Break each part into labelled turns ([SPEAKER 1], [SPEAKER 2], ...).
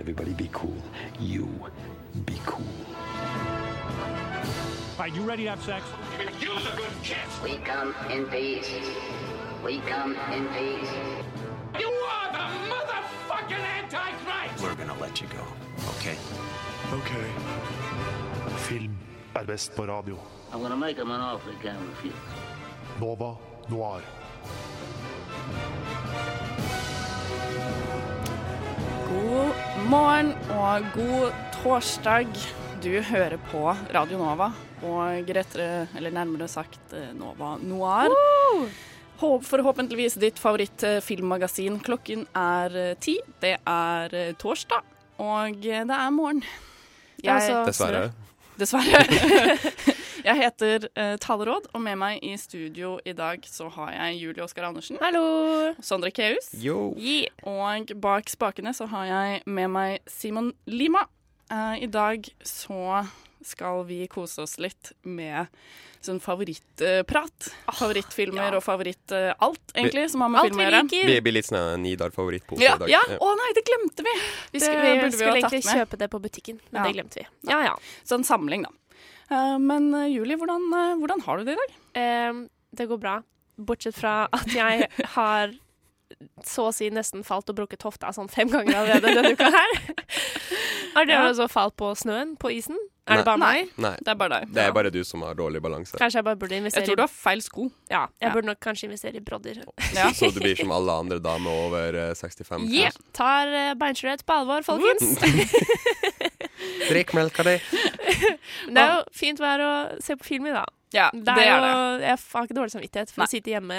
[SPEAKER 1] Everybody be cool. You be cool.
[SPEAKER 2] Are you ready to have sex?
[SPEAKER 3] We come in peace. We come in peace.
[SPEAKER 4] You are the motherfucking Antichrist!
[SPEAKER 1] We're gonna let you go. Okay?
[SPEAKER 5] Film er best på radio.
[SPEAKER 3] I'm gonna make him an offer he can't refuse.
[SPEAKER 5] Nova Noir.
[SPEAKER 6] God morgen og god torsdag. Du hører på Radio Nova, og rettere, eller nærmere sagt eh, Nova Noir. Håp, forhåpentligvis ditt favorittfilmmagasin. Klokken er eh, ti, det er eh, torsdag, og eh, det er morgen. Jeg,
[SPEAKER 7] Altså-
[SPEAKER 8] Dessverre.
[SPEAKER 6] Dessverre. jeg heter eh, Taleråd, og med meg i studio i dag så har jeg Julie Oskar Andersen.
[SPEAKER 7] Hallo!
[SPEAKER 6] Sondre Keus.
[SPEAKER 8] Yo.
[SPEAKER 6] Og bak spakene så har jeg med meg Simon Lima. Eh, I dag så skal vi kose oss litt med sånn favorittprat. Favorittfilmer
[SPEAKER 7] Ah, ja.
[SPEAKER 6] og favoritt eh, alt, egentlig, som har med
[SPEAKER 7] Alt
[SPEAKER 6] film å
[SPEAKER 7] vi
[SPEAKER 6] gjøre.
[SPEAKER 7] liker!
[SPEAKER 8] Vi blir litt sånn en Nidar-favorittpose
[SPEAKER 6] Ja,
[SPEAKER 8] i dag.
[SPEAKER 6] ja. Å nei, det glemte vi!
[SPEAKER 7] Vi
[SPEAKER 6] Det
[SPEAKER 7] skulle,
[SPEAKER 6] burde
[SPEAKER 7] vi
[SPEAKER 6] vi ha
[SPEAKER 7] skulle
[SPEAKER 6] tatt
[SPEAKER 7] egentlig
[SPEAKER 6] med.
[SPEAKER 7] kjøpe det på butikken, men
[SPEAKER 6] Ja.
[SPEAKER 7] det glemte vi. Ja, ja.
[SPEAKER 6] Sånn samling, da. Eh, men eh, Julie, hvordan, eh, hvordan har du det i dag?
[SPEAKER 7] Ehm, det går bra. Bortsett fra at jeg har så å si nesten falt og brukket hofta sånn fem ganger allerede denne uka her. Har
[SPEAKER 6] Ja.
[SPEAKER 7] dere også falt på snøen, på isen? Er
[SPEAKER 8] Nei.
[SPEAKER 7] det bare meg?
[SPEAKER 8] Nei,
[SPEAKER 6] Det er bare deg.
[SPEAKER 8] det er bare du som har dårlig balanse.
[SPEAKER 7] Kanskje jeg bare burde investere
[SPEAKER 6] Jeg tror du har feil sko.
[SPEAKER 7] i Ja, jeg
[SPEAKER 6] Ja.
[SPEAKER 7] burde nok kanskje investere i brodder.
[SPEAKER 6] Ja.
[SPEAKER 8] Så du blir som alle andre damer over eh, 65.
[SPEAKER 7] Yeah! Tar eh, beinskjørhet på alvor, folkens.
[SPEAKER 8] Drikk melka di.
[SPEAKER 7] Det er jo fint vær å se på film i, da.
[SPEAKER 6] Ja,
[SPEAKER 7] Det er, jo, Jeg har ikke dårlig samvittighet for
[SPEAKER 6] Nei.
[SPEAKER 7] å sitte hjemme.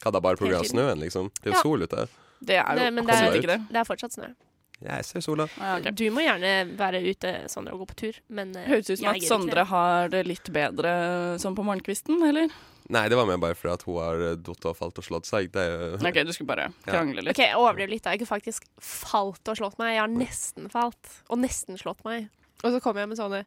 [SPEAKER 8] Hva da, bare pga.
[SPEAKER 7] Helt fint.
[SPEAKER 8] snøen, liksom? Det er
[SPEAKER 7] Ja.
[SPEAKER 8] jo sol ute.
[SPEAKER 6] Det er jo
[SPEAKER 7] Nei, men det
[SPEAKER 8] er-
[SPEAKER 6] absolutt ikke det.
[SPEAKER 7] Det er fortsatt snø.
[SPEAKER 8] Ja, jeg ser sola.
[SPEAKER 6] Ah, ja, ok.
[SPEAKER 7] Du må gjerne være ute, Sondre, og gå på tur, men eh,
[SPEAKER 6] Høres ut som
[SPEAKER 7] jeg
[SPEAKER 6] at
[SPEAKER 7] gidder ikke
[SPEAKER 6] Sondre har det litt bedre sånn på morgenkvisten, eller?
[SPEAKER 8] Nei, det var mer bare for at hun har eh, datt og falt og slått seg. Det er jo
[SPEAKER 6] OK, du skulle bare krangle
[SPEAKER 7] det.
[SPEAKER 6] litt.
[SPEAKER 7] OK, jeg overdrev litt. da. Jeg har ikke faktisk falt og slått meg. Jeg har nesten falt, og nesten slått meg. Og så kommer jeg med sånne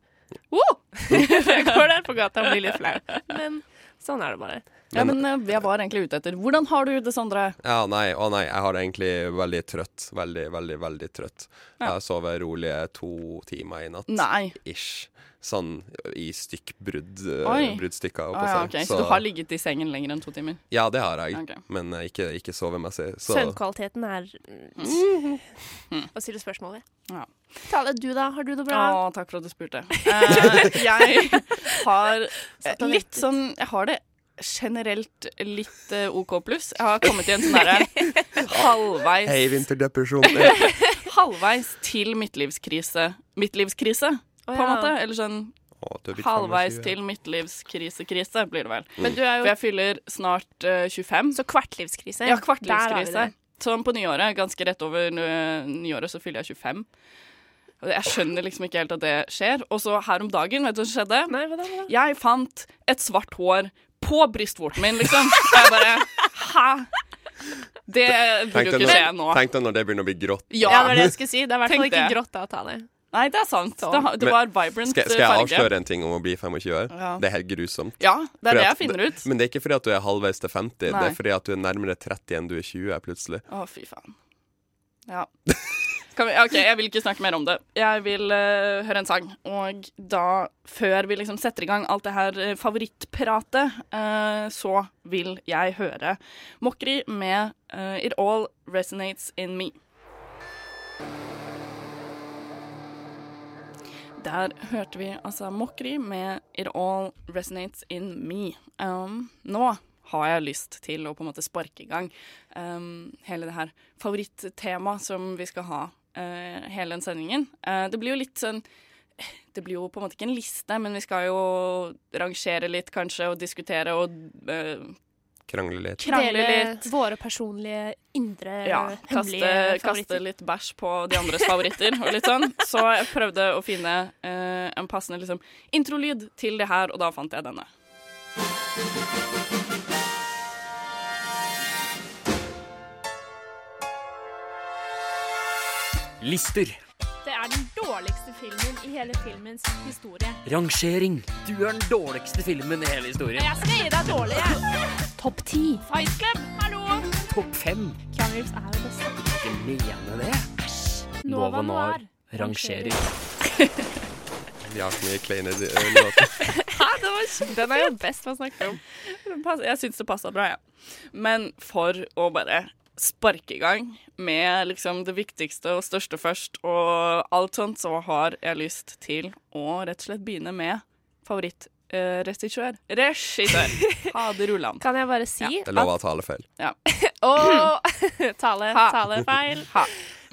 [SPEAKER 7] wow! Jeg går der på gata og blir litt flau. Men sånn er det bare.
[SPEAKER 6] Ja, men eh, jeg var egentlig ute etter Hvordan har du det, Sondre?
[SPEAKER 8] Ja, nei, å nei, jeg har egentlig veldig trøtt. Veldig, veldig, veldig trøtt. Jeg har sovet rolige to timer i natt.
[SPEAKER 6] Nei.
[SPEAKER 8] Ish. Sånn i stykkbrudd.
[SPEAKER 6] Oi.
[SPEAKER 8] eh, Bruddstykker. holdt jeg på å
[SPEAKER 6] Ah, ja,
[SPEAKER 8] si.
[SPEAKER 6] ok. Så du har ligget i sengen lenger enn to timer?
[SPEAKER 8] Ja, det har jeg.
[SPEAKER 6] Ok.
[SPEAKER 8] Men eh, ikke, ikke sovemessig. Så
[SPEAKER 7] Søvnkvaliteten er mm, Å stille spørsmål ved.
[SPEAKER 6] Mm-hmm. Ja.
[SPEAKER 7] Tale, du da? Har du det bra?
[SPEAKER 6] Å, takk for at du spurte. Eh, jeg har eh,
[SPEAKER 7] og
[SPEAKER 6] litt sånn Jeg har det generelt litt eh, OK pluss. Jeg har kommet i en sånn derre halvveis
[SPEAKER 8] Hei, vinterdepresjon. Eh,
[SPEAKER 6] Halvveis til midtlivskrise. Midtlivskrise, på en
[SPEAKER 7] ja.
[SPEAKER 6] måte. Eller sånn
[SPEAKER 8] å, du er blitt
[SPEAKER 6] halvveis
[SPEAKER 8] 25.
[SPEAKER 6] til midtlivskrise-krise, blir det vel.
[SPEAKER 7] Men du
[SPEAKER 6] For
[SPEAKER 7] er jo
[SPEAKER 6] jeg fyller snart eh, 25.
[SPEAKER 7] Så
[SPEAKER 6] Ja,
[SPEAKER 7] kvartlivskrise. Der har vi
[SPEAKER 6] kvartlivskrise.
[SPEAKER 7] det.
[SPEAKER 6] Sånn på nyåret, ganske rett over eh, nyåret, så fyller jeg 25. Og jeg skjønner liksom ikke helt at det skjer. Og så her om dagen, vet du hva som skjedde?
[SPEAKER 7] Nei, hva da? Hva da?
[SPEAKER 6] Jeg fant et svart hår på brystvorten min, liksom. Og jeg bare Hæ? Det vil
[SPEAKER 8] Tenk
[SPEAKER 6] jo
[SPEAKER 8] deg
[SPEAKER 6] ikke skje nå.
[SPEAKER 8] når, tenk deg når det begynner å bli grått.
[SPEAKER 6] Ja.
[SPEAKER 7] Ja, det var det jeg skulle si. Det er i hvert fall
[SPEAKER 6] Tenk
[SPEAKER 7] ikke
[SPEAKER 6] det.
[SPEAKER 7] grått da, Tale.
[SPEAKER 6] Nei, det er sant.
[SPEAKER 7] Sånn.
[SPEAKER 6] Det, har- det
[SPEAKER 8] Men-
[SPEAKER 6] var vibrant
[SPEAKER 8] Skal, skal jeg
[SPEAKER 6] farge.
[SPEAKER 8] avsløre en ting om å bli 25 år?
[SPEAKER 6] Ja.
[SPEAKER 8] Det er helt grusomt.
[SPEAKER 6] Ja, det
[SPEAKER 8] Fordi
[SPEAKER 6] er
[SPEAKER 8] at
[SPEAKER 6] det jeg finner ut.
[SPEAKER 8] Men det er ikke fordi at du er halvveis til 50, det
[SPEAKER 6] Nei.
[SPEAKER 8] er fordi at du er nærmere 30 enn du er 20 plutselig.
[SPEAKER 6] Å, fy faen. Ja. Kan vi, OK, jeg vil ikke snakke mer om det. Jeg vil eh, høre en sang. Og da, før vi liksom setter i gang alt det her eh, favorittpratet, eh, så vil jeg høre Mokri med eh, It All Resonates In Me. Der hørte vi altså Mokri med It All Resonates In Me. Um, nå har jeg lyst til å på en måte sparke i gang um, hele det her favorittemaet som vi skal ha eh, hele den sendingen. Eh, det blir jo litt sånn Det blir jo på en måte ikke en liste, men vi skal jo rangere litt, kanskje, og diskutere og eh,
[SPEAKER 8] Krangle litt.
[SPEAKER 6] krangle litt.
[SPEAKER 7] våre personlige indre
[SPEAKER 6] Ja, kaste,
[SPEAKER 7] hemmelige
[SPEAKER 6] kaste
[SPEAKER 7] eh, favoritter.
[SPEAKER 6] litt bæsj på de andres favoritter og litt sånn. Så jeg prøvde å finne eh, en passende liksom, introlyd til det her, og da fant jeg denne.
[SPEAKER 9] Lister.
[SPEAKER 7] Det er
[SPEAKER 2] er den dårligste filmen i hele filmens historie.
[SPEAKER 9] Rangering. Du er den dårligste filmen i hele historien.
[SPEAKER 2] Jeg skal gi deg dårlig, jeg.
[SPEAKER 7] Topp ti.
[SPEAKER 2] Fight Club, hallo!
[SPEAKER 9] Topp fem.
[SPEAKER 2] Keanu Reeves er jo best.
[SPEAKER 9] Ikke mene det. Nova Noir rangerer.
[SPEAKER 8] Vi har så mye kleine di- eh, låter.
[SPEAKER 7] Den er jo best å snakke om.
[SPEAKER 6] Den pass- Jeg syns det passa bra, jeg. Men for å bare sparke i gang med liksom det viktigste og største først og alt sånt, så har jeg lyst til å rett og slett begynne med favorittregissør. Regissør! Hade Roland.
[SPEAKER 7] Kan jeg bare si
[SPEAKER 8] Det lover å tale feil.
[SPEAKER 6] Ja.
[SPEAKER 7] Åh, tale,
[SPEAKER 6] Ha.
[SPEAKER 7] talefeil.
[SPEAKER 6] Ha.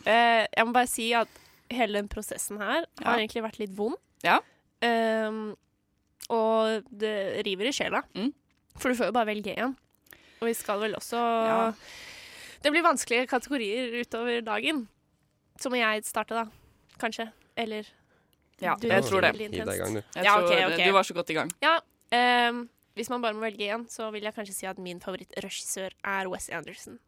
[SPEAKER 7] Eh, jeg må bare si at hele den prosessen her har egentlig vært litt vond.
[SPEAKER 6] Ja.
[SPEAKER 7] Ehm, og det river i sjela.
[SPEAKER 6] Mm.
[SPEAKER 7] For du får jo bare velge én. Og vi skal vel også
[SPEAKER 6] Ja.
[SPEAKER 7] Det blir vanskelige kategorier utover dagen. Så må jeg starte, da. Kanskje. Eller
[SPEAKER 6] Ja,
[SPEAKER 7] du-
[SPEAKER 6] jeg tror det.
[SPEAKER 8] Hiv
[SPEAKER 7] veldig
[SPEAKER 8] deg i
[SPEAKER 7] intenst.
[SPEAKER 8] gang, du.
[SPEAKER 6] Jeg
[SPEAKER 7] Ja,
[SPEAKER 6] tror
[SPEAKER 7] ok, ok.
[SPEAKER 6] Du var så godt i gang.
[SPEAKER 7] Ja, ehm, hvis man bare må velge én, så vil jeg kanskje si at min favorittregissør er Wes Anderson.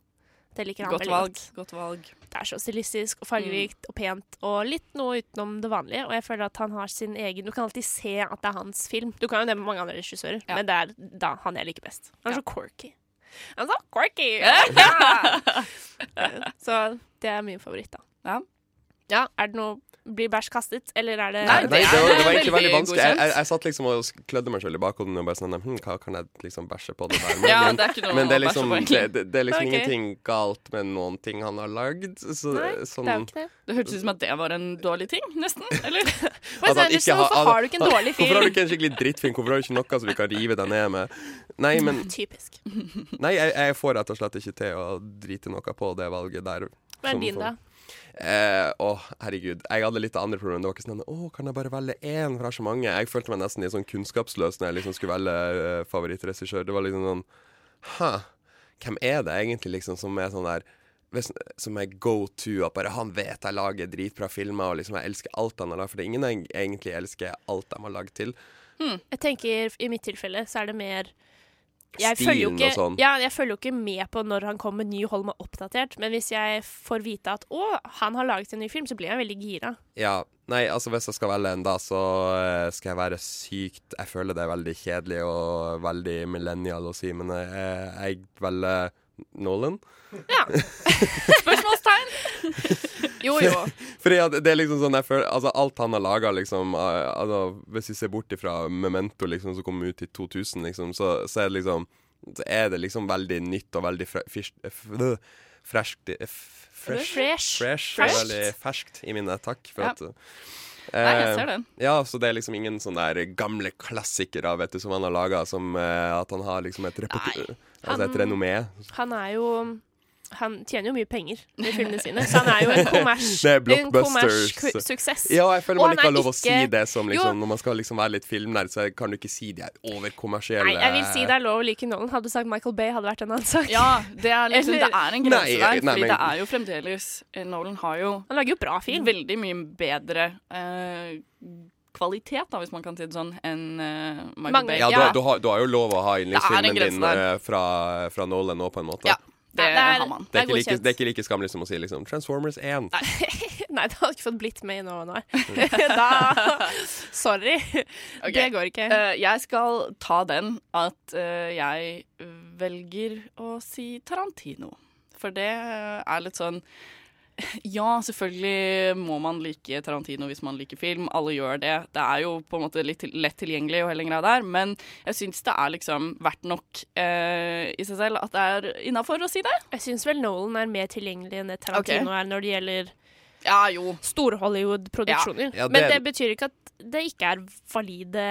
[SPEAKER 7] Det liker han
[SPEAKER 6] Godt
[SPEAKER 7] veldig
[SPEAKER 6] valg.
[SPEAKER 7] godt.
[SPEAKER 6] Godt valg.
[SPEAKER 7] Det er så stilistisk
[SPEAKER 6] Mm.
[SPEAKER 7] og fargerikt og pent og litt noe utenom det vanlige. Og jeg føler at han har sin egen Du kan alltid se at det er hans film. Du kan jo nevne mange andre regissører,
[SPEAKER 6] Ja.
[SPEAKER 7] men det er da han jeg liker best. Han er
[SPEAKER 6] Ja.
[SPEAKER 7] så quirky. Han er så quirky! Ja. Eh, så det er min favoritt, da.
[SPEAKER 6] Ja.
[SPEAKER 7] Ja, er det noe Blir bæsj kastet, eller er det
[SPEAKER 6] Nei,
[SPEAKER 8] Nei, det var, det var egentlig
[SPEAKER 6] veldig
[SPEAKER 8] veldig vanskelig. Jeg,
[SPEAKER 6] godkjent.
[SPEAKER 8] jeg, jeg satt liksom og sk- klødde meg selv i bakhodet og bare sånn hm, Hva kan jeg liksom bæsje på det her med?
[SPEAKER 6] Ja,
[SPEAKER 8] Men-
[SPEAKER 6] det er ikke noe
[SPEAKER 8] men det er
[SPEAKER 6] å bæsje
[SPEAKER 8] liksom,
[SPEAKER 6] på, egentlig.
[SPEAKER 8] det, det er liksom
[SPEAKER 7] Ok.
[SPEAKER 8] ingenting galt med noen ting han har lagd. Så,
[SPEAKER 7] Nei,
[SPEAKER 8] sånn,
[SPEAKER 7] det er jo ikke det.
[SPEAKER 6] Det hørtes ut som at det var en dårlig ting, nesten. Eller?
[SPEAKER 7] Wes
[SPEAKER 8] han
[SPEAKER 7] Anderson,
[SPEAKER 8] har-
[SPEAKER 7] hvorfor
[SPEAKER 8] han-
[SPEAKER 7] har du ikke en dårlig film?
[SPEAKER 8] Hvorfor har du ikke en skikkelig drittfilm? Hvorfor har du ikke noe som du kan rive deg ned med? Nei, men
[SPEAKER 7] Typisk.
[SPEAKER 8] nei, jeg, jeg får rett og slett ikke til å drite noe på det valget der.
[SPEAKER 7] Hva er
[SPEAKER 8] Som-
[SPEAKER 7] din, da?
[SPEAKER 8] Eh, Å, herregud. Jeg hadde litt andre problemer. Det var ikke sånn Å, kan jeg bare velge én? For jeg har så mange. Jeg følte meg nesten litt sånn kunnskapsløs når jeg liksom skulle velge eh, favorittregissør. Det var liksom sånn Hæ, hvem er det egentlig liksom som er sånn der hvis- som er go to, at bare han vet jeg lager dritbra filmer, og liksom jeg elsker alt han har lagd. For det er ingen jeg egentlig elsker alt de har lagd til.
[SPEAKER 7] Jeg tenker i mitt tilfelle så er det mer jeg
[SPEAKER 8] Stilen
[SPEAKER 7] følger, jo ikke,
[SPEAKER 8] og sånn.
[SPEAKER 7] ja, jeg følger jo ikke med på når han kommer med ny og holder meg oppdatert, men hvis jeg får vite at 'å, han har laget en ny film', så blir jeg veldig gira.
[SPEAKER 8] Ja, nei, altså hvis jeg skal velge en da, så eh, skal jeg være sykt Jeg føler det er veldig kjedelig og veldig millennial å si, men jeg, jeg velger Nolan.
[SPEAKER 6] Spørsmålstegn!
[SPEAKER 7] Jo, jo.
[SPEAKER 8] Fordi at det er liksom sånn jeg føler, altså Alt han har laga, liksom eh, altså, Hvis vi ser bort ifra Memento, liksom, som kom ut i 2000, liksom, så, så er det liksom Så er det liksom veldig nytt og veldig fre- fish- eh, f- øh, fresht eh, f- Fresh.
[SPEAKER 7] Fresh.
[SPEAKER 8] Fresh.
[SPEAKER 7] Ferskt.
[SPEAKER 8] Veldig ferskt i mine. Takk for
[SPEAKER 6] Ja.
[SPEAKER 8] at eh,
[SPEAKER 6] Nei, jeg ser den.
[SPEAKER 8] Ja, så det er liksom ingen sånne der gamle klassikere vet du, som han har laga, som eh, at han har liksom et, repeti- altså et renommé.
[SPEAKER 7] Han er jo Han tjener jo mye penger med filmene sine, så han er jo en kommers-
[SPEAKER 8] Det er
[SPEAKER 7] en
[SPEAKER 8] blockbusters.
[SPEAKER 7] kommers-suksess.
[SPEAKER 8] Ja, jeg føler
[SPEAKER 7] Og
[SPEAKER 8] man
[SPEAKER 7] han
[SPEAKER 8] ikke
[SPEAKER 7] er
[SPEAKER 8] har lov å si
[SPEAKER 7] ikke-
[SPEAKER 8] det som
[SPEAKER 7] Jo.
[SPEAKER 8] liksom, Når man skal liksom være litt filmnerd, så kan du ikke si de er overkommersielle
[SPEAKER 7] Nei, jeg vil si det er lov å like Nolan. Hadde du sagt Michael Bay, hadde det vært en annen sak.
[SPEAKER 6] Ja, det er, liksom,
[SPEAKER 7] Eller-
[SPEAKER 6] det er en
[SPEAKER 8] Nei,
[SPEAKER 6] grense der.
[SPEAKER 8] nei,
[SPEAKER 6] Fordi
[SPEAKER 8] men-
[SPEAKER 6] det er jo fremdeles eh, Nolan har jo
[SPEAKER 7] Han lager jo bra film.
[SPEAKER 6] veldig mye bedre eh, kvalitet, da, hvis man kan si det sånn, enn eh, Michael
[SPEAKER 7] Mange-
[SPEAKER 6] Bay.
[SPEAKER 8] Ja, du,
[SPEAKER 7] Ja.
[SPEAKER 8] du, har, du har jo lov å ha
[SPEAKER 6] Det er en
[SPEAKER 8] yndlingsfilmen din
[SPEAKER 6] grense der.
[SPEAKER 8] eh, fra, fra Nolan nå, på en måte.
[SPEAKER 6] Ja, det,
[SPEAKER 7] Nei, det er-
[SPEAKER 6] har man.
[SPEAKER 8] Det, er
[SPEAKER 7] det er
[SPEAKER 8] ikke like,
[SPEAKER 7] godkjent.
[SPEAKER 8] det er ikke like skamlig som å si liksom Transformers 1.
[SPEAKER 7] Nei, det hadde ikke fått blitt med i Nova Noir. da Sorry.
[SPEAKER 6] Ok.
[SPEAKER 7] Det går ikke.
[SPEAKER 6] Eh, jeg skal ta den at eh, jeg velger å si Tarantino. For det eh, er litt sånn Ja, selvfølgelig må man like Tarantino hvis man liker film. Alle gjør det. Det er jo på en måte litt til- lett tilgjengelig og hele den greia der. Men jeg syns det er liksom verdt nok eh, i seg selv at det er innafor å si det.
[SPEAKER 7] Jeg syns vel Nolan er mer tilgjengelig enn det Tarantino er når det gjelder
[SPEAKER 6] Ja, jo.
[SPEAKER 7] store Hollywood-produksjoner.
[SPEAKER 8] Ja, ja, det-
[SPEAKER 7] Men det betyr ikke at det ikke er valide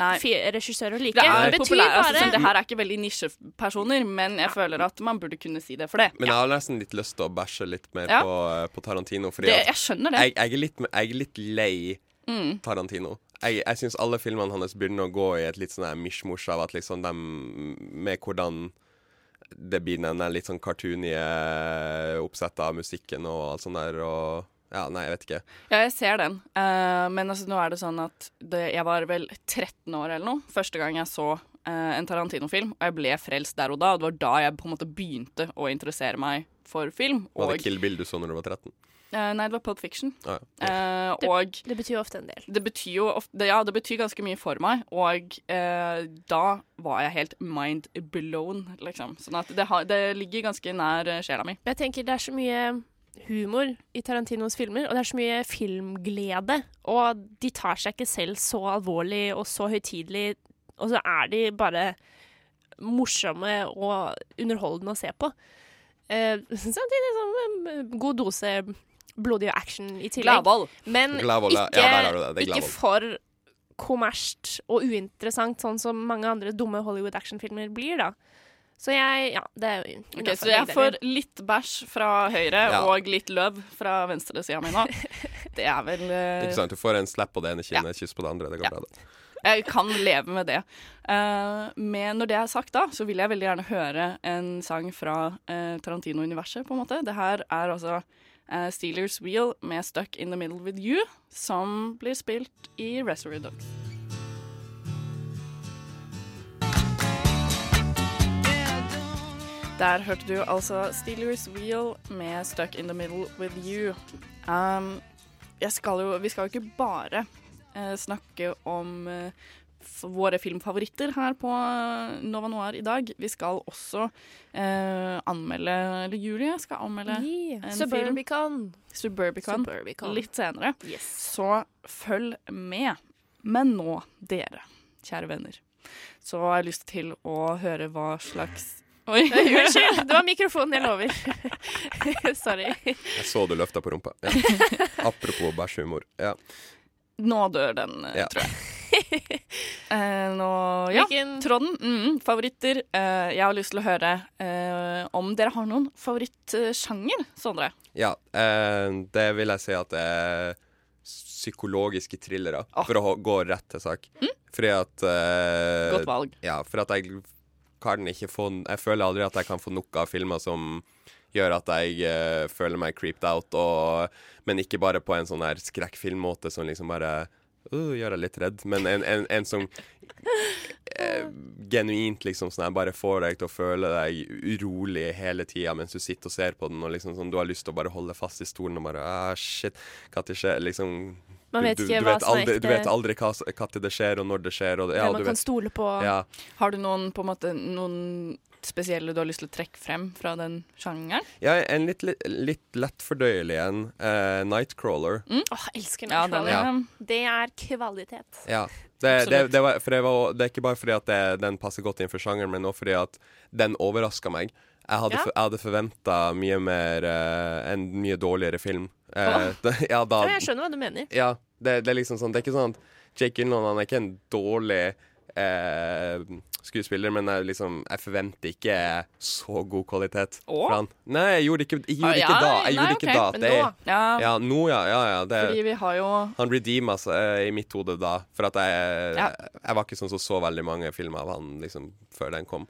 [SPEAKER 6] Nei.
[SPEAKER 7] fi- regissører å like.
[SPEAKER 6] Det er
[SPEAKER 7] Det betyr
[SPEAKER 6] populært. Altså,
[SPEAKER 7] bare
[SPEAKER 6] sånn, det her er ikke veldig nisjepersoner, men jeg føler at man burde kunne si det for det.
[SPEAKER 8] Men jeg har nesten litt lyst til å bæsje litt mer
[SPEAKER 6] Ja.
[SPEAKER 8] på, eh, på Tarantino. Fordi
[SPEAKER 6] det
[SPEAKER 8] at-
[SPEAKER 6] jeg skjønner det.
[SPEAKER 8] jeg, jeg, er litt, jeg er litt lei
[SPEAKER 6] Mm.
[SPEAKER 8] Tarantino. Jeg, jeg syns alle filmene hans begynner å gå i et litt sånn her mishmosh av at liksom dem Med hvordan det blir den der litt sånn cartoonige oppsettet av musikken og alt sånt der, og Ja, nei, jeg vet ikke.
[SPEAKER 6] Ja, jeg ser den. Eh, men altså, nå er det sånn at det, jeg var vel 13 år eller noe første gang jeg så eh, en Tarantino-film, og jeg ble frelst der og da. Og det var da jeg på en måte begynte å interessere meg for film.
[SPEAKER 8] Var det
[SPEAKER 6] Og
[SPEAKER 8] Kill Bill du så når du var 13?
[SPEAKER 6] Eh, nei, det var Pulp Fiction.
[SPEAKER 8] Ah,
[SPEAKER 6] Eh, og
[SPEAKER 7] Det betyr jo ofte en del.
[SPEAKER 6] det betyr jo ofte, Ja, det betyr ganske mye for meg, og eh, da var jeg helt mind blown, liksom. Sånn at det, har, det ligger ganske nær eh, sjela mi.
[SPEAKER 7] Jeg tenker det er så mye humor i Tarantinos filmer, og det er så mye filmglede. Og de tar seg ikke selv så alvorlig og så høytidelig, og så er de bare morsomme og underholdende å se på. Eh, samtidig som en god dose blodig action i tillegg.
[SPEAKER 6] Gladvold.
[SPEAKER 7] Men
[SPEAKER 8] Gladvold, ja.
[SPEAKER 7] ikke,
[SPEAKER 8] Ja, der har du det. Det er
[SPEAKER 7] ikke
[SPEAKER 8] Gladvold.
[SPEAKER 7] for kommersielt og uinteressant, sånn som mange andre dumme Hollywood actionfilmer blir, da. Så jeg Ja, det er jo
[SPEAKER 6] Ok,
[SPEAKER 7] innenfor
[SPEAKER 6] så jeg
[SPEAKER 7] begge
[SPEAKER 6] får
[SPEAKER 7] deler.
[SPEAKER 6] litt bæsj fra høyre
[SPEAKER 8] Ja.
[SPEAKER 6] og litt løv fra venstresida mi nå. Det er vel eh,
[SPEAKER 8] Ikke sant? Du får en slapp på det ene kinnet, et kyss på det andre. Det går
[SPEAKER 6] Ja.
[SPEAKER 8] bra, det.
[SPEAKER 6] Jeg kan leve med det. Eh, men når det er sagt, da, så vil jeg veldig gjerne høre en sang fra eh, Tarantino-universet, på en måte. Det her er altså eh, Steelers Wheel med Stuck in the Middle with You, som blir spilt i Reservoir Dogs. Der hørte du altså Steelers Wheel med Stuck in the Middle with You. Um, jeg skal jo, vi skal jo ikke bare eh, snakke om eh, f- våre filmfavoritter her på eh, Nova Noir i dag. Vi skal også eh, anmelde Eller Julie skal anmelde en
[SPEAKER 7] Suburbicon.
[SPEAKER 6] Suburbicon,
[SPEAKER 7] Suburbicon.
[SPEAKER 6] litt senere.
[SPEAKER 7] Yes.
[SPEAKER 6] Så følg med. Men nå, dere, kjære venner, så har jeg lyst til å høre hva slags Oi,
[SPEAKER 7] Unnskyld, det var mikrofonen, jeg lover. Sorry.
[SPEAKER 8] Jeg så du løfta på rumpa. Ja. Apropos bæsjhumor. Ja.
[SPEAKER 6] Nå dør den, eh,
[SPEAKER 8] Ja.
[SPEAKER 6] tror jeg. Eh, nå Ja,
[SPEAKER 7] Hvilken-
[SPEAKER 6] tråden. Mm, favoritter. Eh, jeg har lyst til å høre eh, om dere har noen favorittsjanger, Sondre.
[SPEAKER 8] ja eh, det vil jeg si at det er psykologiske thrillere,
[SPEAKER 6] Ah. Mm.
[SPEAKER 8] for å ho- gå rett til sak. Fordi at eh,
[SPEAKER 6] Godt valg.
[SPEAKER 8] Ja, for at jeg kan ikke få Jeg føler aldri at jeg kan få nok av filmer som gjør at jeg eh, føler meg creeped out, og, men ikke bare på en sånn her skrekkfilmmåte som liksom bare uh, gjør deg litt redd, men en, en, en som eh, genuint liksom sånn her bare får deg til å føle deg urolig hele tida mens du sitter og ser på den, og liksom sånn du har lyst til å bare holde fast i stolen og bare ah, shit, når skjer liksom
[SPEAKER 7] Man
[SPEAKER 8] du-
[SPEAKER 7] vet
[SPEAKER 8] du,
[SPEAKER 7] ikke
[SPEAKER 8] du
[SPEAKER 7] hva
[SPEAKER 8] vet
[SPEAKER 7] som er
[SPEAKER 8] aldri, Du
[SPEAKER 7] ekte.
[SPEAKER 8] vet aldri hva s- når det skjer, og når det skjer. Og, det- ja,
[SPEAKER 7] Hvem man
[SPEAKER 8] du
[SPEAKER 7] kan
[SPEAKER 8] vet,
[SPEAKER 7] stole på.
[SPEAKER 8] ja,
[SPEAKER 6] Har du noen, på en måte, noen spesielle du har lyst til å trekke frem fra den sjangeren?
[SPEAKER 8] Ja, en litt, litt, litt lettfordøyelig en. Eh, Nightcrawler.
[SPEAKER 7] Åh, jeg elsker
[SPEAKER 6] Mm. Ja, den,
[SPEAKER 7] Nightcrawler.
[SPEAKER 8] Ja.
[SPEAKER 7] Det er kvalitet.
[SPEAKER 8] Ja. Det, det,
[SPEAKER 6] Absolutt.
[SPEAKER 8] det, var, for det, var, det er ikke bare fordi at det, den passer godt innenfor sjangeren, men også fordi at den overraska meg. Jeg hadde,
[SPEAKER 7] Ja.
[SPEAKER 8] for, jeg hadde forventa mye mer eh, En mye dårligere film. Eh, det- ja, da,
[SPEAKER 7] Ja, jeg skjønner hva du mener.
[SPEAKER 8] ja det, det er liksom sånn Det er ikke sånn at Jake Gyllenhaal han er ikke en dårlig eh, skuespiller, men jeg, liksom, jeg forventer ikke så god kvalitet
[SPEAKER 6] Å?
[SPEAKER 8] fra han. Nei, jeg gjorde ikke, jeg gjorde
[SPEAKER 6] Ah,
[SPEAKER 8] ikke
[SPEAKER 6] ja,
[SPEAKER 8] da. Jeg
[SPEAKER 6] nei,
[SPEAKER 8] gjorde ikke
[SPEAKER 6] ok,
[SPEAKER 8] da.
[SPEAKER 6] men
[SPEAKER 8] Det er-
[SPEAKER 6] nå. Ja,
[SPEAKER 8] Ja, nå, ja. ja, ja det,
[SPEAKER 6] fordi vi har jo
[SPEAKER 8] han redeema seg eh, i mitt hode da, for at jeg,
[SPEAKER 6] Ja.
[SPEAKER 8] jeg var ikke sånn som så veldig mange filmer av han liksom, før den kom.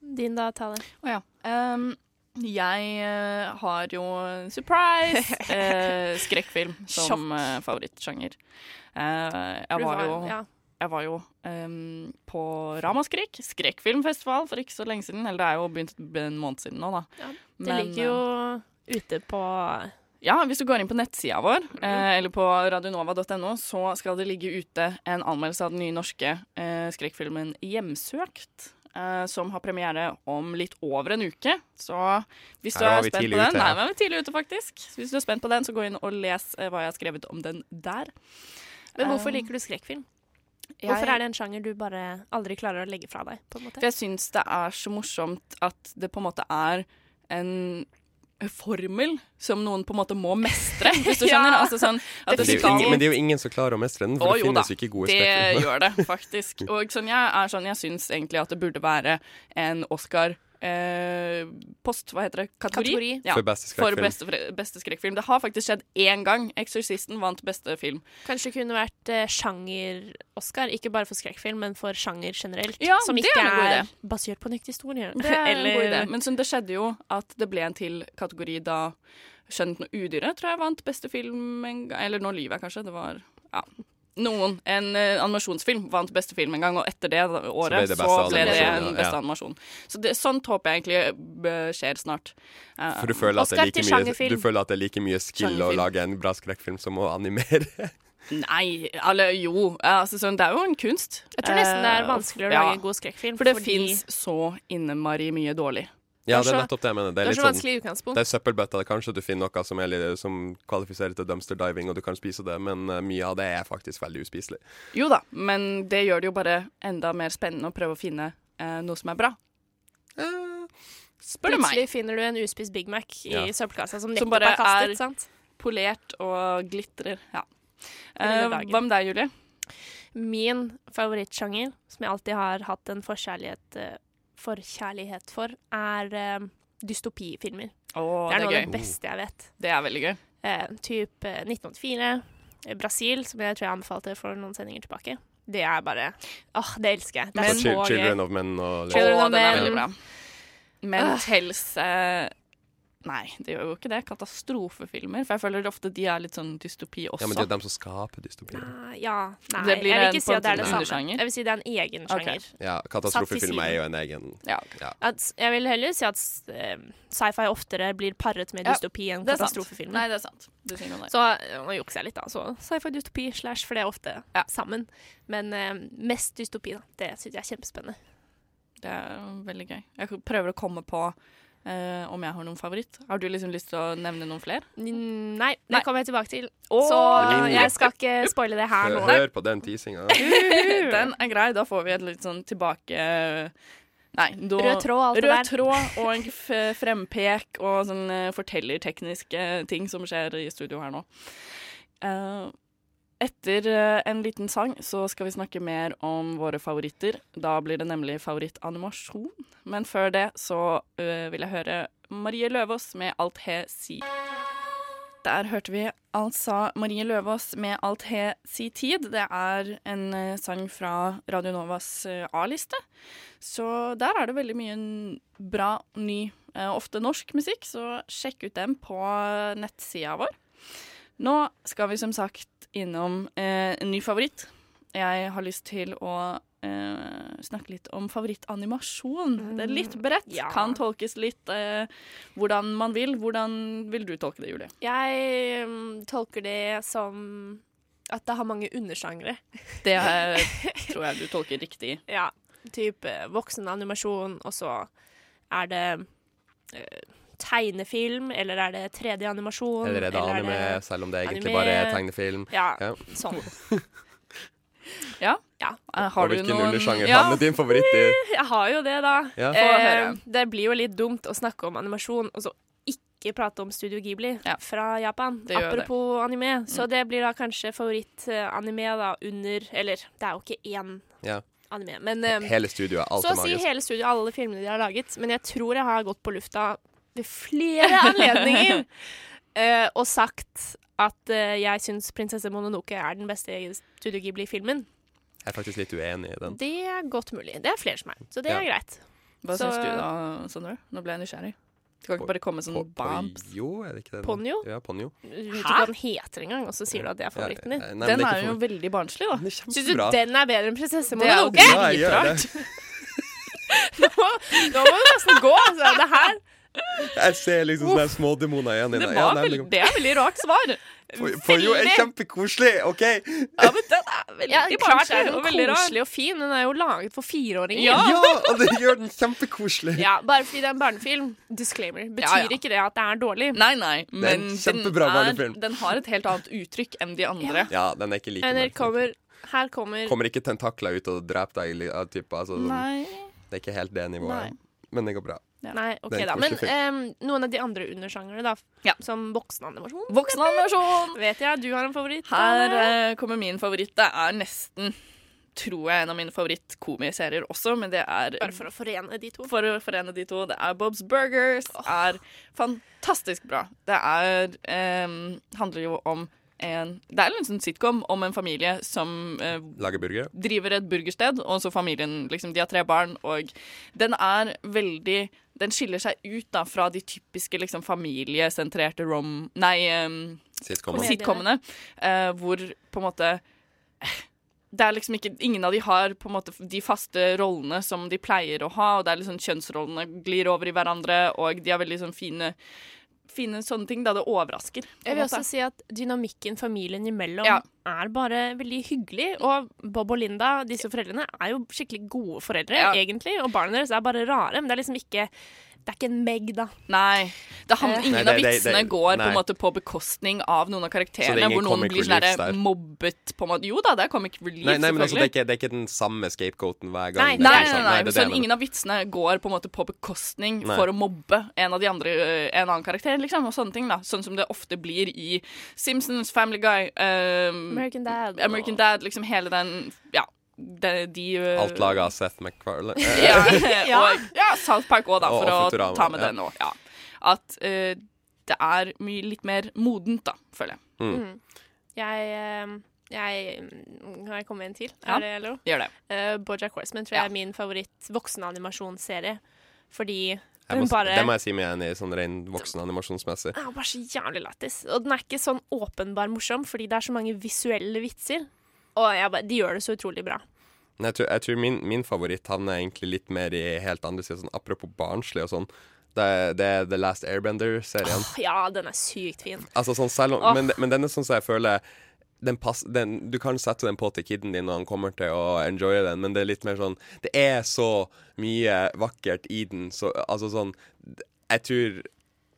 [SPEAKER 7] Din da, Tale.
[SPEAKER 6] Å ja. Ehm, jeg eh, har jo surprise eh, skrekkfilm som eh, favorittsjanger. Eh, jeg var jo,
[SPEAKER 7] ja.
[SPEAKER 6] jeg var jo ehm, på Ramaskrik, skrekkfilmfestival, for ikke så lenge siden. Eller det er jo begynt en måned siden nå, da.
[SPEAKER 7] Ja, Det
[SPEAKER 6] Men, eh,
[SPEAKER 7] ligger jo ute på
[SPEAKER 6] Ja, hvis du går inn på nettsida vår,
[SPEAKER 8] Mhm.
[SPEAKER 6] eh, eller på radionova.no, så skal det ligge ute en anmeldelse av den nye norske eh, skrekkfilmen 'Hjemsøkt'. Eh, som har premiere om litt over en uke. Så hvis du
[SPEAKER 8] Her var
[SPEAKER 6] er
[SPEAKER 8] vi
[SPEAKER 6] spent på
[SPEAKER 8] tidlig
[SPEAKER 6] den
[SPEAKER 8] ute,
[SPEAKER 6] Nei,
[SPEAKER 8] ja.
[SPEAKER 6] vi var tidlig ute, faktisk. Så Hvis du er spent på den, så gå inn og les eh, hva jeg har skrevet om den der.
[SPEAKER 7] Men hvorfor
[SPEAKER 6] Um,
[SPEAKER 7] liker du skrekkfilm? Hvorfor er det en sjanger du bare aldri klarer å legge fra deg? på en måte?
[SPEAKER 6] For jeg syns det er så morsomt at det på en måte er en formel som noen på en måte må mestre, hvis du
[SPEAKER 7] Ja.
[SPEAKER 6] skjønner. Altså sånn
[SPEAKER 8] Men
[SPEAKER 6] at det
[SPEAKER 8] det, er jo
[SPEAKER 6] skal-
[SPEAKER 8] ingen, men det er jo ingen som klarer å mestre den, for
[SPEAKER 6] Å,
[SPEAKER 8] det
[SPEAKER 6] jo da.
[SPEAKER 8] finnes jo ikke gode
[SPEAKER 6] Det
[SPEAKER 8] skrekkfilmer.
[SPEAKER 6] gjør det, faktisk. Og sånn, jeg er sånn, jeg syns egentlig at det burde være en Oscar Eh, post, hva heter det? Kategori?
[SPEAKER 7] Kategori.
[SPEAKER 6] Ja,
[SPEAKER 8] For beste
[SPEAKER 6] for
[SPEAKER 8] skrekkfilm.
[SPEAKER 6] beste, fre- beste skrekkfilm. Det har faktisk skjedd én gang. 'Eksorsisten' vant beste film.
[SPEAKER 7] Kanskje det kunne vært eh, sjanger-Oscar, ikke bare for skrekkfilm, men for sjanger generelt.
[SPEAKER 6] Ja,
[SPEAKER 7] som
[SPEAKER 6] det
[SPEAKER 7] ikke
[SPEAKER 6] er en god
[SPEAKER 7] er,
[SPEAKER 6] idé.
[SPEAKER 7] basert på nytt historie.
[SPEAKER 6] Det er en god idé.
[SPEAKER 7] Eller
[SPEAKER 6] Men sånn, det skjedde jo at det ble en til kategori da 'Skjønt noe udyre' tror jeg vant beste film en gang. Eller 'Når livet er', kanskje. Det var Ja. Noen. En eh, animasjonsfilm vant beste film en gang, og etter det året
[SPEAKER 8] det beste
[SPEAKER 6] så ble det
[SPEAKER 8] animasjon, ja,
[SPEAKER 6] en beste
[SPEAKER 8] ja.
[SPEAKER 6] animasjon. Så det, sånt håper jeg egentlig eh, skjer snart. Eh,
[SPEAKER 8] For du føler, at det
[SPEAKER 7] Oscar
[SPEAKER 8] er like
[SPEAKER 7] til
[SPEAKER 8] mye,
[SPEAKER 7] sjangerfilm.
[SPEAKER 8] du føler at det er like mye skill å
[SPEAKER 6] Sjangerfilm.
[SPEAKER 8] lage en bra skrekkfilm som å animere?
[SPEAKER 6] Nei, eller jo. Ja, Altså, sånn, det er jo en kunst.
[SPEAKER 7] Jeg tror nesten det er
[SPEAKER 6] Eh,
[SPEAKER 7] vanskeligere å
[SPEAKER 6] ja.
[SPEAKER 7] lage en god skrekkfilm.
[SPEAKER 6] For det
[SPEAKER 7] fordi-
[SPEAKER 6] fins så innmari mye dårlig.
[SPEAKER 8] Ja,
[SPEAKER 7] Det
[SPEAKER 8] det
[SPEAKER 7] er
[SPEAKER 8] er
[SPEAKER 7] så-
[SPEAKER 8] nettopp det jeg mener. Det
[SPEAKER 7] Det
[SPEAKER 8] er
[SPEAKER 7] er
[SPEAKER 8] litt
[SPEAKER 7] så
[SPEAKER 8] sånn
[SPEAKER 7] vanskelig i utgangspunkt.
[SPEAKER 8] det er søppelbøtta. Kanskje du finner noe som, er, litt- som kvalifiserer til dumpster diving, og du kan spise det, men eh, mye av det er faktisk veldig uspiselig.
[SPEAKER 6] Jo da, men det gjør det jo bare enda mer spennende å prøve å finne eh, noe som er bra. Spør du meg.
[SPEAKER 7] Plutselig finner du en uspist Big Mac i
[SPEAKER 8] Ja.
[SPEAKER 7] søppelkassa
[SPEAKER 6] Som
[SPEAKER 7] som nettopp
[SPEAKER 6] bare
[SPEAKER 7] er kastet.
[SPEAKER 6] er-
[SPEAKER 7] sant?
[SPEAKER 6] Polert og glitrer. Ja. Eh,
[SPEAKER 7] Hele dagen.
[SPEAKER 6] hva med deg, Julie?
[SPEAKER 7] Min favorittsjanger, som jeg alltid har hatt en forkjærlighet, eh, forkjærlighet for, er eh, dystopifilmer.
[SPEAKER 6] Å,
[SPEAKER 7] Det
[SPEAKER 6] det er
[SPEAKER 7] er noe av
[SPEAKER 6] gøy.
[SPEAKER 7] det beste jeg vet.
[SPEAKER 6] Det er veldig gøy.
[SPEAKER 7] Eh, typ eh, 1984, eh, Brasil, som jeg tror jeg anbefalte for noen sendinger tilbake. Det er bare Åh, det elsker jeg. Det
[SPEAKER 8] Så
[SPEAKER 7] er så
[SPEAKER 8] Chil Children
[SPEAKER 7] gøy.
[SPEAKER 8] of Men og
[SPEAKER 7] Children
[SPEAKER 6] Å,
[SPEAKER 7] of
[SPEAKER 6] den er
[SPEAKER 7] Men.
[SPEAKER 6] veldig bra. Men
[SPEAKER 7] Øh.
[SPEAKER 6] tels eh, Nei, det gjør jo ikke det. Katastrofefilmer. For jeg føler ofte de er litt sånn dystopi også.
[SPEAKER 8] Ja, men det er dem som skaper dystopier.
[SPEAKER 7] Ah, Ja, nei,
[SPEAKER 6] Det blir
[SPEAKER 7] jeg vil
[SPEAKER 6] en-
[SPEAKER 7] ikke si at det
[SPEAKER 6] på
[SPEAKER 7] er
[SPEAKER 6] en
[SPEAKER 7] det samme.
[SPEAKER 6] undersjanger?
[SPEAKER 7] Jeg vil si det er en egen
[SPEAKER 6] Ok.
[SPEAKER 7] sjanger.
[SPEAKER 8] Ja, katastrofefilm er jo en egen
[SPEAKER 6] Ja.
[SPEAKER 7] At, jeg vil heller si at eh, sci-fi oftere blir parret med
[SPEAKER 6] Ja,
[SPEAKER 7] dystopi enn
[SPEAKER 6] Det er sant.
[SPEAKER 7] katastrofefilmer.
[SPEAKER 6] Nei, det er sant. Du sier noe der.
[SPEAKER 7] Så eh, nå jukser jeg litt, da. Så sci-fi dystopi slash, for det er ofte sammen. Men eh, mest dystopi, da. Det syns jeg er kjempespennende.
[SPEAKER 6] Det er veldig gøy. Jeg prøver å komme på eh, om jeg har noen favoritt. Har du liksom lyst til å nevne noen flere?
[SPEAKER 7] Mm, Nei,
[SPEAKER 6] Nei.
[SPEAKER 7] det kommer jeg tilbake til.
[SPEAKER 6] Åh!
[SPEAKER 7] Så eh, jeg skal ikke spoile det her
[SPEAKER 8] Hør,
[SPEAKER 7] nå.
[SPEAKER 8] hør på den teasinga.
[SPEAKER 6] Den er grei. Da får vi et litt sånn tilbake... Nei, da,
[SPEAKER 7] Rød tråd og alt det
[SPEAKER 6] rød
[SPEAKER 7] der.
[SPEAKER 6] tråd og en f- frempek og sånn eh, fortellertekniske ting som skjer i studio her nå. Eh, etter eh, en liten sang så skal vi snakke mer om våre favoritter. Da blir det nemlig favorittanimasjon. Men før det så eh, vil jeg høre Marie Løvaas med Alt he si. Der hørte vi altså Marie Løvaas med Alt he si tid. Det er en eh, sang fra Radio Novas eh, A-liste. Så der er det veldig mye n- bra, ny, eh, ofte norsk musikk. Så sjekk ut dem på eh, nettsida vår. Nå skal vi som sagt innom eh, en ny favoritt. Jeg har lyst til å eh, snakke litt om favorittanimasjon. Det er litt bredt.
[SPEAKER 7] ja.
[SPEAKER 6] Kan tolkes litt eh, hvordan man vil. Hvordan vil du tolke det, Julie?
[SPEAKER 7] Jeg mm, tolker det som at det har mange undersjangre.
[SPEAKER 6] Det eh, tror jeg du tolker riktig.
[SPEAKER 7] Ja, type voksenanimasjon, og så er det eh, tegnefilm, eller er det 3D-animasjon?
[SPEAKER 8] Eller er det anime, selv om det egentlig bare er tegnefilm?
[SPEAKER 7] Ja,
[SPEAKER 8] Ja.
[SPEAKER 7] sånn.
[SPEAKER 6] Ja.
[SPEAKER 7] Ja.
[SPEAKER 6] Eh,
[SPEAKER 8] Og
[SPEAKER 6] Har du
[SPEAKER 8] hvilken
[SPEAKER 6] noen
[SPEAKER 8] undersjanger
[SPEAKER 6] ja.
[SPEAKER 8] havner din favoritt i?
[SPEAKER 7] Jeg har jo det, da.
[SPEAKER 8] Ja.
[SPEAKER 6] høre.
[SPEAKER 7] Eh, det blir jo litt dumt å snakke om animasjon, og så ikke prate om Studio Ghibli
[SPEAKER 6] Ja.
[SPEAKER 7] fra Japan.
[SPEAKER 6] Det gjør det. Mm.
[SPEAKER 7] Apropos anime. Så det blir da kanskje favorittanime eh, da under Eller, det er jo ikke én
[SPEAKER 8] Ja.
[SPEAKER 7] anime, men eh,
[SPEAKER 8] Hele studioet, alt
[SPEAKER 7] Så
[SPEAKER 8] er
[SPEAKER 7] å si
[SPEAKER 8] magisk.
[SPEAKER 7] hele studiet, alle filmene de har laget. Men jeg tror jeg har gått på lufta ved flere anledninger eh, og sagt at eh, jeg syns 'Prinsesse Mononoke' er den beste Studio Ghibli-filmen.
[SPEAKER 8] Jeg er faktisk litt uenig i den.
[SPEAKER 7] Det er godt mulig. Det er flere som er. Så det er greit.
[SPEAKER 6] Hva
[SPEAKER 7] Så-
[SPEAKER 6] syns du da, Sondre? Nå ble jeg nysgjerrig. Du kan ikke bare komme sånn
[SPEAKER 8] Po-
[SPEAKER 6] bams.
[SPEAKER 8] Ponyo, er det ikke det?
[SPEAKER 7] Ponyo?
[SPEAKER 8] Ja, Ponyo.
[SPEAKER 7] Du vet ikke hva den heter engang, og så sier du at det er favoritten din.
[SPEAKER 8] Ja, nei, men
[SPEAKER 6] Den
[SPEAKER 8] det
[SPEAKER 6] er
[SPEAKER 8] ikke
[SPEAKER 6] jo
[SPEAKER 8] favoritt.
[SPEAKER 6] veldig barnslig, da.
[SPEAKER 8] Den er
[SPEAKER 7] Syns du
[SPEAKER 8] kjempebra.
[SPEAKER 7] den er bedre enn 'Prinsesse
[SPEAKER 6] Det er jo
[SPEAKER 7] Mononoke'?
[SPEAKER 8] Ja, jeg gjør det.
[SPEAKER 7] Nå må du nesten gå! Altså. Det her
[SPEAKER 8] Jeg ser liksom sånne smådemoner igjen i
[SPEAKER 6] Det,
[SPEAKER 8] den. Ja,
[SPEAKER 6] var
[SPEAKER 8] nei, men-
[SPEAKER 6] veldig,
[SPEAKER 8] liksom,
[SPEAKER 6] det er veldig rart svar.
[SPEAKER 8] Po- Ponyo er kjempekoselig, OK?
[SPEAKER 6] Ja, men den er veldig
[SPEAKER 7] ja, Klart er
[SPEAKER 6] barnslig
[SPEAKER 7] den
[SPEAKER 6] og veldig rar.
[SPEAKER 7] koselig og fin. Den er jo laget for fireåringer.
[SPEAKER 8] Ja, og det gjør den kjempekoselig.
[SPEAKER 7] Ja, bare fordi det er en barnefilm, disclaimer, betyr
[SPEAKER 6] Ja, ja.
[SPEAKER 7] ikke det at det er dårlig.
[SPEAKER 6] Nei, nei,
[SPEAKER 8] er
[SPEAKER 6] men
[SPEAKER 8] en
[SPEAKER 6] den,
[SPEAKER 8] kjempebra
[SPEAKER 6] er,
[SPEAKER 8] barnefilm.
[SPEAKER 6] den har et helt annet uttrykk enn de andre.
[SPEAKER 8] Ja, den er ikke like
[SPEAKER 7] Men her
[SPEAKER 8] merkelig.
[SPEAKER 7] kommer, her kommer
[SPEAKER 8] Kommer ikke tentakler ut og dreper deg? li- av type, altså, sånn-
[SPEAKER 6] Nei.
[SPEAKER 8] Det er ikke helt det nivået.
[SPEAKER 6] Nei.
[SPEAKER 8] Men det går bra.
[SPEAKER 7] Nei, ok
[SPEAKER 8] Det er en
[SPEAKER 7] da. Men
[SPEAKER 8] koselig
[SPEAKER 7] em, noen av de andre undersjangerne, da.
[SPEAKER 6] Ja.
[SPEAKER 7] Som voksenanimasjon.
[SPEAKER 6] Voksenanimasjon!
[SPEAKER 7] Vet jeg, du har en favoritt.
[SPEAKER 6] Her
[SPEAKER 7] Anne.
[SPEAKER 6] eh, kommer min favoritt. Det er nesten, tror jeg, en av mine favorittkomiserier også, men det er
[SPEAKER 7] Bare for å forene de to.
[SPEAKER 6] for å forene de to. Det er Bob's Burgers. er fantastisk bra. Det er em, handler jo om en Det er en sånn sitcom om en familie som eh,
[SPEAKER 8] Lager burgere.
[SPEAKER 6] driver et burgersted, og så familien liksom, De har tre barn, og den er veldig Den skiller seg ut da fra de typiske liksom, familiesentrerte rom... Nei, ehm, em,
[SPEAKER 8] Sitcom.
[SPEAKER 7] Kom igjen.
[SPEAKER 6] sitcomene, eh, hvor på en måte det er liksom ikke, Ingen av de har på en måte de faste rollene som de pleier å ha. og det er liksom Kjønnsrollene glir over i hverandre, og de har veldig sånn fine, fine sånne ting. Da det overrasker. på en
[SPEAKER 7] Jeg vil
[SPEAKER 6] måte.
[SPEAKER 7] også si at dynamikken familien imellom
[SPEAKER 6] Ja.
[SPEAKER 7] er bare veldig hyggelig. Og Bob og Linda, disse foreldrene, er jo skikkelig gode foreldre,
[SPEAKER 6] Ja.
[SPEAKER 7] egentlig. Og barna deres er bare rare, men det er liksom ikke Det er ikke en Meg, da.
[SPEAKER 6] Nei. Det er han,
[SPEAKER 7] Eh.
[SPEAKER 6] ingen
[SPEAKER 8] Nei, det-
[SPEAKER 6] av
[SPEAKER 8] det-
[SPEAKER 6] vitsene
[SPEAKER 8] det-
[SPEAKER 6] går på
[SPEAKER 8] nei.
[SPEAKER 6] en måte på bekostning av noen av
[SPEAKER 8] Så det er
[SPEAKER 6] karakterene,
[SPEAKER 8] ingen
[SPEAKER 6] hvor noen
[SPEAKER 8] comic
[SPEAKER 6] blir sånn
[SPEAKER 8] reliefs
[SPEAKER 6] der
[SPEAKER 8] der?
[SPEAKER 6] mobbet på en måte. Jo da, det er comic relief,
[SPEAKER 8] Nei, nei, men altså, det, er
[SPEAKER 6] selvfølgelig.
[SPEAKER 8] ikke, det er ikke den samme scapegoaten hver gang.
[SPEAKER 7] Nei,
[SPEAKER 8] det
[SPEAKER 6] Nei,
[SPEAKER 8] er ikke
[SPEAKER 6] nei, nei,
[SPEAKER 8] sant.
[SPEAKER 6] nei.
[SPEAKER 8] det er det jeg
[SPEAKER 6] Sånn,
[SPEAKER 8] mener.
[SPEAKER 6] ingen av vitsene går på en måte på bekostning
[SPEAKER 8] Nei.
[SPEAKER 6] for å mobbe en av de andre, øh, en annen karakter, liksom, og sånne ting, da. Sånn som det ofte blir i Simpsons, Family Guy, øhm,
[SPEAKER 7] American Dad.
[SPEAKER 6] American Dad, liksom hele den Ja, de, de øh,
[SPEAKER 8] Alt laget av Seth MacFarlane. Eh,
[SPEAKER 6] ja, og ja, South Park òg, da,
[SPEAKER 8] Og-
[SPEAKER 6] for
[SPEAKER 8] og
[SPEAKER 6] å
[SPEAKER 8] Futurama,
[SPEAKER 6] ta med
[SPEAKER 8] ja.
[SPEAKER 6] det nå. Ja. At eh, det er mye litt mer modent, da, føler jeg.
[SPEAKER 7] Jeg, eh, jeg Kan jeg komme med en til?
[SPEAKER 6] Ja.
[SPEAKER 7] Er det lov?
[SPEAKER 6] Gjør det.
[SPEAKER 7] Uh, Bojack Horseman tror jeg
[SPEAKER 6] Ja.
[SPEAKER 7] er min favoritt voksenanimasjonsserie. Fordi
[SPEAKER 8] jeg
[SPEAKER 7] hun
[SPEAKER 8] må,
[SPEAKER 7] bare
[SPEAKER 8] Det må jeg si meg enig i, sånn ren voksen animasjonsmessig.
[SPEAKER 7] Den er bare så jævlig lættis. Og den er ikke sånn åpenbar morsom, fordi det er så mange visuelle vitser. Og jeg bare, de gjør det så utrolig bra.
[SPEAKER 8] Men jeg tror, jeg tror min, min favoritt havner egentlig litt mer i helt andre sida, sånn apropos barnslig og sånn. Det, er- det er The Last Airbender-serien.
[SPEAKER 7] Ja, den er sykt fin.
[SPEAKER 8] Altså sånn selv om
[SPEAKER 7] Åh.
[SPEAKER 8] men, men den er sånn som jeg føler den pass, den, Du kan sette den på til kiden din, og han kommer til å enjoye den, men det er litt mer sånn Det er så mye vakkert i den, så altså sånn Jeg tror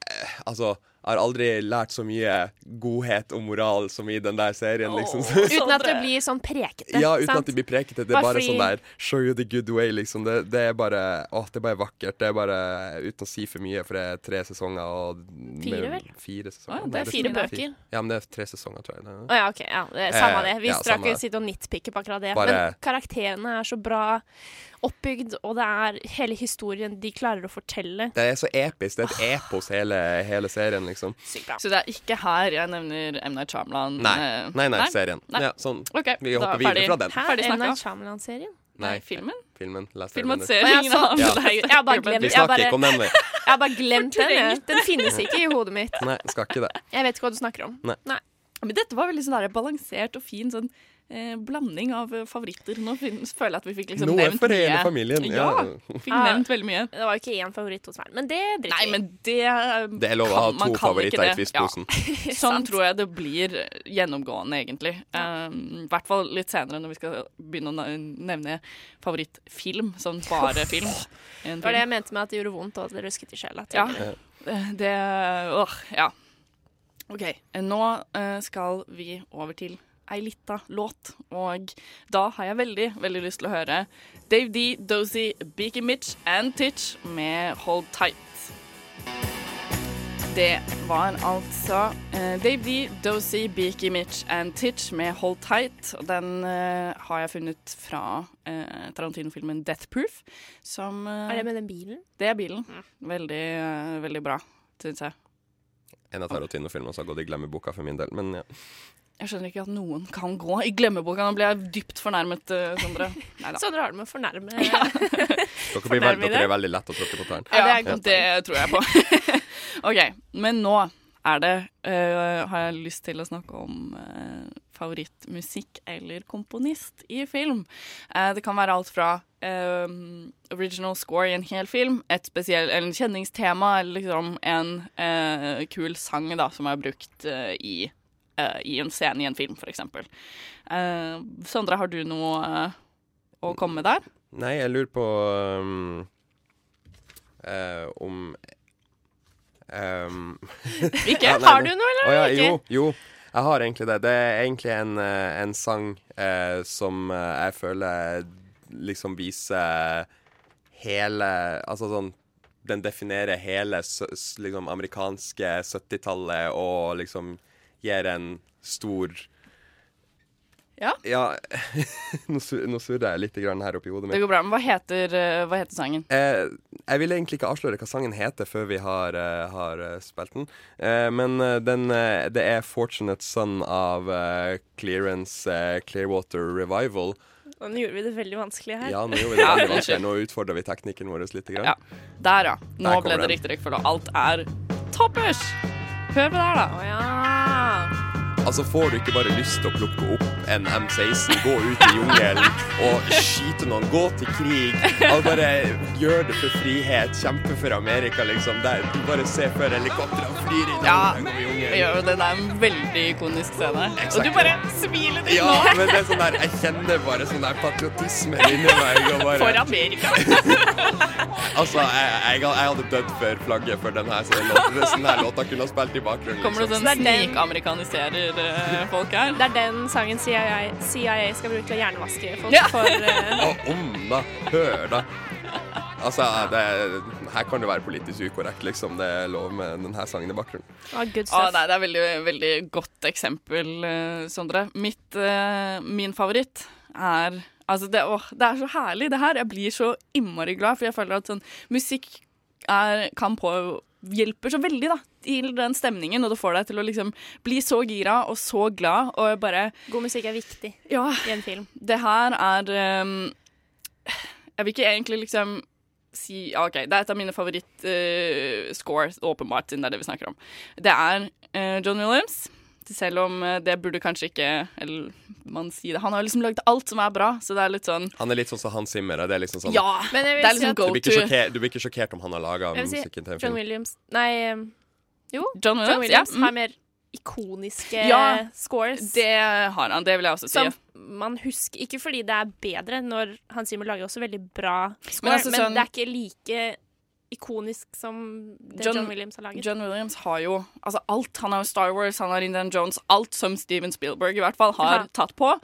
[SPEAKER 8] eh, Altså, jeg har aldri lært så mye godhet og moral som i den der serien, liksom.
[SPEAKER 7] Uten at det blir sånn prekete.
[SPEAKER 8] ja, uten
[SPEAKER 7] sant?
[SPEAKER 8] at de blir prekete. Det er
[SPEAKER 7] Bare
[SPEAKER 8] bare
[SPEAKER 7] fordi-
[SPEAKER 8] sånn der Show you the good way, liksom. Det, det er bare Åh, det er bare vakkert. Det er bare Uten å si for mye, for det er tre sesonger og
[SPEAKER 7] Fire, vel?
[SPEAKER 8] Fire sesonger.
[SPEAKER 6] Å, ja, det
[SPEAKER 8] Nei,
[SPEAKER 6] er
[SPEAKER 8] sånn-
[SPEAKER 7] fire
[SPEAKER 8] det er
[SPEAKER 7] bøker.
[SPEAKER 8] Ja, men det er tre sesonger, tror jeg. Det
[SPEAKER 7] Å
[SPEAKER 8] er-
[SPEAKER 7] ja, OK. Ja, det er samme
[SPEAKER 8] Eh,
[SPEAKER 7] det. Vi
[SPEAKER 8] ja,
[SPEAKER 7] skal
[SPEAKER 8] samme
[SPEAKER 7] ikke
[SPEAKER 8] det.
[SPEAKER 7] sitte og nitpikke på akkurat det.
[SPEAKER 8] Bare-
[SPEAKER 7] Men karakterene er så bra oppbygd, og det er hele historien de klarer å fortelle.
[SPEAKER 8] Det er så episk. Det er et epos, hele, hele serien, liksom.
[SPEAKER 7] Sykt bra.
[SPEAKER 6] Så det er ikke her jeg nevner M. Night Shyamalan.
[SPEAKER 8] Nei,
[SPEAKER 6] eh,
[SPEAKER 8] nei, nei, serien.
[SPEAKER 6] Nei.
[SPEAKER 8] Ja, sånn.
[SPEAKER 6] Ok,
[SPEAKER 8] Vi
[SPEAKER 6] da
[SPEAKER 8] hopper
[SPEAKER 6] er
[SPEAKER 8] videre
[SPEAKER 6] ferdig.
[SPEAKER 8] fra den.
[SPEAKER 7] Hæ?
[SPEAKER 6] Ferdig
[SPEAKER 7] M.
[SPEAKER 6] snakka.
[SPEAKER 7] Night Shyamalan-serien?
[SPEAKER 6] Nei, filmen?
[SPEAKER 8] Filmen. Last
[SPEAKER 6] Filmen
[SPEAKER 8] Airbender.
[SPEAKER 6] ser
[SPEAKER 7] Å, ja,
[SPEAKER 6] ingen
[SPEAKER 7] sånn.
[SPEAKER 6] annen.
[SPEAKER 8] Ja.
[SPEAKER 7] Nei, jeg har bare glemt
[SPEAKER 8] Vi
[SPEAKER 7] jeg har
[SPEAKER 8] snakker
[SPEAKER 7] bare-
[SPEAKER 8] ikke om den, vi.
[SPEAKER 7] jeg har bare glemt den. jeg. Den finnes ikke i hodet mitt.
[SPEAKER 8] Nei, skal ikke det.
[SPEAKER 7] Jeg vet ikke hva du snakker om.
[SPEAKER 8] Nei.
[SPEAKER 6] Men dette var veldig sånn der, balansert og fin sånn eh, blanding av eh, favoritter. Nå fin- føler jeg at vi fikk liksom
[SPEAKER 8] Noe
[SPEAKER 6] nevnt
[SPEAKER 8] for hele
[SPEAKER 6] mye.
[SPEAKER 8] familien.
[SPEAKER 6] Ja,
[SPEAKER 8] Ja.
[SPEAKER 6] fikk
[SPEAKER 7] Ja.
[SPEAKER 6] nevnt veldig mye.
[SPEAKER 7] Det var jo ikke én favoritt hos hver, men det driter
[SPEAKER 6] Nei,
[SPEAKER 7] vi i.
[SPEAKER 6] men det eh,
[SPEAKER 8] Det er lov å
[SPEAKER 6] kan-
[SPEAKER 8] ha
[SPEAKER 6] man
[SPEAKER 8] to
[SPEAKER 6] kan ikke
[SPEAKER 8] favoritter i
[SPEAKER 6] det. Ja.
[SPEAKER 8] twistposen.
[SPEAKER 6] Sånn tror jeg det blir eh, gjennomgående, egentlig. Um, I hvert fall litt senere, når vi skal begynne å na- nevne favorittfilm. Sånn bare film. En
[SPEAKER 7] Det var det
[SPEAKER 6] film.
[SPEAKER 7] jeg mente med at det gjorde vondt, og at det rusket i sjela.
[SPEAKER 6] Ja.
[SPEAKER 7] tidligere.
[SPEAKER 6] Det Åh, ja. OK. Nå eh, skal vi over til ei lita låt, og da har jeg veldig, veldig lyst til å høre Dave D, Dozy, Beaky Mitch and Titch med Hold Tight. Det var altså eh, Dave D, Dozy, Beaky Mitch and Titch med Hold Tight. Og den eh, har jeg funnet fra eh, Tarantino-filmen Death Proof. Som eh,
[SPEAKER 7] Er det med den bilen?
[SPEAKER 6] det er bilen. Veldig, eh, veldig bra, syns jeg.
[SPEAKER 8] En av Tarotino-filmene som har gått i glemmeboka for min del. Men ja.
[SPEAKER 6] Jeg skjønner ikke at noen kan gå i glemmeboka. Nå ble jeg dypt fornærmet, eh, Sondre. Neida.
[SPEAKER 7] Så dere har det med å fornærme ja.
[SPEAKER 8] dere, blir
[SPEAKER 7] Fornærmer
[SPEAKER 8] veld, dere
[SPEAKER 7] det?
[SPEAKER 8] er veldig lett å tråkke på tærne.
[SPEAKER 6] Ja,
[SPEAKER 7] Ja,
[SPEAKER 6] det,
[SPEAKER 7] det er godt
[SPEAKER 6] tror jeg på. OK, men nå er det øh, Har jeg lyst til å snakke om øh, favorittmusikk eller komponist i film. Eh, det kan være alt fra øhm, original score i en hel film, et spesiell, eller en kjenningstema, eller liksom en øh, kul sang da, som er brukt øh, i, øh, i en scene i en film, f.eks. Uh, Sondre, har du noe øh, å komme med der?
[SPEAKER 8] Nei, jeg lurer på um, eh, om um,
[SPEAKER 6] Ikke?
[SPEAKER 8] Ja, nei,
[SPEAKER 7] Har du
[SPEAKER 8] nei.
[SPEAKER 7] noe, eller?
[SPEAKER 8] Å ja,
[SPEAKER 7] ikke?
[SPEAKER 8] jo, jo, jeg har egentlig det. Det er egentlig en, eh, en sang eh, som eh, jeg føler liksom viser hele Altså sånn Den definerer hele sø- s- liksom, amerikanske 70-tallet og liksom gir en stor
[SPEAKER 6] Ja.
[SPEAKER 8] nå sur- nå surrer jeg litt grann her oppi hodet mitt.
[SPEAKER 6] Det går bra. Men hva heter, øh, hva heter sangen?
[SPEAKER 8] Eh, jeg vil egentlig ikke avsløre hva sangen heter før vi har, eh, har eh, spilt den. Eh, men eh, den, eh, det er 'Fortunate Son' av eh, Clearance eh, Clearwater Revival.
[SPEAKER 7] Og Nå gjorde vi det veldig vanskelig her.
[SPEAKER 8] Ja, nå gjorde vi det veldig
[SPEAKER 6] Ja,
[SPEAKER 8] vanskelig. Nå utfordrer vi teknikken vår litt. Grann.
[SPEAKER 6] Ja. Der, ja. Nå
[SPEAKER 8] Der
[SPEAKER 6] ble
[SPEAKER 8] kommer
[SPEAKER 6] det
[SPEAKER 8] den.
[SPEAKER 6] riktig rekkefølge. og Alt er toppers! Hør på det her, da.
[SPEAKER 7] Å ja.
[SPEAKER 8] Altså, får du ikke bare lyst til å plukke opp en M16, gå ut i jungelen og skyte noen, gå til krig. Altså bare gjør det for frihet, kjempe for Amerika, liksom. Der, du bare ser før helikoptrene flyr inn
[SPEAKER 6] Ja,
[SPEAKER 8] over
[SPEAKER 6] det
[SPEAKER 8] jungelen.
[SPEAKER 6] gjør jo det. Det er en veldig ikonisk scene. Og
[SPEAKER 8] Exactly.
[SPEAKER 6] du bare smiler til
[SPEAKER 8] Ja,
[SPEAKER 6] nå
[SPEAKER 8] men det er sånn der, jeg kjenner bare sånn der patriotisme inni meg. Og
[SPEAKER 6] for
[SPEAKER 8] bare,
[SPEAKER 6] Amerika.
[SPEAKER 8] altså, jeg, jeg, jeg hadde dødd for flagget for den her så den låten. Sånn her låta kunne ha spilt i bakgrunnen.
[SPEAKER 6] Kommer det
[SPEAKER 8] Liksom.
[SPEAKER 6] sånn snikamerikanisiserer eh, folk her?
[SPEAKER 7] Det er den sangen CIA, CIA skal bruke til å hjernevaske folk
[SPEAKER 6] Ja.
[SPEAKER 7] for eh,
[SPEAKER 8] Og om, da. Hør, da. Altså, det, her kan det være politisk ukorrekt, liksom. Det er lov med denne sangen i bakgrunnen.
[SPEAKER 7] ah, good
[SPEAKER 6] Å,
[SPEAKER 7] stuff.
[SPEAKER 6] nei, det er veldig, veldig godt eksempel, eh, Sondre. Mitt, eh, min favoritt er Altså, det, åh, det er så herlig, det her. Jeg blir så innmari glad, for jeg føler at sånn musikk er, kan påhjelper så veldig, da, til den stemningen, og det får deg til å liksom bli så gira og så glad, og bare
[SPEAKER 7] God musikk er viktig
[SPEAKER 6] Ja,
[SPEAKER 7] i en film.
[SPEAKER 6] det her er ehm, Jeg vil ikke egentlig liksom si ja, OK, det er et av mine favoritt-scores, åpenbart, siden det er det vi snakker om. Det er eh, John Williams. Selv om eh, det burde kanskje ikke Eller man sier det. Han har liksom lagd alt som er bra, så det er litt sånn
[SPEAKER 8] Han er litt sånn som Hans Zimmer. Det er liksom sånn
[SPEAKER 6] Ja!
[SPEAKER 7] Men jeg vil
[SPEAKER 6] det er
[SPEAKER 7] si
[SPEAKER 6] liksom
[SPEAKER 7] at-
[SPEAKER 6] go
[SPEAKER 8] du, blir ikke
[SPEAKER 6] to.
[SPEAKER 8] sjokker, du blir ikke sjokkert om han har laga
[SPEAKER 7] Jeg vil si
[SPEAKER 8] musikken til en
[SPEAKER 7] John
[SPEAKER 8] film.
[SPEAKER 7] Williams Nei, eh, jo.
[SPEAKER 6] John Williams,
[SPEAKER 7] John Williams
[SPEAKER 6] ja, mm.
[SPEAKER 7] har mer ikoniske
[SPEAKER 6] Ja,
[SPEAKER 7] scores.
[SPEAKER 6] Det har han. Det vil jeg også si.
[SPEAKER 7] som man husker Ikke fordi det er bedre, når Hans Zimmer lager også veldig bra score,
[SPEAKER 6] Men
[SPEAKER 7] men,
[SPEAKER 6] altså sånn-
[SPEAKER 7] det er ikke like ikonisk som det
[SPEAKER 6] John-
[SPEAKER 7] John, Williams har laget.
[SPEAKER 6] John Williams har jo altså alt. Han har jo Star Wars, han har Indian Jones. Alt som Steven Spielberg i hvert fall har
[SPEAKER 7] Ja.
[SPEAKER 6] tatt på,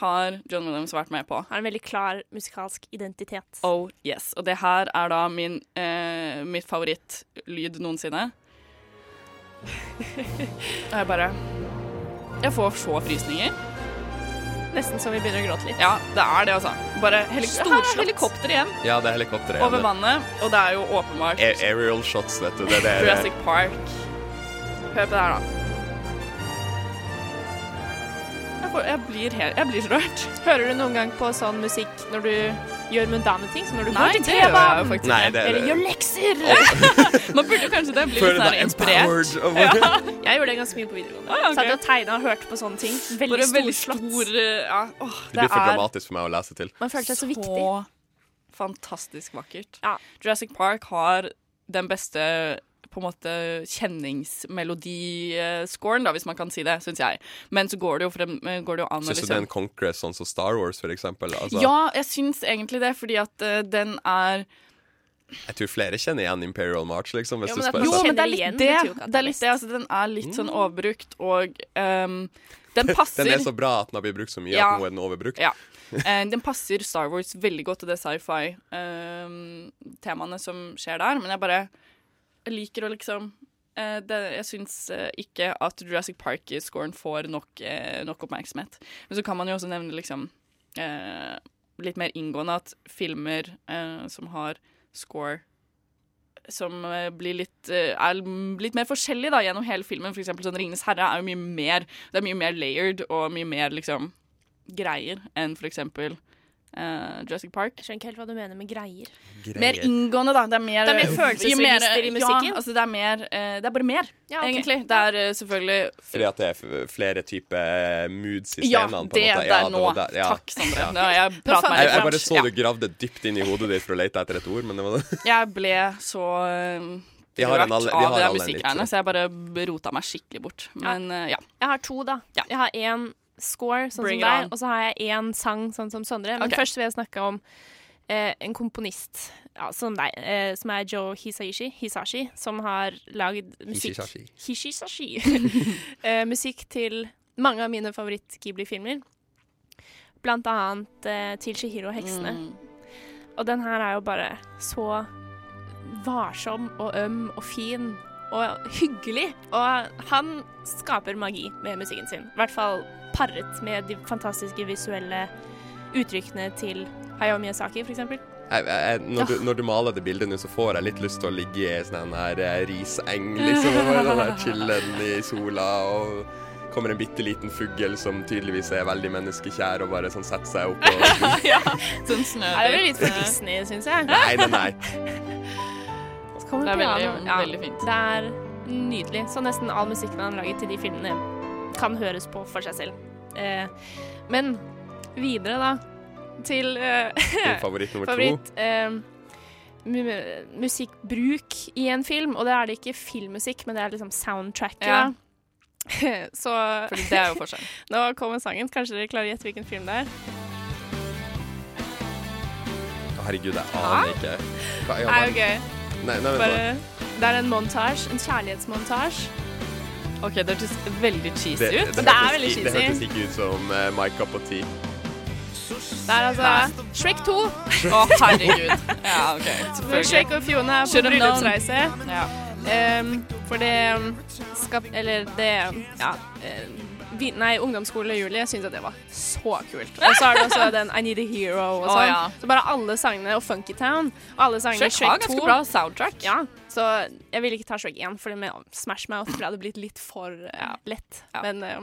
[SPEAKER 6] har John Williams vært med på.
[SPEAKER 7] har en veldig klar musikalsk identitet.
[SPEAKER 6] Oh yes. Og det her er da min eh, mitt favorittlyd noensinne. Og jeg bare Jeg får så frysninger.
[SPEAKER 7] Nesten så vi begynner å gråte litt.
[SPEAKER 6] Ja, det er det, altså. Bare helik
[SPEAKER 7] Storslått.
[SPEAKER 6] Her er helikopter igjen
[SPEAKER 8] Ja, Eh, det er helikopteret.
[SPEAKER 6] over
[SPEAKER 8] igjen.
[SPEAKER 6] vannet, og det er jo åpenbart
[SPEAKER 8] A- Aerial shots, vet du. Det er det. det er-
[SPEAKER 6] Jurassic Park. Hør på det her, da. Jeg, får, jeg, blir helt, jeg blir så rørt.
[SPEAKER 7] Hører du noen gang på sånn musikk når du gjør mundane ting, som når du går til
[SPEAKER 6] det gjør jeg jo
[SPEAKER 7] T-banen?
[SPEAKER 6] faktisk
[SPEAKER 8] Nei,
[SPEAKER 6] ikke.
[SPEAKER 8] det er
[SPEAKER 7] Eller
[SPEAKER 8] det.
[SPEAKER 7] gjør lekser!
[SPEAKER 6] Man burde kanskje det bli
[SPEAKER 8] Føler
[SPEAKER 6] litt
[SPEAKER 8] deg
[SPEAKER 6] sånn inspirert.
[SPEAKER 8] empowered og bare-
[SPEAKER 7] Jeg gjorde det ganske mye på videregående.
[SPEAKER 6] Ah, ok.
[SPEAKER 7] Satt og tegna og hørte på sånne ting.
[SPEAKER 6] Bare
[SPEAKER 7] Veldig
[SPEAKER 6] veldig
[SPEAKER 7] storslått.
[SPEAKER 6] stor eh, ja. Åh,
[SPEAKER 8] Det blir for dramatisk for meg å lese til.
[SPEAKER 7] Man følte seg så viktig.
[SPEAKER 6] fantastisk vakkert.
[SPEAKER 7] Ja.
[SPEAKER 6] Jurassic Park har den beste på en måte kjenningsmelodiscoren, da, hvis man kan si det, syns jeg. Men så går det jo, frem, går det jo an å
[SPEAKER 8] Syns du det er
[SPEAKER 6] liksom
[SPEAKER 8] en Conquest sånn som Star Wars, for eksempel? Altså,
[SPEAKER 6] Ja, jeg syns egentlig det, fordi at eh, den er
[SPEAKER 8] Jeg tror flere kjenner igjen Imperial March, liksom. Hvis
[SPEAKER 7] Jo,
[SPEAKER 8] du
[SPEAKER 7] men at
[SPEAKER 8] spør
[SPEAKER 7] man
[SPEAKER 6] Jo,
[SPEAKER 8] sånn.
[SPEAKER 7] kjenner
[SPEAKER 6] men det er
[SPEAKER 7] igjen
[SPEAKER 6] litt det.
[SPEAKER 7] betyr jo ikke at
[SPEAKER 6] Det
[SPEAKER 7] det
[SPEAKER 6] er
[SPEAKER 7] er
[SPEAKER 6] litt det, altså, den er litt sånn overbrukt, og ehm, den passer
[SPEAKER 8] Mm. Den er så bra at den har blitt brukt så mye
[SPEAKER 6] Ja.
[SPEAKER 8] at nå er den overbrukt.
[SPEAKER 6] Ja. Eh, den passer Star Wars veldig godt til det sci-fi-temaene som skjer der, men jeg bare jeg liker å liksom eh, det, Jeg syns eh, ikke at Jurassic Park-scoren får nok, eh, nok oppmerksomhet. Men så kan man jo også nevne liksom eh, litt mer inngående at filmer eh, som har score som eh, blir litt, eh, er litt mer forskjellig da, gjennom hele filmen. For eksempel sånn 'Ringenes herre' er jo mye mer Det er mye mer layered og mye mer liksom greier enn for eksempel eh, Jurassic Park.
[SPEAKER 7] Jeg skjønner ikke helt hva du mener med greier.
[SPEAKER 6] Mer inngående, da. Det er mer,
[SPEAKER 7] Det er mer følelsesregister i musikken.
[SPEAKER 6] Ja, altså det, er mer, eh, det er bare mer,
[SPEAKER 7] Ja, ok.
[SPEAKER 6] egentlig. Det er eh, selvfølgelig
[SPEAKER 8] Fordi at det er f- flere typer moods i
[SPEAKER 6] Ja,
[SPEAKER 8] scenene. på en
[SPEAKER 6] det
[SPEAKER 8] måte.
[SPEAKER 6] der
[SPEAKER 8] det
[SPEAKER 6] nå.
[SPEAKER 8] var der, ja.
[SPEAKER 6] Takk, Sondre. Nå, jeg
[SPEAKER 7] fant
[SPEAKER 6] prater meg
[SPEAKER 8] Jeg,
[SPEAKER 6] litt
[SPEAKER 8] jeg
[SPEAKER 6] fram.
[SPEAKER 8] bare så du gravde dypt inn i hodet ditt for å lete etter et ord, men det var
[SPEAKER 6] Ja, jeg ble så eh,
[SPEAKER 8] Vi har en alle- vi
[SPEAKER 6] av
[SPEAKER 8] har
[SPEAKER 6] det
[SPEAKER 8] alle en litt, tror
[SPEAKER 6] musikkgreiene,
[SPEAKER 8] jeg.
[SPEAKER 6] så jeg bare rota meg skikkelig bort. Men eh, ja.
[SPEAKER 7] Jeg har to, da.
[SPEAKER 6] Ja.
[SPEAKER 7] Jeg har én score, sånn
[SPEAKER 6] Bring it
[SPEAKER 7] som
[SPEAKER 6] on.
[SPEAKER 7] deg, og så har jeg én sang, sånn som Sondre. Men
[SPEAKER 6] Ok.
[SPEAKER 7] først vil jeg snakke om eh, en komponist, ja, som deg, eh, som er Joe Hisaishi, Hisashi, som har lagd musikk
[SPEAKER 8] Hishisashi.
[SPEAKER 7] Hishisashi. eh, musikk til mange av mine favoritt-Ghibli-filmer. Blant annet eh, til Shihiro og heksene. Og den her er jo bare så varsom og øm og fin og hyggelig. Og han skaper magi med musikken sin. I hvert fall paret med de fantastiske visuelle uttrykkene til Hayao Miyazaki, for eksempel.
[SPEAKER 8] jeg, jeg, når, du, når du maler det bildet nå, så får jeg litt lyst til å ligge i sånn en her eh, riseng, liksom. Og bare den der chillen i sola, og kommer en bitte liten fugl som tydeligvis er veldig menneskekjær, og bare sånn setter seg opp og
[SPEAKER 6] Sånn
[SPEAKER 7] Er det vel
[SPEAKER 6] snøhvit.
[SPEAKER 7] litt for Disney, syns jeg.
[SPEAKER 8] Nei, nei, nei.
[SPEAKER 7] Så kommer
[SPEAKER 6] Det er veldig-
[SPEAKER 7] pianoet.
[SPEAKER 6] veldig fint.
[SPEAKER 7] Det er nydelig. Så nesten all musikken han lager til de filmene kan høres på for seg selv. Eh, men videre, da, til eh,
[SPEAKER 8] Din favoritt nummer to.
[SPEAKER 7] favoritt eh, mu musikkbruk i en film. Og det er det ikke filmmusikk, men det er liksom soundtracket.
[SPEAKER 6] Ja.
[SPEAKER 7] Da. Så
[SPEAKER 6] Fordi det er jo forskjellen.
[SPEAKER 7] nå kommer sangen. Kanskje dere klarer å gjette hvilken film det er?
[SPEAKER 8] Å, herregud, jeg aner ikke. Hva i all
[SPEAKER 7] Nei,
[SPEAKER 8] verden?
[SPEAKER 7] ok.
[SPEAKER 8] Nei, nei, vent
[SPEAKER 7] Bare,
[SPEAKER 8] nå.
[SPEAKER 7] det er en montasje. En kjærlighetsmontasje.
[SPEAKER 6] OK, det hørtes veldig cheesy
[SPEAKER 8] det,
[SPEAKER 6] ut.
[SPEAKER 8] det,
[SPEAKER 7] det er
[SPEAKER 8] hørtes
[SPEAKER 7] veldig
[SPEAKER 8] i- Det
[SPEAKER 7] cheesy.
[SPEAKER 8] hørtes ikke ut som eh, My Cup of Tea.
[SPEAKER 7] Det er altså Shrek 2.
[SPEAKER 6] Å, herregud. Ja, OK.
[SPEAKER 7] Hvor
[SPEAKER 6] Selvfølgelig.
[SPEAKER 7] Shrek og Fiona er på
[SPEAKER 6] Should have known.
[SPEAKER 7] bryllupsreise.
[SPEAKER 6] Ja.
[SPEAKER 7] Ehm, for det um, skap... Eller det Ja. eh, vi, nei, ungdomsskole Julie syntes at det var så kult. Og så er det også den I Need a Hero og
[SPEAKER 6] Å,
[SPEAKER 7] sånn.
[SPEAKER 6] ja.
[SPEAKER 7] Så bare alle sangene og Funkytown. Og alle sangene
[SPEAKER 6] Shrek
[SPEAKER 7] i
[SPEAKER 6] har
[SPEAKER 7] Shrek 2.
[SPEAKER 6] ganske bra soundtrack.
[SPEAKER 7] Ja, så jeg ville ikke ta Shrek 1, fordi med Smash Mouth for det hadde blitt litt for eh, lett.
[SPEAKER 6] Ja.
[SPEAKER 7] Men eh,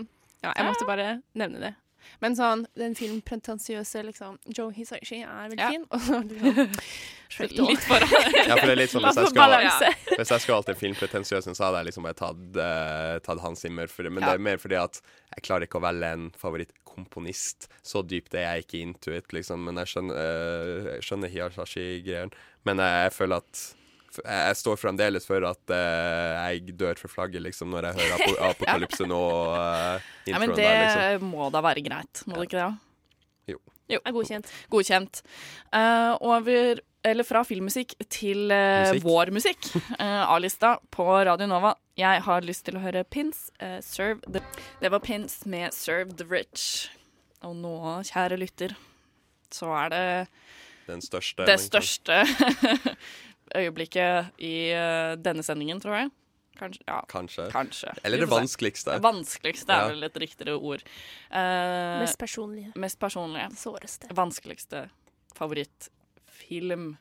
[SPEAKER 7] ja, jeg måtte bare nevne det. Men sånn, den film pretensiøse, liksom Joe Hisashi er veldig
[SPEAKER 6] Ja.
[SPEAKER 7] fin. Og så liksom Shrek 2.
[SPEAKER 6] Litt foran.
[SPEAKER 8] Ja, for det er litt sånn
[SPEAKER 7] Bare
[SPEAKER 8] hvis jeg
[SPEAKER 7] for
[SPEAKER 8] skal,
[SPEAKER 7] balanse.
[SPEAKER 8] hvis jeg skulle hatt en filmpretensiøs, så hadde jeg liksom bare tatt, eh, tatt Hans Zimmer. For, men
[SPEAKER 6] Ja.
[SPEAKER 8] det er mer fordi at jeg klarer ikke å velge en favorittkomponist. Så dypt er jeg ikke into it, liksom. Men jeg skjønner, eh, jeg skjønner Hiyashashi-greien. Men jeg, jeg føler at f- jeg jeg står fremdeles for at eh, jeg dør for flagget, liksom, når jeg hører apo Apokalypse nå og eh,
[SPEAKER 6] Ja, men
[SPEAKER 8] introen
[SPEAKER 6] det
[SPEAKER 8] der, liksom.
[SPEAKER 6] må da være greit, må det ikke det?
[SPEAKER 7] Er godkjent.
[SPEAKER 6] godkjent. Eh, over eller fra filmmusikk til eh,
[SPEAKER 8] Musikk.
[SPEAKER 6] vår musikk. Eh, A-lista på Radio Nova. Jeg har lyst til å høre Pins. eh, serve the Det var Pins med 'Serve the Rich'. Og nå, kjære lytter, så er det
[SPEAKER 8] Den største.
[SPEAKER 6] det
[SPEAKER 8] men-
[SPEAKER 6] største øyeblikket i eh, denne sendingen, tror jeg. Kanskje. Ja,
[SPEAKER 8] Kanskje.
[SPEAKER 6] kanskje.
[SPEAKER 8] Eller
[SPEAKER 6] Vi
[SPEAKER 8] det
[SPEAKER 6] får se.
[SPEAKER 8] vanskeligste.
[SPEAKER 6] Vanskeligste er
[SPEAKER 8] Ja.
[SPEAKER 6] vel et riktigere ord. Eh,
[SPEAKER 7] Mest personlige.
[SPEAKER 6] mest personlige.
[SPEAKER 7] Såreste.
[SPEAKER 6] Vanskeligste favorittfilm.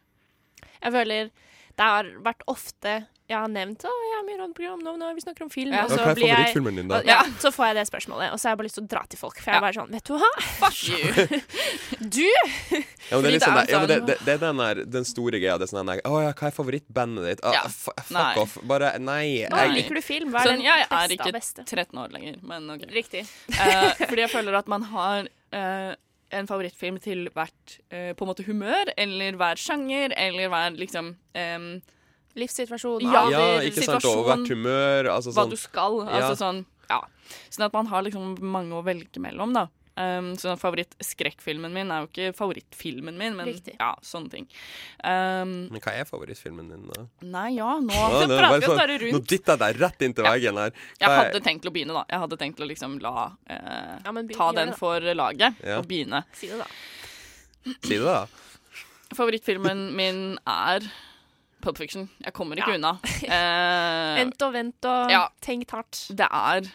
[SPEAKER 7] Jeg føler det har vært ofte jeg har nevnt å, jeg har mye radioprogram nå, nå vi snakker om film.
[SPEAKER 6] Ja.
[SPEAKER 7] Og
[SPEAKER 8] Ja,
[SPEAKER 7] så,
[SPEAKER 8] hva er
[SPEAKER 7] blir jeg,
[SPEAKER 8] favorittfilmen din, da?
[SPEAKER 7] ja, så får jeg det spørsmålet, og så har jeg bare lyst til å dra til folk. For jeg er bare sånn Vet du hva?
[SPEAKER 6] Fuck you!
[SPEAKER 7] Du!
[SPEAKER 8] Ja, men det er
[SPEAKER 6] Fordi
[SPEAKER 8] litt sånn der,
[SPEAKER 6] det er
[SPEAKER 8] ja, men det,
[SPEAKER 6] sånn-
[SPEAKER 8] det, det er den, der, den store greia. Det er sånn der, Å ja, hva er favorittbandet ditt? Ah,
[SPEAKER 6] Ja.
[SPEAKER 8] f- Fuck
[SPEAKER 6] Nei.
[SPEAKER 8] off. Bare nei.
[SPEAKER 7] Hva
[SPEAKER 8] Jeg,
[SPEAKER 7] liker du film? Hva er
[SPEAKER 6] Sånn,
[SPEAKER 7] den
[SPEAKER 6] jeg er
[SPEAKER 7] beste
[SPEAKER 6] ikke
[SPEAKER 7] av beste?
[SPEAKER 6] 13 år lenger, men OK.
[SPEAKER 7] Riktig.
[SPEAKER 6] Eh, fordi jeg føler at man har eh, en favorittfilm til hvert eh, på en måte humør, eller hver sjanger, eller hver liksom em,
[SPEAKER 7] Livssituasjon.
[SPEAKER 6] Ja.
[SPEAKER 8] ja,
[SPEAKER 6] over
[SPEAKER 8] ikke sant. Og
[SPEAKER 6] situasjonen.
[SPEAKER 8] hvert humør. Altså
[SPEAKER 6] hva
[SPEAKER 8] sånn.
[SPEAKER 6] du skal.
[SPEAKER 8] Ja.
[SPEAKER 6] Altså sånn ja. Sånn at man har liksom mange å velge mellom, da. Um, sånn Favorittskrekkfilmen min er jo ikke favorittfilmen min, men
[SPEAKER 7] Riktig.
[SPEAKER 6] ja, sånne ting. Um,
[SPEAKER 8] Men hva er favorittfilmen din, da?
[SPEAKER 6] nei, ja, nå
[SPEAKER 8] Å, nå er det
[SPEAKER 6] prater
[SPEAKER 8] bare
[SPEAKER 6] vi oss
[SPEAKER 8] sånn-
[SPEAKER 6] bare
[SPEAKER 8] Nå
[SPEAKER 6] rundt.
[SPEAKER 8] dytta jeg deg rett inn til veggen her. Hva
[SPEAKER 6] Jeg
[SPEAKER 8] er-
[SPEAKER 6] hadde tenkt til å begynne, da. Jeg hadde tenkt til å liksom la eh,
[SPEAKER 7] Ja, men begynn-
[SPEAKER 6] ta
[SPEAKER 7] gjør
[SPEAKER 6] den
[SPEAKER 7] det, da.
[SPEAKER 6] for laget
[SPEAKER 8] Ja.
[SPEAKER 6] og begynne.
[SPEAKER 7] Si det, da.
[SPEAKER 8] Si det, da.
[SPEAKER 6] Favorittfilmen min er Pulp Fiction. Jeg kommer ikke
[SPEAKER 7] Ja.
[SPEAKER 6] unna. Eh,
[SPEAKER 7] Vent og vent og
[SPEAKER 6] Ja.
[SPEAKER 7] tenkt hardt.
[SPEAKER 6] det er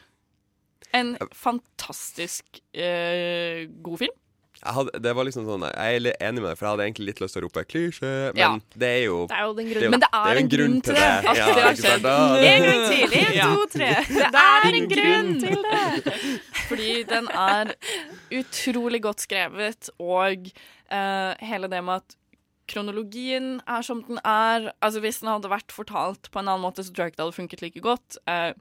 [SPEAKER 6] en fantastisk eh, god film.
[SPEAKER 8] Jeg hadde, det var liksom sånn, jeg er litt enig med deg, for jeg hadde egentlig litt lyst til å rope klisjé, men
[SPEAKER 6] Ja.
[SPEAKER 8] det er jo
[SPEAKER 7] Det er jo den
[SPEAKER 8] jo-
[SPEAKER 7] grunnen.
[SPEAKER 6] Men det er
[SPEAKER 8] jo
[SPEAKER 6] en grunn til det, at
[SPEAKER 8] Ja,
[SPEAKER 6] det har
[SPEAKER 8] ikke sant?
[SPEAKER 6] skjedd.
[SPEAKER 8] Da-
[SPEAKER 7] En gang til. En,
[SPEAKER 6] Ja.
[SPEAKER 7] to, tre. Det er en grunn
[SPEAKER 6] grunn.
[SPEAKER 7] til det.
[SPEAKER 6] Fordi den er utrolig godt skrevet, og eh, hele det med at kronologien er som den er. Altså Hvis den hadde vært fortalt på en annen måte, så tror jeg ikke det hadde funket like godt. Eh,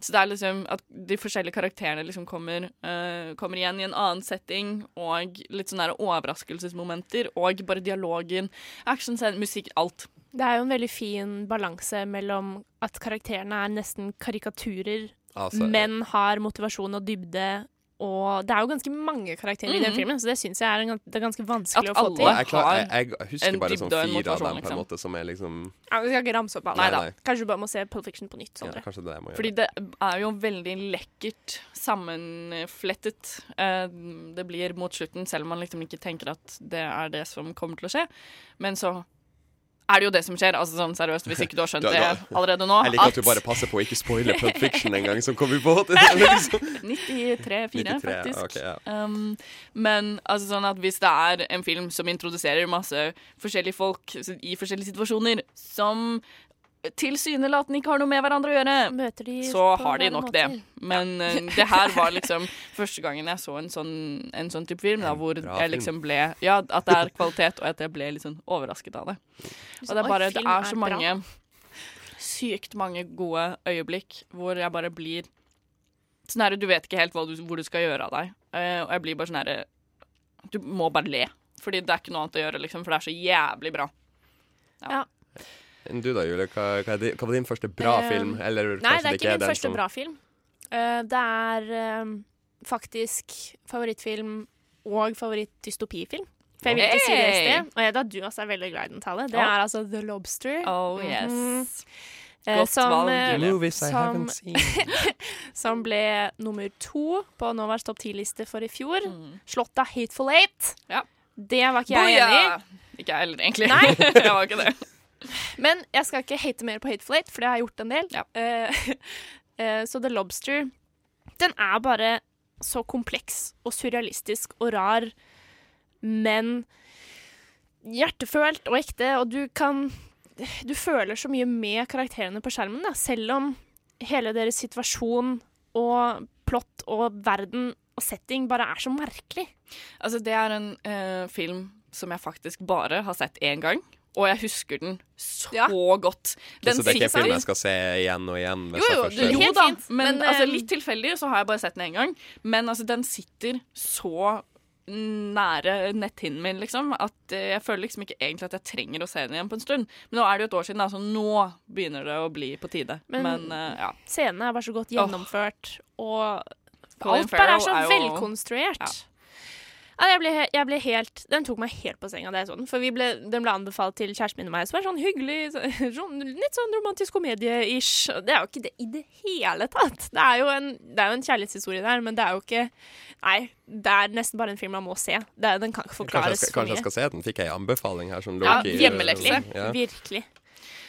[SPEAKER 6] så det er liksom at de forskjellige karakterene liksom kommer, eh, kommer igjen i en annen setting, og litt sånne her overraskelsesmomenter, og bare dialogen, actionscenen, musikk, alt.
[SPEAKER 7] Det er jo en veldig fin balanse mellom at karakterene er nesten karikaturer
[SPEAKER 8] altså,
[SPEAKER 7] men har motivasjon og dybde. Og det er jo ganske mange karakterer i den filmen, så det syns jeg er, en, gans- det er ganske vanskelig
[SPEAKER 6] Mhm. At
[SPEAKER 7] å få
[SPEAKER 6] alle-
[SPEAKER 8] Og
[SPEAKER 7] til.
[SPEAKER 8] jeg, klar, jeg, jeg
[SPEAKER 6] en
[SPEAKER 8] husker bare sånn
[SPEAKER 6] dybde og en
[SPEAKER 8] fire av dem,
[SPEAKER 6] motivasjon,
[SPEAKER 8] på en
[SPEAKER 6] liksom.
[SPEAKER 8] måte, som er liksom
[SPEAKER 7] Ja, vi skal ikke ramse opp alle.
[SPEAKER 8] Nei, nei.
[SPEAKER 7] Kanskje du bare må se Pulp Fiction på nytt.
[SPEAKER 8] ja,
[SPEAKER 7] Sondre.
[SPEAKER 8] Kanskje det er det jeg må gjøre.
[SPEAKER 6] Sånn, Fordi det er jo veldig lekkert sammenflettet. Eh, Det blir mot slutten, selv om man liksom ikke tenker at det er det som kommer til å skje. Men så er det jo det som skjer. Altså sånn seriøst, hvis ikke du har skjønt
[SPEAKER 8] Du- du-
[SPEAKER 6] det allerede nå.
[SPEAKER 8] Jeg liker at du bare passer på å ikke spoile Pulp Fiction en gang, som kom vi på. Det er liksom.
[SPEAKER 6] 93-4,
[SPEAKER 8] 93,
[SPEAKER 6] faktisk.
[SPEAKER 8] ok, ja.
[SPEAKER 6] Um, men altså sånn at hvis det er en film som introduserer masse forskjellige folk i forskjellige situasjoner, som tilsynelatende ikke har noe med hverandre å gjøre,
[SPEAKER 7] Møter de
[SPEAKER 6] så
[SPEAKER 7] på
[SPEAKER 6] har de
[SPEAKER 7] rare
[SPEAKER 6] nok
[SPEAKER 7] måter.
[SPEAKER 6] det. Men eh, det her var liksom første gangen jeg så en sånn, en sånn type film, da, hvor
[SPEAKER 8] bra
[SPEAKER 6] jeg
[SPEAKER 8] film.
[SPEAKER 6] liksom ble Ja, at det er kvalitet, og at jeg ble litt sånn overrasket av det. Og det
[SPEAKER 7] Oi,
[SPEAKER 6] er bare Det
[SPEAKER 7] film
[SPEAKER 6] er så
[SPEAKER 7] bra.
[SPEAKER 6] mange Sykt mange gode øyeblikk hvor jeg bare blir Sånn her, du vet ikke helt hva du, hvor du skal gjøre av deg. Eh, og jeg blir bare sånn herre Du må bare le. Fordi det er ikke noe annet å gjøre, liksom, for det er så jævlig bra.
[SPEAKER 8] Enn du da, Julie? Hva, hva, er di- hva var din første bra
[SPEAKER 7] Eh,
[SPEAKER 8] film? Eller
[SPEAKER 7] Nei,
[SPEAKER 8] kanskje
[SPEAKER 7] det er ikke min
[SPEAKER 8] den
[SPEAKER 7] første
[SPEAKER 8] som-
[SPEAKER 7] bra film. Eh, det er eh, faktisk favorittfilm og favorittdystopifilm. For jeg vil ikke si det i sted, og jeg vet at du også er veldig glad i den talen. Det
[SPEAKER 6] Ja.
[SPEAKER 7] er altså The Lobster. Mhm.
[SPEAKER 6] Oh yes.
[SPEAKER 7] eh,
[SPEAKER 6] Godt
[SPEAKER 7] som, eh,
[SPEAKER 6] valg, Julie.
[SPEAKER 8] Movies I
[SPEAKER 7] Som-
[SPEAKER 8] haven't seen.
[SPEAKER 7] som ble nummer to på Novas topp ti-liste for i fjor. Slått av Hateful Eight.
[SPEAKER 6] Mm. Ja.
[SPEAKER 7] Det var ikke jeg enig i.
[SPEAKER 6] Boja! Ikke jeg heller, egentlig. Nei. jeg var ikke det.
[SPEAKER 7] Men jeg skal ikke hate mer på Hateful Eight, for det har jeg gjort en del.
[SPEAKER 6] Ja.
[SPEAKER 7] Eh, eh, så The Lobster, den er bare så kompleks og surrealistisk og rar, men hjertefølt og ekte, og du kan Du føler så mye med karakterene på skjermen, da, selv om hele deres situasjon og plott og verden og setting bare er så merkelig.
[SPEAKER 6] Altså, det er en eh, film som jeg faktisk bare har sett én gang, og jeg husker den så
[SPEAKER 7] Ja.
[SPEAKER 6] godt. Den
[SPEAKER 8] så det er ikke en
[SPEAKER 6] sitter-
[SPEAKER 8] film jeg skal se igjen og igjen? hvis
[SPEAKER 6] Jo,
[SPEAKER 8] jeg
[SPEAKER 6] jo,
[SPEAKER 8] først
[SPEAKER 6] det,
[SPEAKER 8] ser den.
[SPEAKER 6] jo
[SPEAKER 7] Helt
[SPEAKER 6] da,
[SPEAKER 7] fint,
[SPEAKER 6] men,
[SPEAKER 7] men,
[SPEAKER 6] altså,
[SPEAKER 7] eh,
[SPEAKER 6] litt tilfeldig så har jeg bare sett den én gang. Men altså, den sitter så nære netthinnen min, liksom, at eh, jeg føler liksom ikke egentlig at jeg trenger å se den igjen på en stund. Men nå er det jo et år siden, da, så nå begynner det å bli på tide. Men,
[SPEAKER 7] Men-
[SPEAKER 6] eh, ja.
[SPEAKER 7] Scenene er bare så godt gjennomført, og
[SPEAKER 6] Colin
[SPEAKER 7] alt bare
[SPEAKER 6] Farrell
[SPEAKER 7] er så
[SPEAKER 6] er jo-
[SPEAKER 7] velkonstruert. Ja. jeg, ble, he- jeg ble helt Den tok meg helt på senga da jeg så den. For vi ble, den ble anbefalt til kjæresten min og meg, som er sånn hyggelig, så, sånn, litt sånn romantisk komedie-ish. Og Det er jo ikke det i det hele tatt. Det er jo en, det er jo en kjærlighetshistorie der, men det er jo ikke Nei, det er nesten bare en film man må se. Det, er- den kan
[SPEAKER 8] Kanskje
[SPEAKER 7] ikke
[SPEAKER 8] jeg,
[SPEAKER 7] forklares
[SPEAKER 8] skal,
[SPEAKER 7] for
[SPEAKER 8] kanskje jeg
[SPEAKER 7] mye.
[SPEAKER 8] skal se den? Fikk jeg en anbefaling her? Som lå
[SPEAKER 6] Ja,
[SPEAKER 8] i-
[SPEAKER 6] hjemmelekse.
[SPEAKER 8] Ja.
[SPEAKER 7] Virkelig.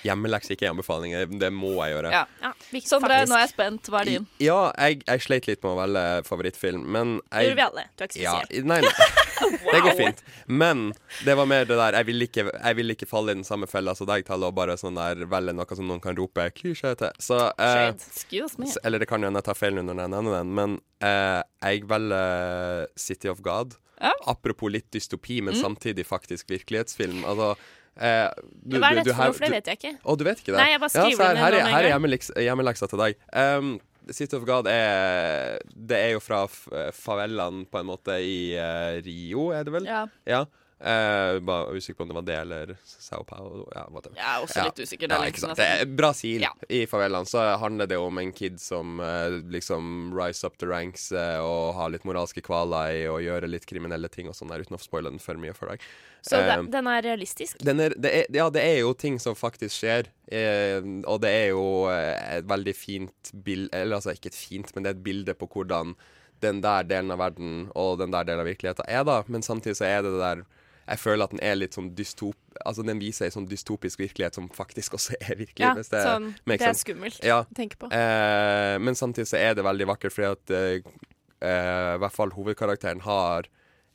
[SPEAKER 8] Hjemmelekse, ikke anbefaling. Det må jeg gjøre.
[SPEAKER 6] Ja.
[SPEAKER 7] Ja, virkelig.
[SPEAKER 6] Sondre, nå er jeg
[SPEAKER 7] faktisk.
[SPEAKER 6] spent. Hva er din?
[SPEAKER 8] Ja, jeg, jeg sleit litt med å velge favorittfilm, men
[SPEAKER 7] Det
[SPEAKER 8] jeg
[SPEAKER 7] gjorde vi alle. Du er ikke
[SPEAKER 8] Ja,
[SPEAKER 7] spesiell.
[SPEAKER 8] nei, nei. Det går fint. Men det var mer det der Jeg vil ikke, jeg vil ikke falle i den samme fella som deg, Tall, og bare sånn der velge noe som noen kan rope klisjé til. Så eh,
[SPEAKER 6] Excuse me.
[SPEAKER 8] s- Eller det kan jo hende jeg tar feil nå når jeg nevner den, men eh, jeg velger City of God.
[SPEAKER 6] Ja.
[SPEAKER 8] Apropos litt dystopi,
[SPEAKER 7] Mm.
[SPEAKER 8] men samtidig faktisk virkelighetsfilm. Altså eh, du,
[SPEAKER 7] Hva er
[SPEAKER 8] du-
[SPEAKER 7] dette
[SPEAKER 8] du
[SPEAKER 7] for
[SPEAKER 8] her-
[SPEAKER 7] noe, for det
[SPEAKER 8] du-
[SPEAKER 7] vet jeg ikke.
[SPEAKER 8] å, du vet ikke det?
[SPEAKER 7] Nei, jeg bare skriver
[SPEAKER 8] så her,
[SPEAKER 7] det ned
[SPEAKER 8] her,
[SPEAKER 7] nå
[SPEAKER 8] er,
[SPEAKER 7] med
[SPEAKER 8] her er
[SPEAKER 7] en
[SPEAKER 8] hjemmeleks- hjemmeleksa til deg. Um, City of God er Det er jo fra f- eh, favelaen, på en måte, i eh, Rio, er det vel?
[SPEAKER 6] Ja.
[SPEAKER 8] Eh, bare usikker på om det var det eller Sao Paulo. Ja, whatever.
[SPEAKER 6] Jeg er også
[SPEAKER 8] Ja.
[SPEAKER 6] litt usikker. Det
[SPEAKER 8] Ja,
[SPEAKER 6] er
[SPEAKER 8] ikke
[SPEAKER 6] liksom
[SPEAKER 8] sant. Det
[SPEAKER 6] nesten-
[SPEAKER 8] er Brasil.
[SPEAKER 6] Ja.
[SPEAKER 8] I favelaen så handler det om en kid som eh, liksom rise up the ranks eh, og har litt moralske kvaler i å gjøre litt kriminelle ting og sånn der, uten å spoile den for mye for deg.
[SPEAKER 7] Så det,
[SPEAKER 8] Um,
[SPEAKER 7] den er realistisk.
[SPEAKER 8] den er, det, er, ja, det er jo ting som faktisk skjer, eh, og det er jo eh, et veldig fint bilde Eller altså ikke et fint, men det er et bilde på hvordan den der delen av verden og den der delen av virkeligheten er, da. Men samtidig så er det det der Jeg føler at den er litt sånn dystop... Altså den viser ei sånn dystopisk virkelighet som faktisk også er virkelig.
[SPEAKER 7] Ja,
[SPEAKER 8] hvis det
[SPEAKER 7] sånn,
[SPEAKER 8] makes
[SPEAKER 7] det er
[SPEAKER 8] sense.
[SPEAKER 7] skummelt
[SPEAKER 8] Ja.
[SPEAKER 7] å tenke på.
[SPEAKER 8] Eh, men samtidig så er det veldig vakkert, fordi at eh, eh, i hvert fall hovedkarakteren har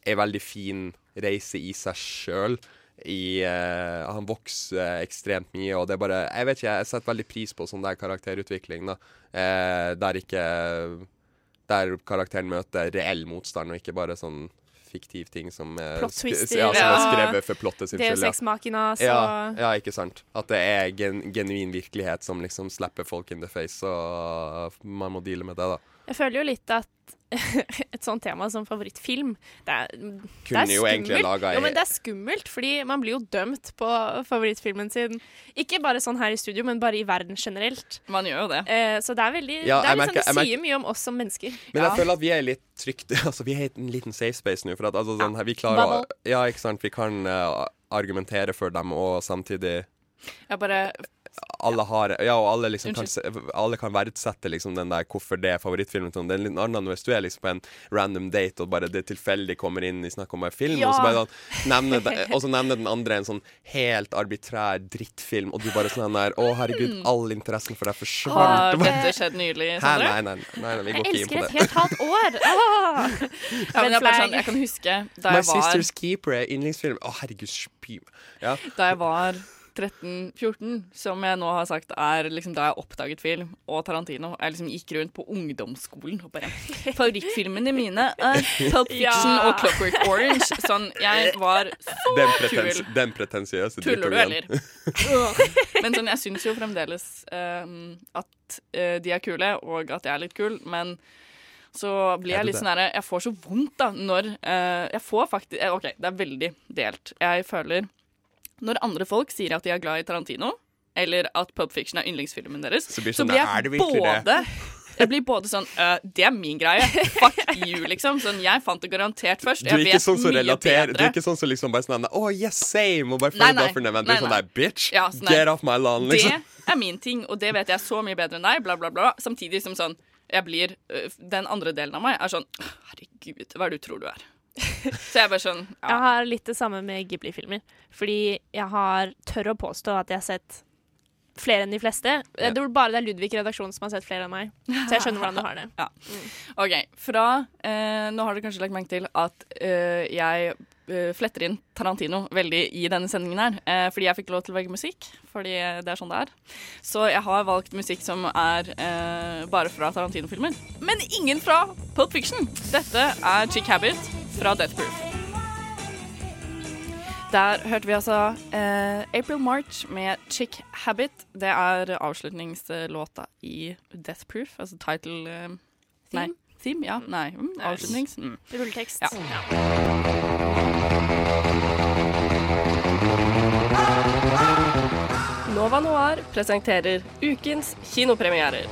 [SPEAKER 8] ei veldig fin reise i seg sjøl. I, eh, han vokser eh, ekstremt mye, og det er bare Jeg vet ikke, jeg setter veldig pris på sånn der karakterutvikling, da. Eh, der ikke Der karakteren møter reell motstand, og ikke bare sånn fiktiv ting som er,
[SPEAKER 7] Plot
[SPEAKER 8] sk-
[SPEAKER 7] twister,
[SPEAKER 8] ja, som er
[SPEAKER 7] ja.
[SPEAKER 8] skrevet for plottet sin
[SPEAKER 7] Det er jo
[SPEAKER 8] skyld. ja.
[SPEAKER 7] sexmakinas
[SPEAKER 8] Ja,
[SPEAKER 7] og
[SPEAKER 8] ja, ikke sant. At det er gen genuin virkelighet som liksom slipper folk in the face, og man må deale med det, da.
[SPEAKER 7] Jeg føler jo litt at et sånt tema som favorittfilm Det er, det er
[SPEAKER 8] Kunne jo egentlig
[SPEAKER 7] skummelt.
[SPEAKER 8] laga
[SPEAKER 7] Jo, men det er skummelt, fordi man blir jo dømt på favorittfilmen sin. Ikke bare sånn her i studio, men bare i verden generelt.
[SPEAKER 6] Man gjør jo det.
[SPEAKER 7] Eh, så det er veldig
[SPEAKER 8] Ja,
[SPEAKER 7] Det er
[SPEAKER 8] jeg
[SPEAKER 7] liksom, det
[SPEAKER 8] merker- jeg
[SPEAKER 7] sier mye om oss som mennesker.
[SPEAKER 8] Men jeg
[SPEAKER 6] Ja.
[SPEAKER 8] føler at vi er litt trygt Altså, vi er i en liten safe space nå, for at altså, sånn, her, vi klarer å
[SPEAKER 7] Bubble.
[SPEAKER 8] Ja, ikke sant. Vi kan eh, argumentere for dem, og samtidig
[SPEAKER 6] Jeg bare
[SPEAKER 8] alle har Ja, og alle liksom kan, se- alle kan verdsette liksom den der hvorfor det er favorittfilmen til noen. Det er en liten annen hvis du er liksom på en random date og bare det tilfeldig kommer inn i snakk om en film, og så bare sånn nevner de- Og så nevner den andre en sånn helt arbitrær drittfilm, og du bare sånn der Å, herregud, all interessen for deg forsvant.
[SPEAKER 6] Har dette skjedd nylig,
[SPEAKER 8] Hæ,
[SPEAKER 6] Sondre?
[SPEAKER 8] nei, nei, nei, nei, vi går ikke
[SPEAKER 7] Jeg
[SPEAKER 8] inn
[SPEAKER 7] elsker
[SPEAKER 8] på
[SPEAKER 7] et
[SPEAKER 8] det.
[SPEAKER 7] helt halvt år! Ah!
[SPEAKER 6] Ja, men jeg, bare
[SPEAKER 7] Red
[SPEAKER 6] sånn, jeg kan huske da
[SPEAKER 8] My
[SPEAKER 6] jeg var,
[SPEAKER 8] Sister's Keeper er yndlingsfilm. Å, herregud, spy meg. Ja.
[SPEAKER 6] da jeg var 13-14, som jeg nå har sagt er liksom da jeg oppdaget film og Tarantino. Jeg liksom gikk rundt på ungdomsskolen og bare Favorittfilmene mine er Pulp Fiction
[SPEAKER 7] Ja.
[SPEAKER 6] og Clockwork Orange. Sånn, jeg var så
[SPEAKER 8] Den,
[SPEAKER 6] kul.
[SPEAKER 8] pretens, den pretensiøse
[SPEAKER 6] Tuller du,
[SPEAKER 8] drittungen.
[SPEAKER 6] eller? men sånn, jeg ehm, syns jo fremdeles eh, at eh, de er kule, og at jeg er litt kul, men så blir
[SPEAKER 8] Er
[SPEAKER 6] jeg
[SPEAKER 8] du
[SPEAKER 6] litt
[SPEAKER 8] det?
[SPEAKER 6] sånn herre Jeg får så vondt, da, når eh, Jeg får faktisk eh, OK, det er veldig delt. Jeg føler Når andre folk sier at de er glad i Tarantino, eller at Pulp Fiction er yndlingsfilmen deres,
[SPEAKER 8] Så blir det sånn, er det virkelig det?
[SPEAKER 6] både jeg blir både sånn «Øh, Det er min greie. Fuck you, liksom. Sånn, jeg fant det garantert først.
[SPEAKER 8] Du er
[SPEAKER 6] Jeg
[SPEAKER 8] ikke
[SPEAKER 6] vet
[SPEAKER 8] sånn som
[SPEAKER 6] mye
[SPEAKER 8] relaterer Du
[SPEAKER 6] bedre.
[SPEAKER 8] er ikke sånn som liksom bare sånn Å, yes, same! Og bare
[SPEAKER 6] Nei,
[SPEAKER 8] føler
[SPEAKER 6] nei.
[SPEAKER 8] bare for neven. Du
[SPEAKER 6] Nei,
[SPEAKER 8] er sånn
[SPEAKER 6] nei.
[SPEAKER 8] der, bitch!
[SPEAKER 6] Ja, sånn der.
[SPEAKER 8] get off my lawn, liksom.
[SPEAKER 6] Det er min ting, og det vet jeg så mye bedre enn deg, bla, bla, bla. Samtidig som sånn jeg blir, øh, Den andre delen av meg er sånn Herregud, hva er det du tror du er? Så jeg er bare sånn
[SPEAKER 7] Jeg
[SPEAKER 6] ja.
[SPEAKER 7] har litt det samme med Ghibli-filmer. Fordi jeg har tør å påstå at jeg har sett flere enn de fleste.
[SPEAKER 8] Ja.
[SPEAKER 7] Det er bare det er Ludvig i redaksjonen som har sett flere enn meg. Så jeg skjønner hvordan du har det.
[SPEAKER 6] OK. Fra eh, Nå har dere kanskje lagt merke til at eh, jeg eh, fletter inn Tarantino veldig i denne sendingen her. eh, fordi jeg fikk lov til å velge musikk. Fordi eh, det er sånn det er. Så jeg har valgt musikk som er eh, bare fra Tarantino-filmer. Men ingen fra Pulp Fiction. Dette er Chick Habit fra Death Proof. Der hørte vi altså eh, April March med Chick Habit. Det er avslutningslåta i Death Proof, altså title eh, Nei. Theme, ja. Nei. Mm, avslutnings... Mm.
[SPEAKER 7] Rulletekst.
[SPEAKER 6] Ja.
[SPEAKER 10] Nova Noir presenterer ukens kinopremierer.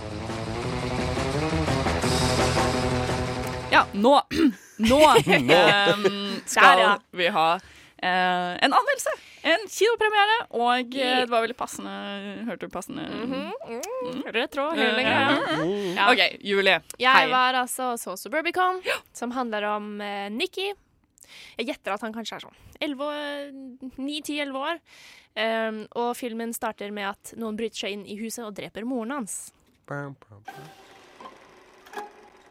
[SPEAKER 6] Ja, nå Nå ehm, skal
[SPEAKER 7] Der, ja.
[SPEAKER 6] vi ha eh, en anmeldelse. En kinopremiere. Og eh, det var veldig passende Hørte du passende?
[SPEAKER 10] Mhm.
[SPEAKER 7] Rød tråd hele
[SPEAKER 6] Ja.
[SPEAKER 7] greia.
[SPEAKER 6] OK, Julie.
[SPEAKER 7] Jeg
[SPEAKER 6] Mm. hei.
[SPEAKER 7] var altså og så Suburbicon, som handler om eh, Nikki. Jeg gjetter at han kanskje er sånn 9-10-11 år. Um, og filmen starter med at noen bryter seg inn i huset og dreper moren hans.
[SPEAKER 8] Bam, bam, bam.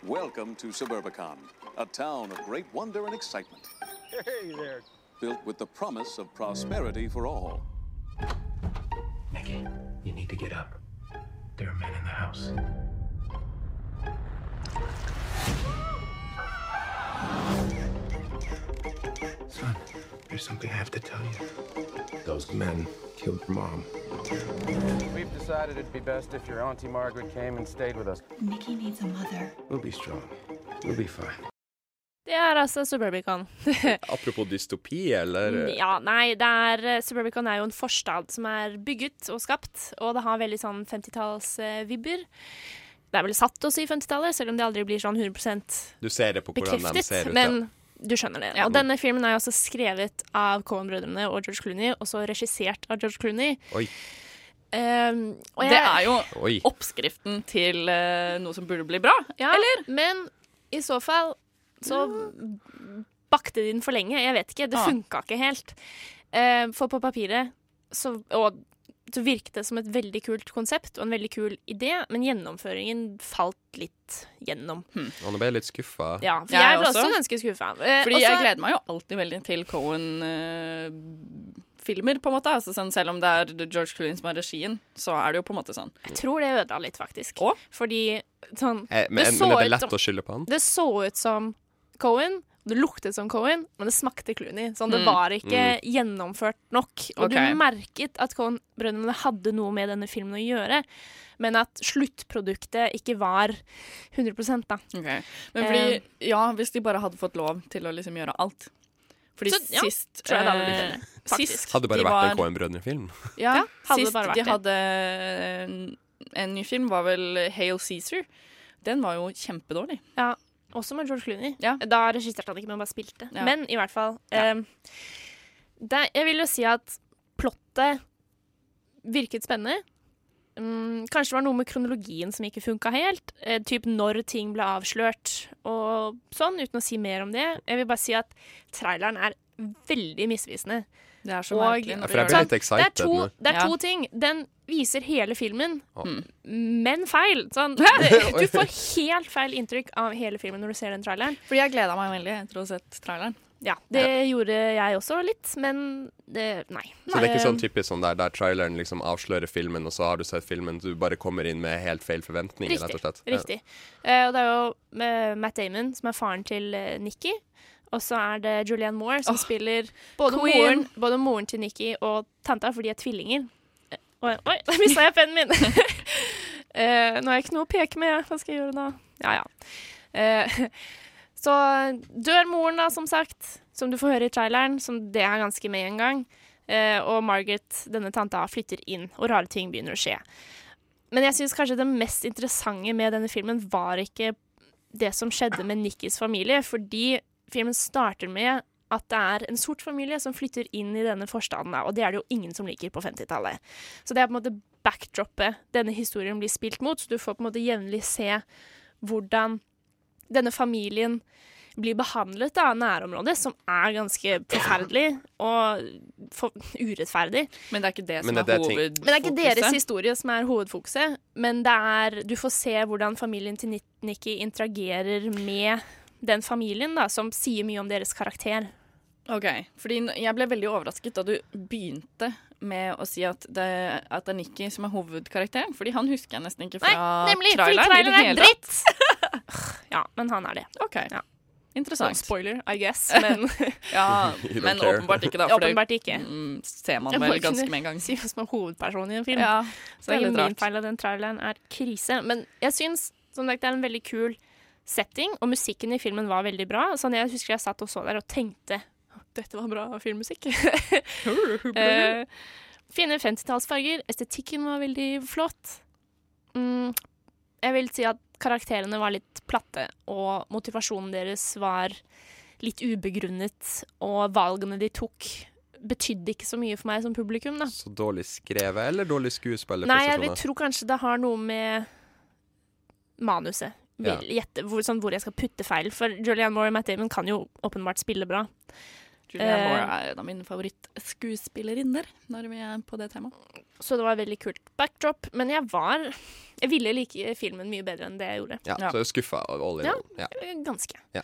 [SPEAKER 11] Welcome to Suburbicon, a town of great wonder and excitement. Hey there. Built with the promise of prosperity for all.
[SPEAKER 9] Nikki, you need to get up. There are men in the house. Son, there's something I have to tell you. Those men killed your mom.
[SPEAKER 4] We've decided it'd be best if your Auntie Margaret came and stayed with us.
[SPEAKER 9] Nikki needs a mother.
[SPEAKER 1] We'll be strong. We'll be fine.
[SPEAKER 7] Det er altså Suburbicon.
[SPEAKER 8] Apropos dystopi, eller eh,
[SPEAKER 7] Ja, nei, det er eh, Suburbicon er jo en forstad som er bygget og skapt, og det har veldig sånn 50-tallsvibber. Det er vel satt også i 50-tallet, selv om det aldri blir sånn 100
[SPEAKER 8] Du ser det på hvordan de
[SPEAKER 7] bekreftet,
[SPEAKER 8] ser ut.
[SPEAKER 7] men du skjønner det.
[SPEAKER 6] Ja.
[SPEAKER 7] Og denne filmen er jo også skrevet av Cohen-brødrene og George Clooney, og så regissert av George Clooney.
[SPEAKER 8] Oi.
[SPEAKER 7] Ehm, og
[SPEAKER 6] Det er jo
[SPEAKER 8] ja. Oi.
[SPEAKER 6] oppskriften til eh, noe som burde bli bra.
[SPEAKER 7] ja, Eller? Men i så fall så bakte de den for lenge. Jeg vet ikke. Det
[SPEAKER 6] Ah.
[SPEAKER 7] funka ikke helt. Eh, for på papiret så, og, så virket det som et veldig kult konsept og en veldig kul idé, men gjennomføringen falt litt gjennom.
[SPEAKER 8] Og nå ble jeg litt skuffa.
[SPEAKER 7] Ja,
[SPEAKER 6] Hm.
[SPEAKER 7] for
[SPEAKER 6] Jeg
[SPEAKER 7] jeg, ble
[SPEAKER 6] også.
[SPEAKER 7] også ganske Eh, skuffa.
[SPEAKER 6] Fordi jeg gleder meg jo alltid veldig til Cohen-filmer, på en måte. Altså, sånn, selv om det er George Clooney som har regien, så er det jo på en måte sånn.
[SPEAKER 7] Jeg tror det ødela litt, faktisk.
[SPEAKER 6] Å?
[SPEAKER 7] Fordi sånn
[SPEAKER 8] Eh, Men,
[SPEAKER 7] Det
[SPEAKER 8] men
[SPEAKER 7] så
[SPEAKER 8] er det
[SPEAKER 7] ut
[SPEAKER 8] lett
[SPEAKER 7] som-
[SPEAKER 8] å skylde på han?
[SPEAKER 7] Det så ut som Cohen. Det luktet som Cohen, men det smakte Clooney. Sånn, Det
[SPEAKER 6] Mm.
[SPEAKER 7] var ikke gjennomført nok. Og
[SPEAKER 6] Ok.
[SPEAKER 7] du merket at Cohen-brødrene hadde noe med denne filmen å gjøre, men at sluttproduktet ikke var 100 da.
[SPEAKER 6] Men
[SPEAKER 7] Eh,
[SPEAKER 6] fordi, ja, hvis de bare hadde fått lov til å liksom gjøre alt. Fordi
[SPEAKER 7] Så, ja,
[SPEAKER 6] sist
[SPEAKER 7] tror jeg det hadde blitt
[SPEAKER 6] eh,
[SPEAKER 7] bedre,
[SPEAKER 6] Sist
[SPEAKER 8] Hadde det bare
[SPEAKER 6] de
[SPEAKER 8] vært en
[SPEAKER 6] var-
[SPEAKER 8] Coen-brødrene-film.
[SPEAKER 6] Ja,
[SPEAKER 7] Ja, hadde det
[SPEAKER 6] sist
[SPEAKER 7] bare vært
[SPEAKER 6] de
[SPEAKER 7] det.
[SPEAKER 6] hadde en, en ny film, var vel Hail Caesar. Den var jo kjempedårlig.
[SPEAKER 7] Ja, også med George Clooney.
[SPEAKER 6] Ja.
[SPEAKER 7] Da regisserte han ikke, men bare spilte.
[SPEAKER 6] Ja.
[SPEAKER 7] Men i hvert fall
[SPEAKER 6] Ja.
[SPEAKER 7] ehm, det, Jeg vil jo si at plottet virket spennende. Mm, kanskje det var noe med kronologien som ikke funka helt. Eh, typ når ting ble avslørt og sånn, uten å si mer om det. Jeg vil bare si at traileren er veldig misvisende.
[SPEAKER 6] Det er så
[SPEAKER 7] Og- Sånn,
[SPEAKER 6] merkelig.
[SPEAKER 8] Ja,
[SPEAKER 6] Når
[SPEAKER 8] for jeg
[SPEAKER 6] de
[SPEAKER 8] ble
[SPEAKER 6] gjør det.
[SPEAKER 8] litt
[SPEAKER 7] Det er
[SPEAKER 8] excited
[SPEAKER 7] to,
[SPEAKER 8] nå.
[SPEAKER 7] det er
[SPEAKER 6] Ja. Mm.
[SPEAKER 7] to ting. Den viser hele filmen,
[SPEAKER 8] Ja.
[SPEAKER 7] men feil. Sånn, det, du får helt feil inntrykk av hele filmen når du ser den traileren.
[SPEAKER 6] Fordi jeg gleda meg veldig etter å ha sett traileren.
[SPEAKER 7] Ja, det gjorde jeg også litt, men det, nei.
[SPEAKER 8] Så det er ikke sånn typisk sånn der, der traileren liksom avslører filmen, og så har du sett filmen, du bare kommer inn med helt feil forventninger, rett og slett. Ja.
[SPEAKER 7] Riktig. Eh, og det er jo eh, Matt Damon som er faren til eh, Nikki. Og så er det Julianne Moore som spiller både
[SPEAKER 6] queen.
[SPEAKER 7] moren, både moren til Nikki og tanta, for de er tvillinger. Eh, Oi, oi der mista jeg pennen min! Eh, nå har jeg ikke noe å peke med, hva skal jeg gjøre da? Ja, ja. Eh, så dør moren, da, som sagt, som du får høre i traileren, som det er ganske med en gang. Eh, og Margaret, denne tanta, flytter inn, og rare ting begynner å skje. Men jeg syns kanskje det mest interessante med denne filmen var ikke det som skjedde med Nikkis familie, fordi filmen starter med at det er en sort familie som flytter inn i denne forstanden, da, og det er det jo ingen som liker på 50-tallet. Så det er på en måte backdroppet denne historien blir spilt mot, så du får på en måte jevnlig se hvordan denne familien blir behandlet av nærområdet, som er ganske forferdelig og for urettferdig.
[SPEAKER 6] Men det er ikke det
[SPEAKER 8] Men som er det er ting-
[SPEAKER 7] Men det er ikke
[SPEAKER 6] hovedfokuset?
[SPEAKER 7] deres historie som er hovedfokuset, men det er, du får se hvordan familien til Nit- Nikki interagerer med den familien, da, som sier mye om deres karakter.
[SPEAKER 6] OK. Fordi n- jeg ble veldig overrasket da du begynte med å si at det, at det er Nikki som er hovedkarakteren. Fordi han husker jeg nesten ikke fra
[SPEAKER 7] Nei, nemlig, fordi
[SPEAKER 6] traileren. i det
[SPEAKER 7] traileren er
[SPEAKER 6] hele tatt.
[SPEAKER 7] Ja, men han er det.
[SPEAKER 6] Ok, Interessant.
[SPEAKER 7] Spoiler, I guess, men
[SPEAKER 6] ja,
[SPEAKER 7] You don't
[SPEAKER 6] men
[SPEAKER 7] care.
[SPEAKER 6] åpenbart ikke, da. For
[SPEAKER 7] Åpenbart
[SPEAKER 6] det
[SPEAKER 7] ikke.
[SPEAKER 6] Mm, ser man
[SPEAKER 7] Jeg må
[SPEAKER 6] vel
[SPEAKER 7] ikke
[SPEAKER 6] ganske med en gang.
[SPEAKER 7] Si hvem som er hovedpersonen i en film.
[SPEAKER 6] Ja,
[SPEAKER 7] så
[SPEAKER 6] så det er
[SPEAKER 7] hele
[SPEAKER 6] litt
[SPEAKER 7] min
[SPEAKER 6] rart.
[SPEAKER 7] feil av den traileren er krise. Men jeg syns som sagt, det er en veldig kul setting, og musikken i filmen var veldig bra. Sånn, jeg husker jeg satt og så der og tenkte dette var bra filmmusikk. Eh, fine 50-tallsfarger. Estetikken var veldig flott. Mm, jeg vil si at karakterene var litt platte, og motivasjonen deres var litt ubegrunnet, og valgene de tok betydde ikke så mye for meg som publikum, da.
[SPEAKER 8] Så dårlig skrevet eller dårlig skuespiller?
[SPEAKER 7] Nei, jeg vil
[SPEAKER 8] prestasjoner?
[SPEAKER 7] tro kanskje det har noe med manuset. Vil gjette hvor, sånn, hvor jeg skal putte feil. For Julianne Moore og Matt Damon kan jo åpenbart spille bra.
[SPEAKER 6] Julianne
[SPEAKER 7] Eh,
[SPEAKER 6] Moore er en av mine favorittskuespillerinner når vi er på det temaet.
[SPEAKER 7] Så det var veldig kult backdrop. Men jeg var Jeg ville like filmen mye bedre enn det jeg gjorde.
[SPEAKER 8] Ja, så jeg er skuffa over all in
[SPEAKER 7] Ja,
[SPEAKER 8] all. Ja.
[SPEAKER 7] ganske.
[SPEAKER 8] Ja.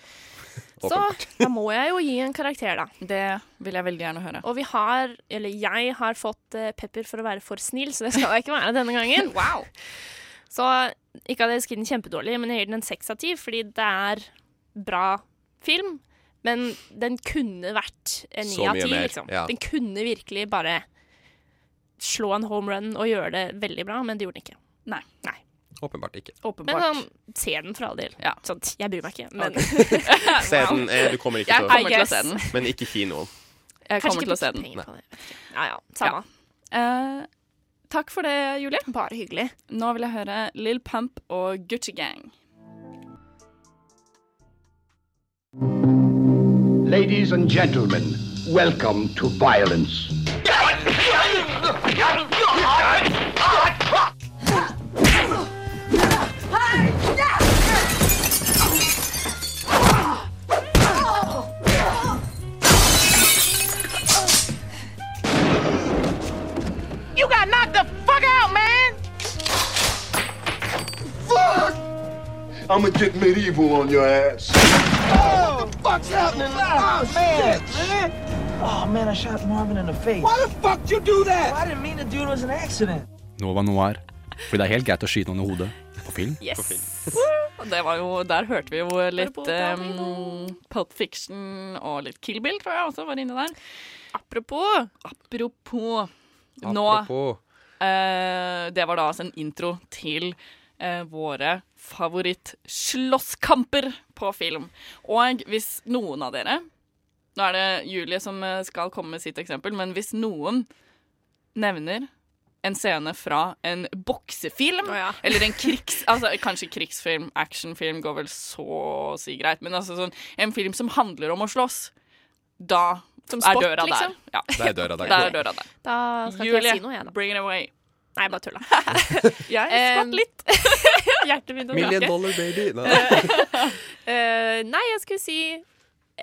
[SPEAKER 7] Så da må jeg jo gi en karakter, da.
[SPEAKER 6] Det vil jeg veldig gjerne høre.
[SPEAKER 7] Og vi har, eller jeg har fått eh, pepper for å være for snill, så det skal jeg ikke være denne gangen. wow! Så ikke at jeg elsker den kjempedårlig, men jeg gir den en seks av ti, fordi det er bra film. Men den kunne vært en ni
[SPEAKER 8] Så
[SPEAKER 7] av
[SPEAKER 8] mye
[SPEAKER 7] ti,
[SPEAKER 8] mer,
[SPEAKER 7] liksom.
[SPEAKER 8] ja.
[SPEAKER 7] Den kunne virkelig bare slå en home run og gjøre det veldig bra, men det gjorde den ikke.
[SPEAKER 6] Nei.
[SPEAKER 8] Åpenbart ikke.
[SPEAKER 7] Men sånn, se den for all del. Sånn, jeg bryr meg ikke, men
[SPEAKER 8] Se den. Eh, du kommer ikke
[SPEAKER 7] Jeg
[SPEAKER 8] til å
[SPEAKER 7] kommer til å se den.
[SPEAKER 8] Men ikke i kinoen.
[SPEAKER 6] Jeg
[SPEAKER 7] Kanskje
[SPEAKER 6] kommer til
[SPEAKER 7] ikke
[SPEAKER 6] å se
[SPEAKER 7] bruke
[SPEAKER 6] den.
[SPEAKER 7] penger på det. Ja ja, samme.
[SPEAKER 6] Eh, takk for det, Julie.
[SPEAKER 7] Bare hyggelig.
[SPEAKER 6] Nå vil jeg høre Lill Pump og Gucci Gang.
[SPEAKER 12] Ladies and gentlemen, welcome to violence.
[SPEAKER 2] You got knocked the fuck out, man!
[SPEAKER 13] Fuck! I'm gonna get medieval on your ass. Oh, what the fuck's happening? Oh, man, man. Oh, man, I shot Marvin in the face. Why the fuck you do that? I didn't mean to, dude. It was an accident.
[SPEAKER 14] Nova Noir. Fordi det er helt greit å skyte noen i hodet. På film.
[SPEAKER 6] Yes! Det var jo, der hørte vi jo litt
[SPEAKER 7] ehm,
[SPEAKER 6] um, Pulp Fiction og litt Kill Bill, tror jeg også var inne der.
[SPEAKER 7] Apropos.
[SPEAKER 6] Apropos. Nå
[SPEAKER 8] Apropos.
[SPEAKER 6] eh, Det var da altså en intro til eh, våre favorittslåsskamper på film. Og hvis noen av dere Nå er det Julie som eh, skal komme med sitt eksempel, men hvis noen nevner en scene fra en boksefilm. Eller en krigs... Altså, kanskje krigsfilm, actionfilm går vel så å si greit, men altså sånn En film som handler om å slåss. Da
[SPEAKER 7] Som
[SPEAKER 6] er
[SPEAKER 7] sport,
[SPEAKER 6] døra
[SPEAKER 7] liksom?
[SPEAKER 6] der. Ja.
[SPEAKER 8] Da er døra der.
[SPEAKER 6] Da er døra der.
[SPEAKER 7] Da skal ikke
[SPEAKER 6] Julie,
[SPEAKER 7] jeg si noe, jeg, da.
[SPEAKER 6] bring it away.
[SPEAKER 7] Nei, bare tulla.
[SPEAKER 6] Jeg skvatt
[SPEAKER 7] litt. Ehm, Hjertet mitt å
[SPEAKER 8] Million
[SPEAKER 7] knake.
[SPEAKER 8] dollar baby. Nei.
[SPEAKER 7] Eh, nei, jeg skulle si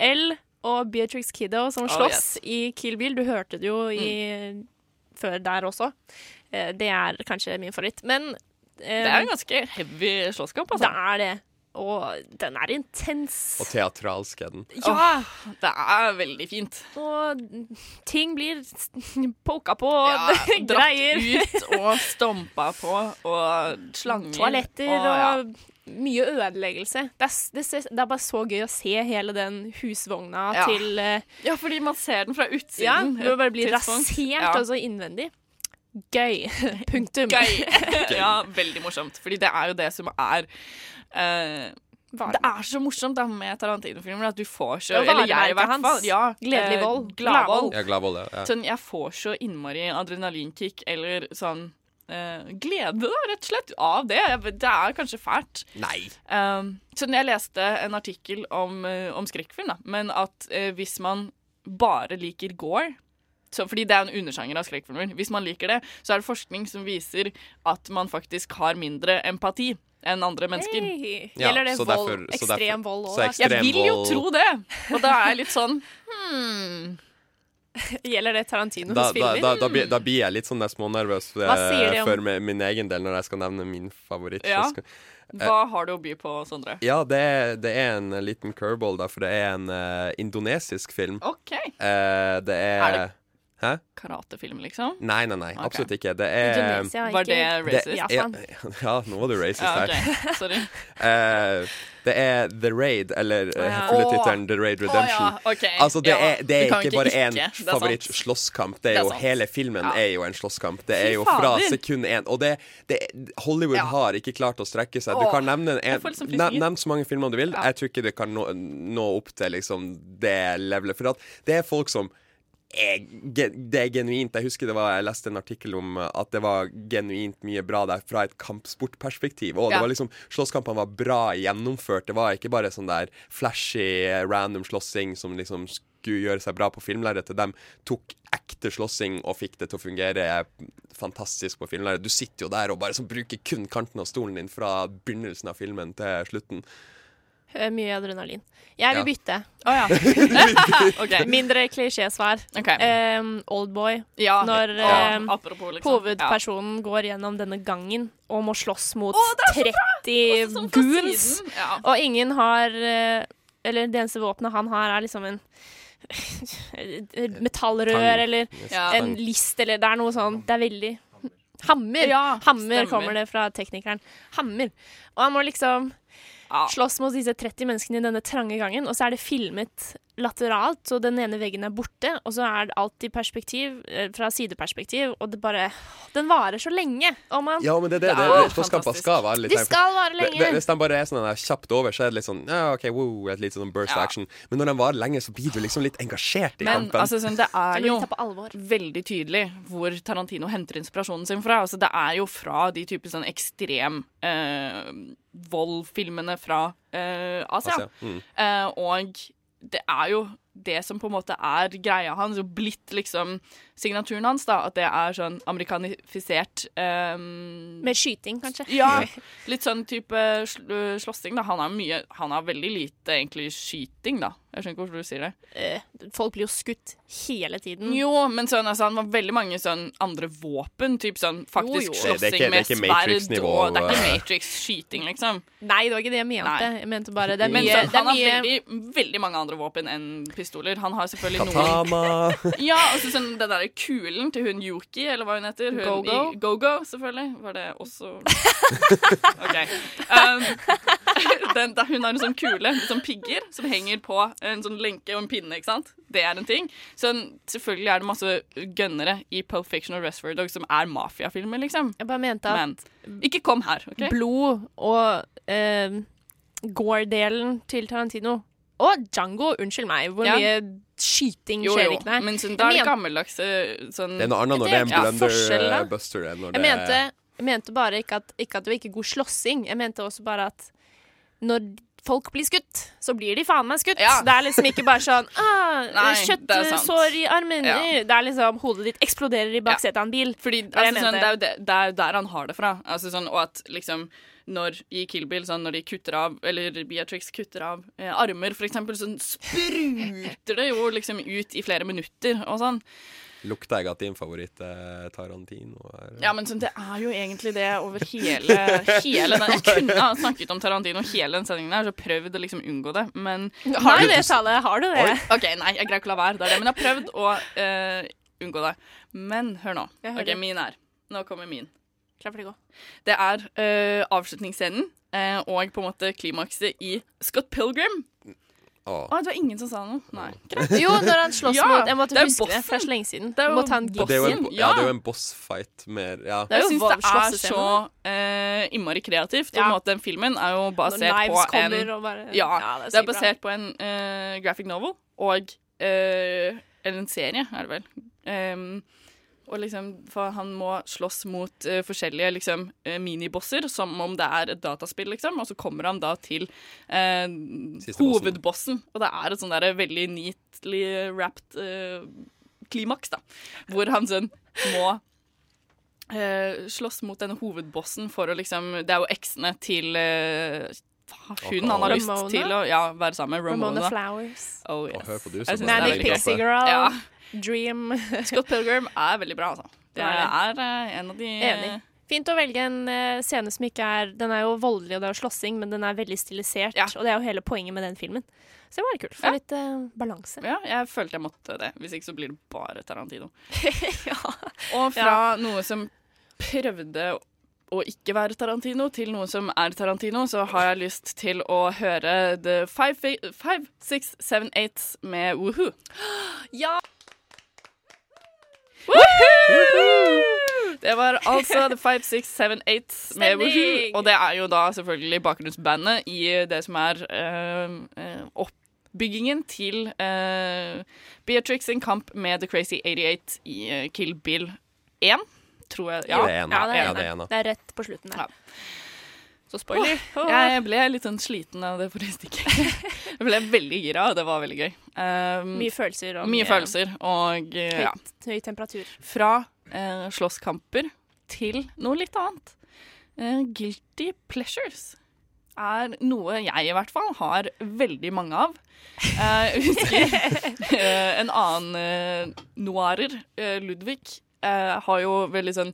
[SPEAKER 7] L og Beatrix Kiddo som
[SPEAKER 6] Oh,
[SPEAKER 7] slåss
[SPEAKER 6] yes.
[SPEAKER 7] i Kill Bill. Du hørte det jo i, før der også. Eh, det er kanskje min favoritt. Men ehm,
[SPEAKER 6] Det er en ganske heavy slåsskamp, altså.
[SPEAKER 7] Det er det. Og den er intens.
[SPEAKER 8] Og teatralsk er den.
[SPEAKER 7] Ja!
[SPEAKER 6] det er veldig fint.
[SPEAKER 7] Og ting blir s- poka på, og
[SPEAKER 6] Ja,
[SPEAKER 7] greier.
[SPEAKER 6] Dratt ut og stompa på, og slanger.
[SPEAKER 7] Toaletter
[SPEAKER 6] Å, ja.
[SPEAKER 7] og mye ødeleggelse. Det er, s- det, ser- det er bare så gøy å se hele den husvogna
[SPEAKER 6] Ja.
[SPEAKER 7] til eh,
[SPEAKER 6] Ja, fordi man ser den fra utsiden.
[SPEAKER 7] Ja, du bare blir
[SPEAKER 6] Tidspunkt.
[SPEAKER 7] rasert
[SPEAKER 6] Ja.
[SPEAKER 7] og så innvendig. Gøy. Punktum.
[SPEAKER 6] Gøy. ja, veldig morsomt. Fordi det er jo det som er eh, Det er så morsomt da, med Tarantino-filmer at du får så
[SPEAKER 7] Ja,
[SPEAKER 6] Eller jeg, i
[SPEAKER 7] varemerket
[SPEAKER 6] hvert
[SPEAKER 7] hans.
[SPEAKER 6] fall. Ja,
[SPEAKER 7] Gledelig
[SPEAKER 6] eh,
[SPEAKER 7] vold.
[SPEAKER 6] Gladvold.
[SPEAKER 8] Ja, Gladvold, ja, ja.
[SPEAKER 6] Sånn, jeg får så innmari adrenalinkick eller sånn eh, glede, da, rett og slett, av det. Jeg- Det er kanskje fælt.
[SPEAKER 8] Nei.
[SPEAKER 6] Um, så jeg leste en artikkel om, eh, om skrekkfilm, da, men at eh, hvis man bare liker gore så, fordi det er en undersjanger av skrekkfilmer. Hvis man liker det, så er det forskning som viser at man faktisk har mindre empati enn andre mennesker.
[SPEAKER 7] Hey. Ja, Gjelder det så vold- derfor- så derfor- ekstrem vold også,
[SPEAKER 6] òg?
[SPEAKER 7] så da? ekstrem
[SPEAKER 6] Jeg vil jo
[SPEAKER 7] vold-
[SPEAKER 6] tro det! Og da er jeg litt sånn hmm.
[SPEAKER 7] Gjelder det Tarantinos
[SPEAKER 8] Da, da,
[SPEAKER 7] filmer?
[SPEAKER 8] da, da, blir, da blir jeg litt sånn der smånervøs eh,
[SPEAKER 7] Hva sier det om-
[SPEAKER 8] for mi- min egen del når jeg skal nevne min favoritt. så
[SPEAKER 6] Ja.
[SPEAKER 8] skal-
[SPEAKER 6] Hva har du å by på, Sondre?
[SPEAKER 8] Ja, det er, det er en eh, liten curveball, da, for det er en eh, indonesisk film.
[SPEAKER 6] OK.
[SPEAKER 8] Eh, det er,
[SPEAKER 6] Er det-
[SPEAKER 8] Hæ?
[SPEAKER 6] Karatefilm, liksom?
[SPEAKER 8] Nei, nei, nei.
[SPEAKER 6] Ok.
[SPEAKER 8] Absolutt ikke. Det er
[SPEAKER 6] Indonesia er Var ikke- det racist?
[SPEAKER 8] ja,
[SPEAKER 6] Japan.
[SPEAKER 8] ja, nå var du racist
[SPEAKER 6] Ja,
[SPEAKER 8] her.
[SPEAKER 6] ok. Sorry.
[SPEAKER 8] Eh, det er The Raid, eller eh,
[SPEAKER 6] Ja.
[SPEAKER 8] fulle
[SPEAKER 6] Åh.
[SPEAKER 8] tittelen The Raid Redemption.
[SPEAKER 6] Åh, ja, ok.
[SPEAKER 8] Altså, det
[SPEAKER 6] Ja,
[SPEAKER 8] er, det
[SPEAKER 6] du
[SPEAKER 8] er
[SPEAKER 6] kan
[SPEAKER 8] ikke
[SPEAKER 6] ikke
[SPEAKER 8] bare
[SPEAKER 6] ikke.
[SPEAKER 8] én
[SPEAKER 6] Det er sant.
[SPEAKER 8] favoritt-slåsskamp. Det
[SPEAKER 6] Det
[SPEAKER 8] er
[SPEAKER 6] er
[SPEAKER 8] jo
[SPEAKER 6] sant.
[SPEAKER 8] hele filmen
[SPEAKER 6] Ja.
[SPEAKER 8] er jo en slåsskamp. Det
[SPEAKER 6] Fy
[SPEAKER 8] er jo fra
[SPEAKER 6] fader.
[SPEAKER 8] sekund én. Og det, det, Hollywood
[SPEAKER 6] Ja.
[SPEAKER 8] har ikke klart å strekke seg. Du
[SPEAKER 6] Åh,
[SPEAKER 8] kan nevne, en,
[SPEAKER 6] jeg får litt sånn
[SPEAKER 8] nev,
[SPEAKER 6] frysninger.
[SPEAKER 8] nevn så mange filmer du vil. Jeg tror ikke du kan nå, nå opp til liksom, det levelet. For at det er folk som er, ge- det er genuint. Jeg husker det var, jeg leste en artikkel om eh, at det var genuint mye bra der fra et kampsportperspektiv. Og
[SPEAKER 15] Ja.
[SPEAKER 8] det var liksom, Slåsskampene var bra gjennomført. Det var ikke bare sånn der flashy, eh, random slåssing som liksom skulle gjøre seg bra på filmlerretet. De tok ekte slåssing og fikk det til å fungere fantastisk på filmlerretet. Du sitter jo der og bare sånn, bruker kun kanten av stolen din fra begynnelsen av filmen til slutten.
[SPEAKER 7] Eh, Mye adrenalin. Jeg vil
[SPEAKER 8] Ja.
[SPEAKER 7] bytte.
[SPEAKER 6] Å
[SPEAKER 7] ja. Mindre klisjésvar. Um, Oldboy.
[SPEAKER 6] Ja.
[SPEAKER 7] Når
[SPEAKER 6] Ja,
[SPEAKER 7] um,
[SPEAKER 6] apropos, liksom.
[SPEAKER 7] hovedpersonen går gjennom denne gangen og må slåss mot
[SPEAKER 6] Å, det er så bra!
[SPEAKER 7] 30
[SPEAKER 6] Også sånn fra
[SPEAKER 7] goons,
[SPEAKER 6] siden, ja.
[SPEAKER 7] og ingen har eh, Eller det eneste våpenet han har, er liksom en metallrør
[SPEAKER 6] Tang.
[SPEAKER 7] eller
[SPEAKER 6] Ja.
[SPEAKER 7] en list eller Det er noe sånn Det er veldig Hammer!
[SPEAKER 6] stemmer.
[SPEAKER 7] Hammer kommer det fra teknikeren. Hammer. Og han må liksom slåss mot disse 30 menneskene i denne trange gangen, og så er det filmet lateralt, så den ene veggen er borte, og så er det alt i perspektiv, eh, fra sideperspektiv, og det bare Den varer så lenge, og man
[SPEAKER 8] Ja, men det er det. det, det slåsskamper skal vare litt
[SPEAKER 7] De
[SPEAKER 8] lenge.
[SPEAKER 7] skal vare lenge.
[SPEAKER 8] Hvis- Hvis de bare er sånn der kjapt over, så er det litt sånn ja, OK, wow, et lite sånn burst
[SPEAKER 6] Ja.
[SPEAKER 8] action. Men når de varer lenge, så blir du liksom litt engasjert i
[SPEAKER 6] Men
[SPEAKER 8] kampen.
[SPEAKER 6] altså, sånn, det er
[SPEAKER 7] blir
[SPEAKER 6] jo
[SPEAKER 7] tatt
[SPEAKER 6] veldig tydelig hvor Tarantino henter inspirasjonen sin fra. Altså, det er jo fra de type sånn ekstrem eh, voldfilmene fra eh, Asia.
[SPEAKER 16] Asia, mm.
[SPEAKER 6] Eh, og det er jo det som på en måte er greia hans, og blitt liksom signaturen hans, da, at det er sånn amerikanifisert eh,
[SPEAKER 7] Med skyting, kanskje.
[SPEAKER 6] ja, litt sånn type sl øh, slåssing, da. Han har, mye, han har veldig lite egentlig skyting, da. Jeg skjønner ikke hvorfor du sier det.
[SPEAKER 7] Eh, folk blir jo skutt hele tiden.
[SPEAKER 6] Jo, men sånn, altså, han var veldig mange sånn andre våpen, typ sånn faktisk
[SPEAKER 7] jo.
[SPEAKER 6] slåssing
[SPEAKER 8] Det er ikke- det er ikke
[SPEAKER 6] med sverd
[SPEAKER 8] Matrix-nivå,
[SPEAKER 6] og Det er ikke
[SPEAKER 8] øh.
[SPEAKER 6] Matrix-skyting, liksom.
[SPEAKER 7] Nei, det var ikke det jeg mente.
[SPEAKER 6] Nei.
[SPEAKER 7] Jeg mente bare det er
[SPEAKER 6] men
[SPEAKER 7] mye,
[SPEAKER 6] sånn,
[SPEAKER 7] det er
[SPEAKER 6] han
[SPEAKER 7] mye
[SPEAKER 6] har veldig, veldig mange andre våpen enn pistoler. Han har selvfølgelig noen
[SPEAKER 8] Katama
[SPEAKER 6] Ja, og så sånn den derre kulen til hun Yuki, eller hva hun heter. Hun
[SPEAKER 7] Go-Go.
[SPEAKER 6] i- Go-Go, selvfølgelig. Var det også OK. Um, den, da- hun har en sånn kule, sånn pigger, som henger på en sånn lenke og en pinne, ikke sant. Det er en ting. Sånn, selvfølgelig er det masse gønnere i Pulp Fiction og Rest for Dog som er mafiafilmer, liksom.
[SPEAKER 7] Jeg bare mente
[SPEAKER 6] at Men ikke kom her, OK?
[SPEAKER 7] blod og eh, gore-delen til Tarantino. Og Django, unnskyld meg, hvor
[SPEAKER 6] Ja.
[SPEAKER 7] mye skyting
[SPEAKER 6] Jo,
[SPEAKER 7] skjer
[SPEAKER 6] jo,
[SPEAKER 7] ikke der?
[SPEAKER 6] men sånn, da er det
[SPEAKER 7] Jeg men-
[SPEAKER 6] gammeldagse sånn
[SPEAKER 8] Det er noe annet når det er en
[SPEAKER 6] Ja,
[SPEAKER 8] blunder
[SPEAKER 6] forskjell,
[SPEAKER 8] eh,
[SPEAKER 6] da.
[SPEAKER 8] buster enn når
[SPEAKER 7] Jeg
[SPEAKER 8] det
[SPEAKER 7] mente, jeg mente bare ikke at, ikke at det var ikke god slåssing. Jeg mente også bare at når folk blir skutt, så blir de faen meg skutt. Det er liksom ikke bare sånn ah,
[SPEAKER 6] Nei, det er sant.
[SPEAKER 7] Kjøttsår i armen.
[SPEAKER 6] Ja.
[SPEAKER 7] eh, Det er liksom hodet ditt eksploderer i baksetet av en bil.
[SPEAKER 6] Fordi,
[SPEAKER 7] Det var det jeg
[SPEAKER 6] altså, sånn,
[SPEAKER 7] mente.
[SPEAKER 6] det, er jo det, det er jo der han har det fra. Altså, sånn, og at liksom når i Kill Bill, sånn, når de kutter av, eller Beatrix kutter av eh, armer, for eksempel, så spruter det jo liksom ut i flere minutter og sånn.
[SPEAKER 8] Lukter jeg at din favoritt er Tarantino? Er,
[SPEAKER 6] Ja, men sånn, det er jo egentlig det over hele, hele den Jeg kunne ha snakket om Tarantino hele den sendingen her, så prøvd å liksom unngå det, men
[SPEAKER 7] Har du det, Tale? Har du det?
[SPEAKER 6] Oi. OK, nei, jeg greier ikke å la være. Det er det. Men jeg har prøvd å eh, unngå det. Men hør nå.
[SPEAKER 7] Jeg hører.
[SPEAKER 6] OK, min er Nå kommer min.
[SPEAKER 7] Klar for det gå.
[SPEAKER 6] Det er eh, avslutningsscenen eh, og på en måte klimakset i Scott Pilgrim.
[SPEAKER 8] Å.
[SPEAKER 6] Å, det var ingen som sa noe? Nei. Greit.
[SPEAKER 7] Jo, når han slåss
[SPEAKER 6] Ja,
[SPEAKER 7] mot Jeg måtte
[SPEAKER 6] det er
[SPEAKER 7] huske det, for det er så lenge siden. Mot han
[SPEAKER 8] Det er jo en,
[SPEAKER 7] Gibson.
[SPEAKER 8] bo- ja, det er jo en bossfight mer ja.
[SPEAKER 7] Det
[SPEAKER 6] jeg
[SPEAKER 7] er jo
[SPEAKER 6] syns det er
[SPEAKER 7] voldslassescenen.
[SPEAKER 6] så eh, innmari kreativt. Og på en måte, den filmen er jo basert
[SPEAKER 7] knives
[SPEAKER 6] på en
[SPEAKER 7] kommer og bare-
[SPEAKER 6] ja,
[SPEAKER 7] Ja, det
[SPEAKER 6] det, er
[SPEAKER 7] er sykt bra.
[SPEAKER 6] basert på en eh, graphic novel og eh, Eller en serie, er det vel. Em, og liksom, for han må slåss mot eh, forskjellige liksom, eh, minibosser, som om det er et dataspill, liksom. Og så kommer han da til eh,
[SPEAKER 8] Siste bossen.
[SPEAKER 6] hovedbossen, og det er et sånn der veldig neatly wrapped eh, klimaks, da. Hvor han sånn må eh, slåss mot denne hovedbossen for å liksom Det er jo eksene til eh, hun han har lyst
[SPEAKER 7] Ramona?
[SPEAKER 6] til å ja, være sammen med. Ramona.
[SPEAKER 7] Ramona Flowers.
[SPEAKER 6] Oh, yes.
[SPEAKER 7] Og hør på du
[SPEAKER 6] Jeg
[SPEAKER 7] som
[SPEAKER 6] synes
[SPEAKER 7] er
[SPEAKER 6] det
[SPEAKER 7] Manic
[SPEAKER 6] veldig bra.
[SPEAKER 7] Pixie Girl.
[SPEAKER 6] Ja.
[SPEAKER 7] Dream.
[SPEAKER 6] Scott Pilgrim er veldig bra, altså. Det
[SPEAKER 7] Det er
[SPEAKER 6] er eh, en av de
[SPEAKER 7] Enig. Fint å velge en eh, scene som ikke er Den er jo voldelig, og det er jo slåssing, men den er veldig stilisert. Og det er jo hele poenget med den filmen. Så det var kult. Få litt eh, balanse.
[SPEAKER 6] Ja, jeg følte jeg måtte det. Hvis ikke så blir det bare Tarantino. Og fra noe som prøvde å ikke være Tarantino, til noe som er Tarantino, så har jeg lyst til å høre The Five, Fi- five Six Seven Eights med Woohoo.
[SPEAKER 7] Ja!
[SPEAKER 6] Det var altså The Five Six Seven Eights med
[SPEAKER 7] Stemning!
[SPEAKER 6] Woohoo. Og det er jo da selvfølgelig bakgrunnsbandet i det som er eh, eh, oppbyggingen til eh, Beatrix in kamp med The Crazy 88 i eh, Kill Bill 1, tror jeg.
[SPEAKER 8] Det er en, ja. Ja, det er en, ja. Det
[SPEAKER 7] er rett på slutten der. Så
[SPEAKER 6] spoiler.
[SPEAKER 7] Åh.
[SPEAKER 6] Jeg ble litt sånn sliten av det forrige stikket. Jeg ble veldig gira, og det var veldig gøy. Um,
[SPEAKER 7] Mye følelser og
[SPEAKER 6] mye
[SPEAKER 7] mye-
[SPEAKER 6] følelser, og eh, ja.
[SPEAKER 7] Høyt, høy temperatur.
[SPEAKER 6] Fra eh, slåsskamper til noe litt annet. Eh, guilty pleasures er noe jeg i hvert fall har veldig mange av. Eh, Jeg husker eh, en annen eh, noirer, eh, Ludvig, eh, har jo veldig sånn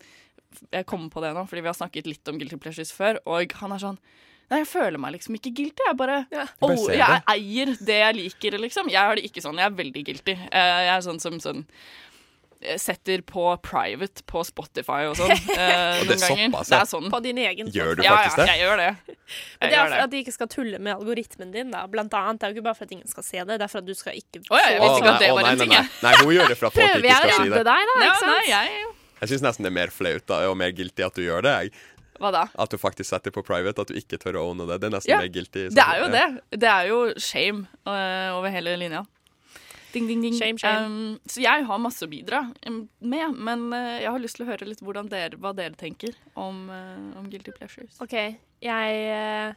[SPEAKER 6] Jeg kommer på det nå, fordi vi har snakket litt om guilty pleasures før, og han er sånn Nei, jeg føler meg liksom ikke guilty. Jeg bare,
[SPEAKER 8] Du bare
[SPEAKER 6] oh,
[SPEAKER 8] ser
[SPEAKER 6] Jeg
[SPEAKER 8] det.
[SPEAKER 6] eier det jeg liker, liksom. Jeg har det ikke sånn. Jeg er veldig guilty. Eh, Jeg er sånn som sånn eh, Setter på private på Spotify og sånn. eh,
[SPEAKER 8] Og det er
[SPEAKER 6] noen ganger.
[SPEAKER 8] såpass,
[SPEAKER 6] det
[SPEAKER 8] ja.
[SPEAKER 6] er sånn.
[SPEAKER 7] På din egen
[SPEAKER 8] Gjør du
[SPEAKER 6] ja,
[SPEAKER 8] faktisk
[SPEAKER 6] ja,
[SPEAKER 8] det?
[SPEAKER 6] jeg gjør det.
[SPEAKER 7] Men
[SPEAKER 6] Jeg
[SPEAKER 7] det er
[SPEAKER 6] gjør
[SPEAKER 7] for at de ikke skal tulle med algoritmen din, da. Blant annet. Det er jo ikke bare for at ingen skal se det, det er for at du skal ikke
[SPEAKER 6] Å, ja, jeg visste ikke at det
[SPEAKER 8] Å,
[SPEAKER 6] var
[SPEAKER 8] nei, nei,
[SPEAKER 6] en ting,
[SPEAKER 8] nei.
[SPEAKER 6] jeg.
[SPEAKER 8] Nei, hun gjør det for at folk ikke skal si det.
[SPEAKER 7] deg, da,
[SPEAKER 6] Nei,
[SPEAKER 7] ikke sant?
[SPEAKER 6] Nei, jeg
[SPEAKER 8] Jeg syns nesten det er mer flaut da, og mer guilty at du gjør det. Jeg.
[SPEAKER 6] Hva da?
[SPEAKER 8] At du faktisk setter på private, at du ikke tør å owne det. Det er nesten
[SPEAKER 6] Ja,
[SPEAKER 8] mer guilty. eh,
[SPEAKER 6] det er jo
[SPEAKER 8] Ja.
[SPEAKER 6] det. Det er jo shame eh, over hele linja. Ding, ding, ding.
[SPEAKER 7] Shame, shame.
[SPEAKER 6] Um, så jeg har masse å bidra um, med, men eh, jeg har lyst til å høre litt hvordan dere, hva dere tenker om, eh, om guilty pleasures.
[SPEAKER 7] OK, jeg eh,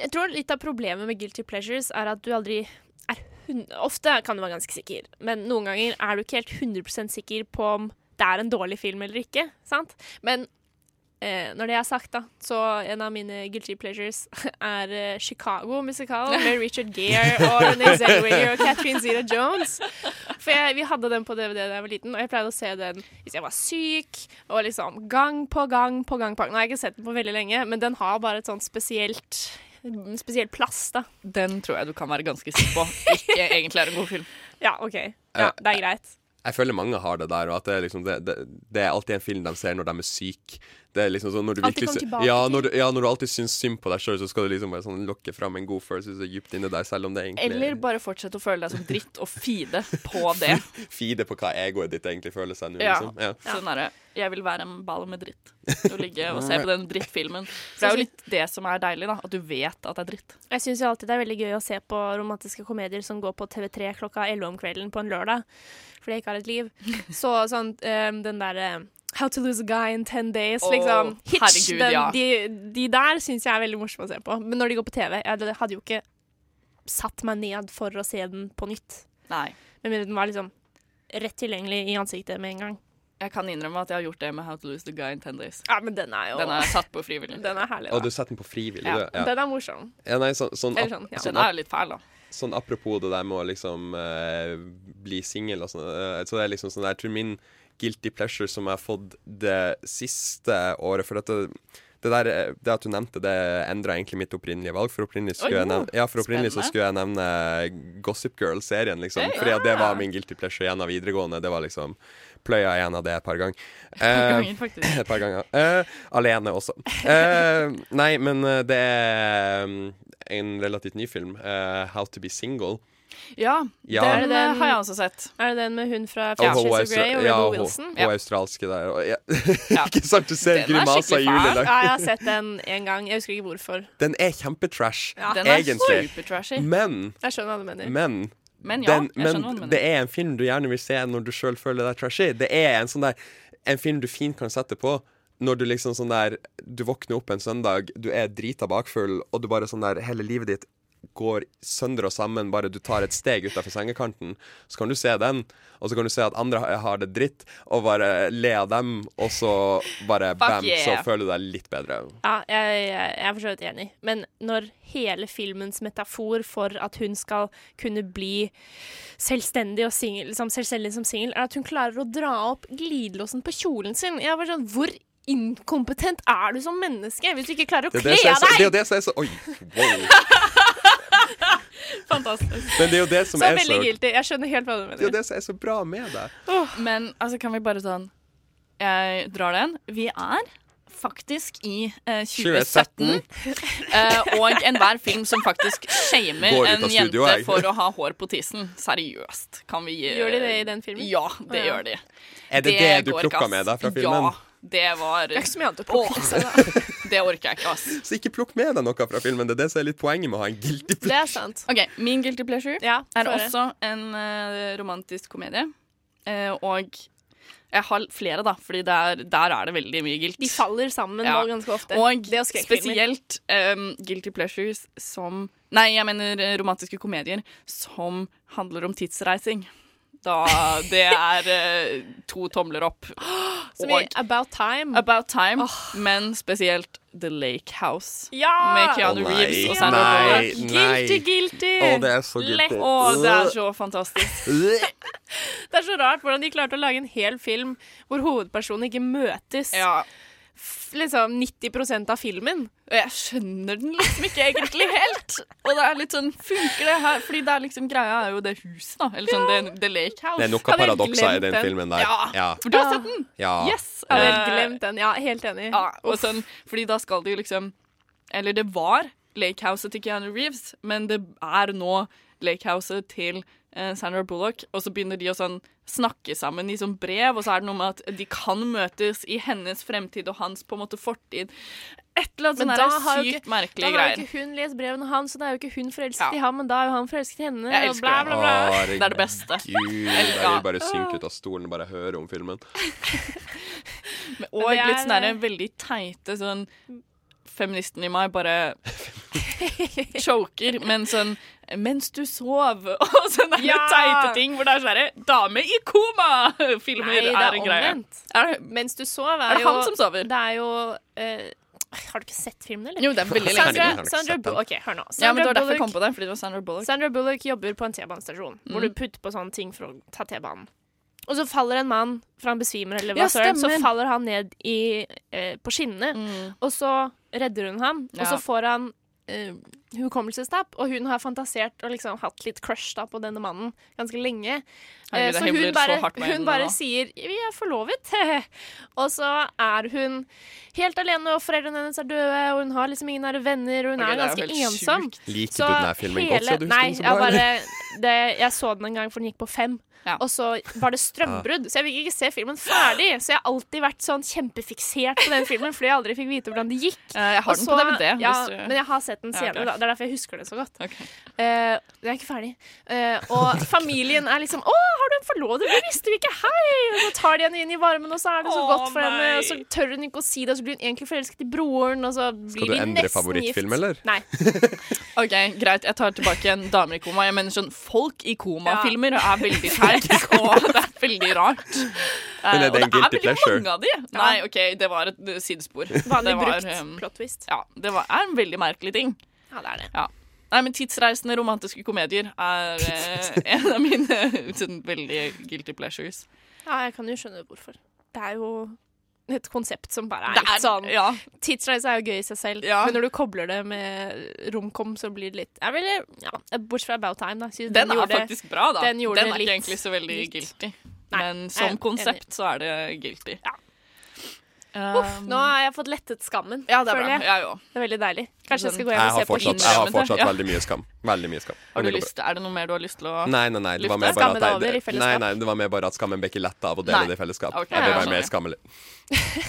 [SPEAKER 7] Jeg tror litt av problemet med guilty pleasures er at du aldri er hun- Ofte kan du være ganske sikker, men noen ganger er du ikke helt 100 sikker på om det er en dårlig film eller ikke. sant? Men eh, når det er sagt, da, så en av mine guilty pleasures er eh, Chicago Musical med Richard Gere og Renee Zellweger og Catherine Zeta-Jones. For jeg, vi hadde den på DVD da jeg var liten, og jeg pleide å se den hvis jeg var syk, og liksom gang på gang på gang på gang. Nå har jeg ikke sett den på veldig lenge, men den har bare et sånt spesielt en spesiell plass, da.
[SPEAKER 6] Den tror jeg du kan være ganske sikker på. Ikke egentlig er en god film.
[SPEAKER 7] Ja, OK. Ja, det er greit.
[SPEAKER 8] Jeg føler mange har det der, og at det er, liksom, det, det, det er alltid en film de ser når de er syke. Det er liksom sånn, når du
[SPEAKER 7] Alltid
[SPEAKER 8] virkelig
[SPEAKER 7] kom
[SPEAKER 8] sy-
[SPEAKER 7] tilbake
[SPEAKER 8] ja, når, du- ja, når du alltid syns synd på deg sjøl, så skal du liksom bare sånn lokke fram en god følelse så dypt inni deg, selv om det egentlig
[SPEAKER 6] Eller bare fortsette å føle deg som dritt og fide på det.
[SPEAKER 8] Fide på hva egoet ditt egentlig føler seg nå,
[SPEAKER 6] Ja.
[SPEAKER 8] liksom. Ja.
[SPEAKER 6] Sånn er det. Jeg vil være en ball med dritt og ligge og se på den drittfilmen. For det er jo litt det som er deilig, da. At du vet at det er dritt.
[SPEAKER 7] Jeg syns alltid det er veldig gøy å se på romantiske komedier som går på TV3 klokka 11 om kvelden på en lørdag, fordi jeg ikke har et liv. Så sånn ehm, den derre How to lose a guy in ten days,
[SPEAKER 6] Åh,
[SPEAKER 7] liksom. Hitch,
[SPEAKER 6] herregud,
[SPEAKER 7] den,
[SPEAKER 6] ja.
[SPEAKER 7] de, de der syns jeg er veldig morsomme å se på. Men når de går på TV Jeg hadde jo ikke satt meg ned for å se den på nytt.
[SPEAKER 6] Nei.
[SPEAKER 7] Med mindre den var liksom rett tilgjengelig i ansiktet med en gang.
[SPEAKER 6] Jeg kan innrømme at jeg har gjort det med How to Lose the Guy in Ten Days.
[SPEAKER 7] Ja, men den er jo
[SPEAKER 6] Den er satt på frivillig.
[SPEAKER 7] Den er herlig,
[SPEAKER 8] Og du setter den på frivillig,
[SPEAKER 7] Ja,
[SPEAKER 8] du. Ja.
[SPEAKER 7] Den er morsom.
[SPEAKER 8] Ja, nei, sånn, sånn,
[SPEAKER 7] Eller sånn, ja. Den
[SPEAKER 8] ap-
[SPEAKER 7] er
[SPEAKER 6] litt fæl, da.
[SPEAKER 8] Sånn apropos det der med å liksom eh, bli singel og sånn. eh, så det er liksom sånn der, Jeg tror min guilty pleasure som jeg har fått det siste året For at det, det der eh, Det at du nevnte det, endra egentlig mitt opprinnelige valg. For opprinnelig,
[SPEAKER 15] Oi,
[SPEAKER 8] skulle jeg nevne, ja, for opprinnelig så
[SPEAKER 15] spennende.
[SPEAKER 8] skulle jeg nevne Gossip Girl-serien, liksom.
[SPEAKER 15] Hey,
[SPEAKER 8] fordi at det
[SPEAKER 15] ja.
[SPEAKER 8] var min guilty pleasure igjen av videregående. Det var liksom Pløya igjen av det et par ganger.
[SPEAKER 15] par
[SPEAKER 8] Eh,
[SPEAKER 15] ganger, faktisk.
[SPEAKER 8] et par ganger. Eh, alene også. Eh, nei, men eh, det er mm, en relativt ny film, eh, 'How to be single'.
[SPEAKER 6] Ja,
[SPEAKER 8] Ja.
[SPEAKER 6] den,
[SPEAKER 8] Er det den-
[SPEAKER 6] eh, har jeg også sett.
[SPEAKER 7] Er det den med hun fra
[SPEAKER 8] Ja, hun
[SPEAKER 7] Fifty
[SPEAKER 8] er
[SPEAKER 7] Shades of Grey
[SPEAKER 8] austra-
[SPEAKER 7] og
[SPEAKER 8] ja,
[SPEAKER 7] Rebel
[SPEAKER 8] hun-
[SPEAKER 7] Wilson?
[SPEAKER 8] Hun er australske der. Og, ja. ikke sant, du ser
[SPEAKER 7] Den er
[SPEAKER 8] grimaser i
[SPEAKER 7] skikkelig fæl.
[SPEAKER 8] hjulet.
[SPEAKER 7] Ja, jeg har sett den én gang. Jeg husker ikke hvorfor.
[SPEAKER 8] Den er kjempetrash,
[SPEAKER 7] Ja. Den er
[SPEAKER 8] egentlig.
[SPEAKER 7] supertrashy.
[SPEAKER 8] Men
[SPEAKER 7] Jeg skjønner hva du mener.
[SPEAKER 8] Men,
[SPEAKER 7] Men ja,
[SPEAKER 8] den,
[SPEAKER 7] jeg skjønner hva du
[SPEAKER 8] men
[SPEAKER 7] mener.
[SPEAKER 8] det er en film du gjerne vil se når du sjøl føler deg trashy. Det er en sånn der En film du fint kan sette på når du liksom sånn der Du våkner opp en søndag, du er drita bakfull, og du bare sånn der Hele livet ditt går sønder og sammen, bare du tar et steg utafor sengekanten. Så kan du se den, og så kan du se at andre ha- har det dritt, og bare le av dem, og så bare
[SPEAKER 7] Fuck
[SPEAKER 8] bam, så
[SPEAKER 7] yeah.
[SPEAKER 8] føler du deg litt bedre.
[SPEAKER 7] Ja, jeg, jeg, jeg er for så vidt enig. Men når hele filmens metafor for at hun skal kunne bli selvstendig, og singel- liksom, selvstendig som singel, er at hun klarer å dra opp glidelåsen på kjolen sin. Jeg var sånn, Hvor inkompetent er du som menneske hvis du ikke klarer å
[SPEAKER 8] Det er
[SPEAKER 7] kle
[SPEAKER 8] det som er så,
[SPEAKER 7] av
[SPEAKER 8] det er jo
[SPEAKER 7] deg?!
[SPEAKER 8] det som er så Oi, wow.
[SPEAKER 6] Fantastisk.
[SPEAKER 8] Men det er jo det som
[SPEAKER 7] Så
[SPEAKER 8] er
[SPEAKER 7] veldig
[SPEAKER 8] så
[SPEAKER 7] guilty. Jeg skjønner helt hva
[SPEAKER 8] Det
[SPEAKER 7] du
[SPEAKER 8] er jo
[SPEAKER 7] mener.
[SPEAKER 8] det som er så bra med det.
[SPEAKER 6] Men altså, kan vi bare sånn Jeg drar den. Vi er faktisk i eh, 2017.
[SPEAKER 8] 2017.
[SPEAKER 6] eh, og enhver film som faktisk shamer
[SPEAKER 8] Går ut
[SPEAKER 6] en
[SPEAKER 8] av studio,
[SPEAKER 6] jente
[SPEAKER 8] jeg.
[SPEAKER 6] for å ha hår på tissen. Seriøst. Kan vi eh,
[SPEAKER 7] Gjør de det i den filmen?
[SPEAKER 6] Ja, det
[SPEAKER 7] Å, ja.
[SPEAKER 6] gjør de.
[SPEAKER 8] Er det det du
[SPEAKER 6] går ikke,
[SPEAKER 8] plukka
[SPEAKER 6] ass.
[SPEAKER 8] med deg fra filmen?
[SPEAKER 6] Ja. Det var
[SPEAKER 7] Det er ikke så mye annet å plukke med seg,
[SPEAKER 6] Åh, Det orker jeg ikke, ass.
[SPEAKER 8] Så ikke plukk med deg noe fra filmen. Det er det som er litt poenget med å ha en guilty
[SPEAKER 7] Det er sant.
[SPEAKER 6] OK. Min guilty pleasure er
[SPEAKER 7] få høre.
[SPEAKER 6] også en eh, romantisk komedie. Eh, og jeg har flere, da, Fordi der, der er det veldig mye guilt.
[SPEAKER 7] De faller sammen
[SPEAKER 6] Ja.
[SPEAKER 7] nå ganske ofte.
[SPEAKER 6] Og
[SPEAKER 7] Det er jo skrekkfilmer.
[SPEAKER 6] spesielt ehm, guilty pleasures som Nei, jeg mener eh, romantiske komedier som handler om tidsreising. Da det er eh, to tomler opp.
[SPEAKER 7] Som i About Time.
[SPEAKER 6] About Time, men spesielt The Lake House.
[SPEAKER 7] Ja!
[SPEAKER 6] Med Keanu
[SPEAKER 8] Å, nei,
[SPEAKER 6] Reeves og Sandra
[SPEAKER 8] nei,
[SPEAKER 6] Bullock.
[SPEAKER 8] nei.
[SPEAKER 7] Guilty, guilty!
[SPEAKER 8] Å, det er så guilty.
[SPEAKER 7] Lett.
[SPEAKER 6] Å, det er så fantastisk.
[SPEAKER 7] Det er så rart hvordan de klarte å lage en hel film hvor hovedpersonen ikke møtes. F- Liksom 90 av filmen.
[SPEAKER 6] Og jeg skjønner den liksom ikke egentlig helt. Og det er litt sånn Funker det her? Fordi det er liksom greia er jo det huset, da. Eller sånn The, the Lake House.
[SPEAKER 8] Det er noe
[SPEAKER 6] Jeg hadde helt
[SPEAKER 8] paradokser i
[SPEAKER 6] glemt
[SPEAKER 8] den filmen der.
[SPEAKER 6] Ja.
[SPEAKER 8] Ja.
[SPEAKER 6] For du har sett den?
[SPEAKER 8] Ja.
[SPEAKER 6] Yes.
[SPEAKER 7] Jeg hadde
[SPEAKER 6] Eh,
[SPEAKER 7] helt glemt den. Ja, helt enig.
[SPEAKER 6] Ja, og sånn, fordi da skal det jo liksom Eller det var Lakehouset til Keanu Reeves, men det er nå Lakehouset til eh, Sandra Bullock. Og så begynner de å sånn snakke sammen i sånn brev, og så er det noe med at de kan møtes i hennes fremtid og hans på en måte fortid. Et eller annet
[SPEAKER 7] Men
[SPEAKER 6] sånn
[SPEAKER 7] da
[SPEAKER 6] der
[SPEAKER 7] har jo
[SPEAKER 6] sykt
[SPEAKER 7] ikke-
[SPEAKER 6] merkelige
[SPEAKER 7] Da har jo
[SPEAKER 6] greier.
[SPEAKER 7] ikke hun lest brevene hans, så da er jo ikke hun forelsket
[SPEAKER 6] Ja.
[SPEAKER 7] i ham, men da er jo han forelsket i henne.
[SPEAKER 6] Jeg
[SPEAKER 7] og
[SPEAKER 6] elsker
[SPEAKER 7] bla,
[SPEAKER 6] det.
[SPEAKER 7] bla, bla.
[SPEAKER 6] Det er det beste.
[SPEAKER 8] Gud,
[SPEAKER 6] Eller,
[SPEAKER 8] jeg
[SPEAKER 6] ja.
[SPEAKER 8] vil bare synke ut av stolen og bare høre om filmen.
[SPEAKER 6] Og
[SPEAKER 7] Men det
[SPEAKER 6] litt sånn
[SPEAKER 7] er-
[SPEAKER 6] derre veldig teite sånn Feministen i meg bare choker, men sånn Mens du sov, og sånne
[SPEAKER 7] Ja.
[SPEAKER 6] teite ting hvor det er sånn herre, Dame i koma-filmer
[SPEAKER 7] Nei, det
[SPEAKER 6] er,
[SPEAKER 7] er
[SPEAKER 6] en greie.
[SPEAKER 7] omvendt.
[SPEAKER 6] Er det,
[SPEAKER 7] Mens du sov, er,
[SPEAKER 6] Er det
[SPEAKER 7] jo
[SPEAKER 6] han som sover?
[SPEAKER 7] Det er jo eh, Har du ikke sett filmen, eller?
[SPEAKER 6] Jo, det er veldig lenge siden. Har
[SPEAKER 7] Sandra,
[SPEAKER 6] ikke
[SPEAKER 7] Sandra
[SPEAKER 6] sett den.
[SPEAKER 7] Bullock OK, hør nå.
[SPEAKER 6] ja, men det
[SPEAKER 7] Sandra
[SPEAKER 6] var derfor jeg
[SPEAKER 7] Bullock-
[SPEAKER 6] kom på det, fordi det var Sandra Bullock.
[SPEAKER 7] Sandra Bullock jobber på en T-banestasjon, hvor
[SPEAKER 6] Mm.
[SPEAKER 7] du putter på sånne ting for å ta T-banen. Og så faller en mann, for han besvimer, eller hva
[SPEAKER 6] Ja,
[SPEAKER 7] søren, så
[SPEAKER 6] stemmer. Mm.
[SPEAKER 7] faller han ned i, eh, på skinnene. Og så redder hun ham, og
[SPEAKER 6] Ja.
[SPEAKER 7] så får han eh, hukommelsestap. Og hun har fantasert og liksom hatt litt crush da, på denne mannen ganske lenge. Eh,
[SPEAKER 6] Herregud, jeg
[SPEAKER 7] så hun
[SPEAKER 6] himler så
[SPEAKER 7] bare,
[SPEAKER 6] hardt med øynene
[SPEAKER 7] hun bare
[SPEAKER 6] nå.
[SPEAKER 7] sier 'vi er forlovet'. og så er hun helt alene, og foreldrene hennes er døde, og hun har liksom ingen nære venner, og hun
[SPEAKER 6] Ok, det
[SPEAKER 7] er
[SPEAKER 6] er
[SPEAKER 7] ganske
[SPEAKER 6] jo helt
[SPEAKER 7] ensom.
[SPEAKER 6] sjukt.
[SPEAKER 8] Liker du den her filmen godt, så du husker
[SPEAKER 7] Nei,
[SPEAKER 8] den så
[SPEAKER 7] jeg,
[SPEAKER 8] bra,
[SPEAKER 7] bare, det, jeg så den en gang, for den gikk på fem. Og så var det strømbrudd, så jeg fikk ikke se filmen ferdig. Så jeg har alltid vært sånn kjempefiksert på den filmen, fordi jeg aldri fikk vite hvordan det gikk.
[SPEAKER 6] Eh, jeg har
[SPEAKER 7] Og
[SPEAKER 6] den på DVD,
[SPEAKER 7] Ja,
[SPEAKER 6] hvis du-
[SPEAKER 7] Men jeg har sett den
[SPEAKER 6] Ja, ok.
[SPEAKER 7] senere, da. Det er derfor jeg husker den så godt. Eh, jeg er ikke ferdig. Eh, og familien er liksom 'Å, har du en forlovet? Det visste vi ikke! Hei!' Og så tar de henne inn i varmen, og så er det så
[SPEAKER 6] Å,
[SPEAKER 7] godt for henne.
[SPEAKER 6] nei.
[SPEAKER 7] Og så tør hun ikke å si det, og så blir hun egentlig forelsket i broren, og så blir
[SPEAKER 8] Skal du
[SPEAKER 7] de
[SPEAKER 8] endre
[SPEAKER 7] nesten
[SPEAKER 8] favorittfilm,
[SPEAKER 7] gift.
[SPEAKER 8] eller?
[SPEAKER 7] Nei.
[SPEAKER 6] OK, greit, jeg tar tilbake en dame i koma. Jeg mener sånn folk i koma-filmer er veldig teit, og det er veldig rart. Eh,
[SPEAKER 8] Men er det
[SPEAKER 6] og
[SPEAKER 8] en
[SPEAKER 6] det er
[SPEAKER 8] guilty
[SPEAKER 6] veldig
[SPEAKER 8] pleasure?
[SPEAKER 6] mange av de. Nei, OK, det var et eh, sidespor.
[SPEAKER 7] Vanlig
[SPEAKER 6] Det var,
[SPEAKER 7] brukt.
[SPEAKER 6] ehm,
[SPEAKER 7] Plot twist.
[SPEAKER 6] Ja, det var, er en veldig merkelig ting.
[SPEAKER 7] Ja, det er det.
[SPEAKER 6] Ja. Nei, men tidsreisende romantiske komedier er eh, en av mine sånn, veldig guilty pleasures.
[SPEAKER 7] Ja, jeg kan jo skjønne hvorfor. Det er jo et konsept som bare er,
[SPEAKER 6] Det er-
[SPEAKER 7] litt sånn
[SPEAKER 6] ja.
[SPEAKER 7] Tidsreise er jo gøy i seg selv, men når du kobler det med romcom, så blir det litt jeg vil, ja, Bortsett fra About Time, da. synes
[SPEAKER 6] Den, er
[SPEAKER 7] gjorde-
[SPEAKER 6] faktisk bra, da.
[SPEAKER 7] Den, gjorde
[SPEAKER 6] er
[SPEAKER 7] litt,
[SPEAKER 6] ikke egentlig så veldig
[SPEAKER 7] litt.
[SPEAKER 6] guilty.
[SPEAKER 7] Nei,
[SPEAKER 6] men
[SPEAKER 7] jeg er
[SPEAKER 6] som
[SPEAKER 7] enig.
[SPEAKER 6] konsept så er det guilty.
[SPEAKER 7] Uff, nå har jeg fått lettet skammen.
[SPEAKER 6] um, Ja, det er
[SPEAKER 7] føler
[SPEAKER 6] bra. Jeg òg.
[SPEAKER 7] Det er veldig deilig. Kanskje jeg skal gå
[SPEAKER 8] Jeg
[SPEAKER 7] hjem og
[SPEAKER 8] har
[SPEAKER 7] se på
[SPEAKER 8] fortsatt, jeg har fortsatt veldig mye skam. Veldig mye skam.
[SPEAKER 6] Har
[SPEAKER 8] Men
[SPEAKER 6] du
[SPEAKER 8] det går bra.
[SPEAKER 6] lyst, er det noe mer du har lyst til å
[SPEAKER 8] Nei, nei, nei. Det var mer
[SPEAKER 6] lufte?
[SPEAKER 8] bare at jeg,
[SPEAKER 6] Skamme det over i
[SPEAKER 8] nei,
[SPEAKER 6] fellesskap?
[SPEAKER 8] nei, det var mer bare at skammen ble ikke letta av å dele
[SPEAKER 6] Nei.
[SPEAKER 8] det i fellesskap.
[SPEAKER 6] Ok,
[SPEAKER 8] Jeg ble
[SPEAKER 6] ja,
[SPEAKER 8] bare mer
[SPEAKER 6] skjønner.
[SPEAKER 8] skammelig.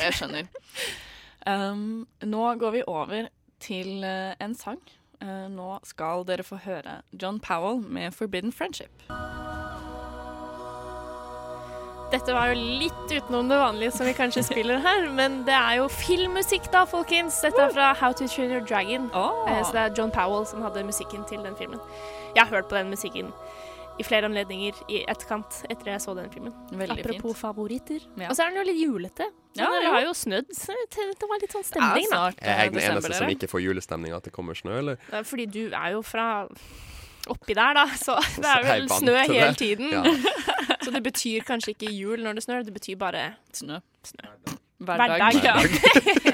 [SPEAKER 6] Jeg skjønner. Um, nå går vi over til eh, en sang. Eh, nå skal dere få høre John Powell med 'Forbidden Friendship'.
[SPEAKER 7] Dette var jo litt utenom det vanlige som vi kanskje spiller her, men det er jo filmmusikk da, folkens. Dette er fra How to Train Your Dragon.
[SPEAKER 6] Ah.
[SPEAKER 7] Eh, Så det er John Powell som hadde musikken til den filmen. Jeg har hørt på den musikken i flere anledninger i etterkant etter jeg så den filmen.
[SPEAKER 6] Veldig fint.
[SPEAKER 7] Apropos favoritter.
[SPEAKER 6] Ja.
[SPEAKER 7] Og så er den jo litt julete. Så
[SPEAKER 6] Ja, Altså.
[SPEAKER 7] det
[SPEAKER 6] jo.
[SPEAKER 7] har jo snødd, så det det var litt sånn stemning, da.
[SPEAKER 8] Er jeg den eneste som ikke får julestemning av at det kommer snø, eller?
[SPEAKER 7] Nei, Fordi du er jo fra oppi der, da, så det
[SPEAKER 8] Så jeg
[SPEAKER 7] er
[SPEAKER 8] er
[SPEAKER 7] vel
[SPEAKER 8] vant
[SPEAKER 7] snø
[SPEAKER 8] til
[SPEAKER 7] hele
[SPEAKER 8] det.
[SPEAKER 7] tiden.
[SPEAKER 8] Ja.
[SPEAKER 7] så det betyr kanskje ikke jul når det snør, det betyr bare
[SPEAKER 6] Snø.
[SPEAKER 7] Hver
[SPEAKER 6] Hver
[SPEAKER 7] dag.
[SPEAKER 6] dag.
[SPEAKER 7] ja.
[SPEAKER 6] Hver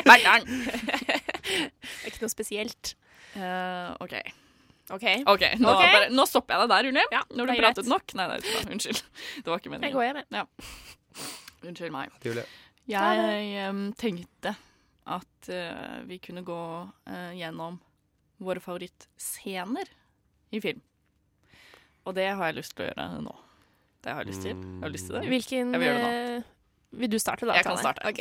[SPEAKER 6] dag.
[SPEAKER 7] det er ikke noe spesielt.
[SPEAKER 6] Eh, OK.
[SPEAKER 7] OK.
[SPEAKER 6] Ok, nå,
[SPEAKER 7] Ok.
[SPEAKER 6] Bare, nå stopper jeg deg der, Unni. Når du
[SPEAKER 7] det er
[SPEAKER 6] pratet
[SPEAKER 7] greit.
[SPEAKER 6] nok. Nei, nei, det er bra. unnskyld. Det var ikke meningen.
[SPEAKER 7] Jeg går hjem, jeg.
[SPEAKER 6] Ja. Unnskyld meg.
[SPEAKER 8] Julie.
[SPEAKER 6] Jeg em, tenkte at eh, vi kunne gå eh, gjennom våre favorittscener i film. Og det har jeg lyst til å gjøre nå. Det har jeg lyst til. Jeg har lyst til det.
[SPEAKER 7] Mm. Hvilken
[SPEAKER 6] jeg vil gjøre det nå.
[SPEAKER 7] eh, Vil du starte, da?
[SPEAKER 6] Jeg kan
[SPEAKER 7] Tane?
[SPEAKER 6] starte,
[SPEAKER 7] Ok.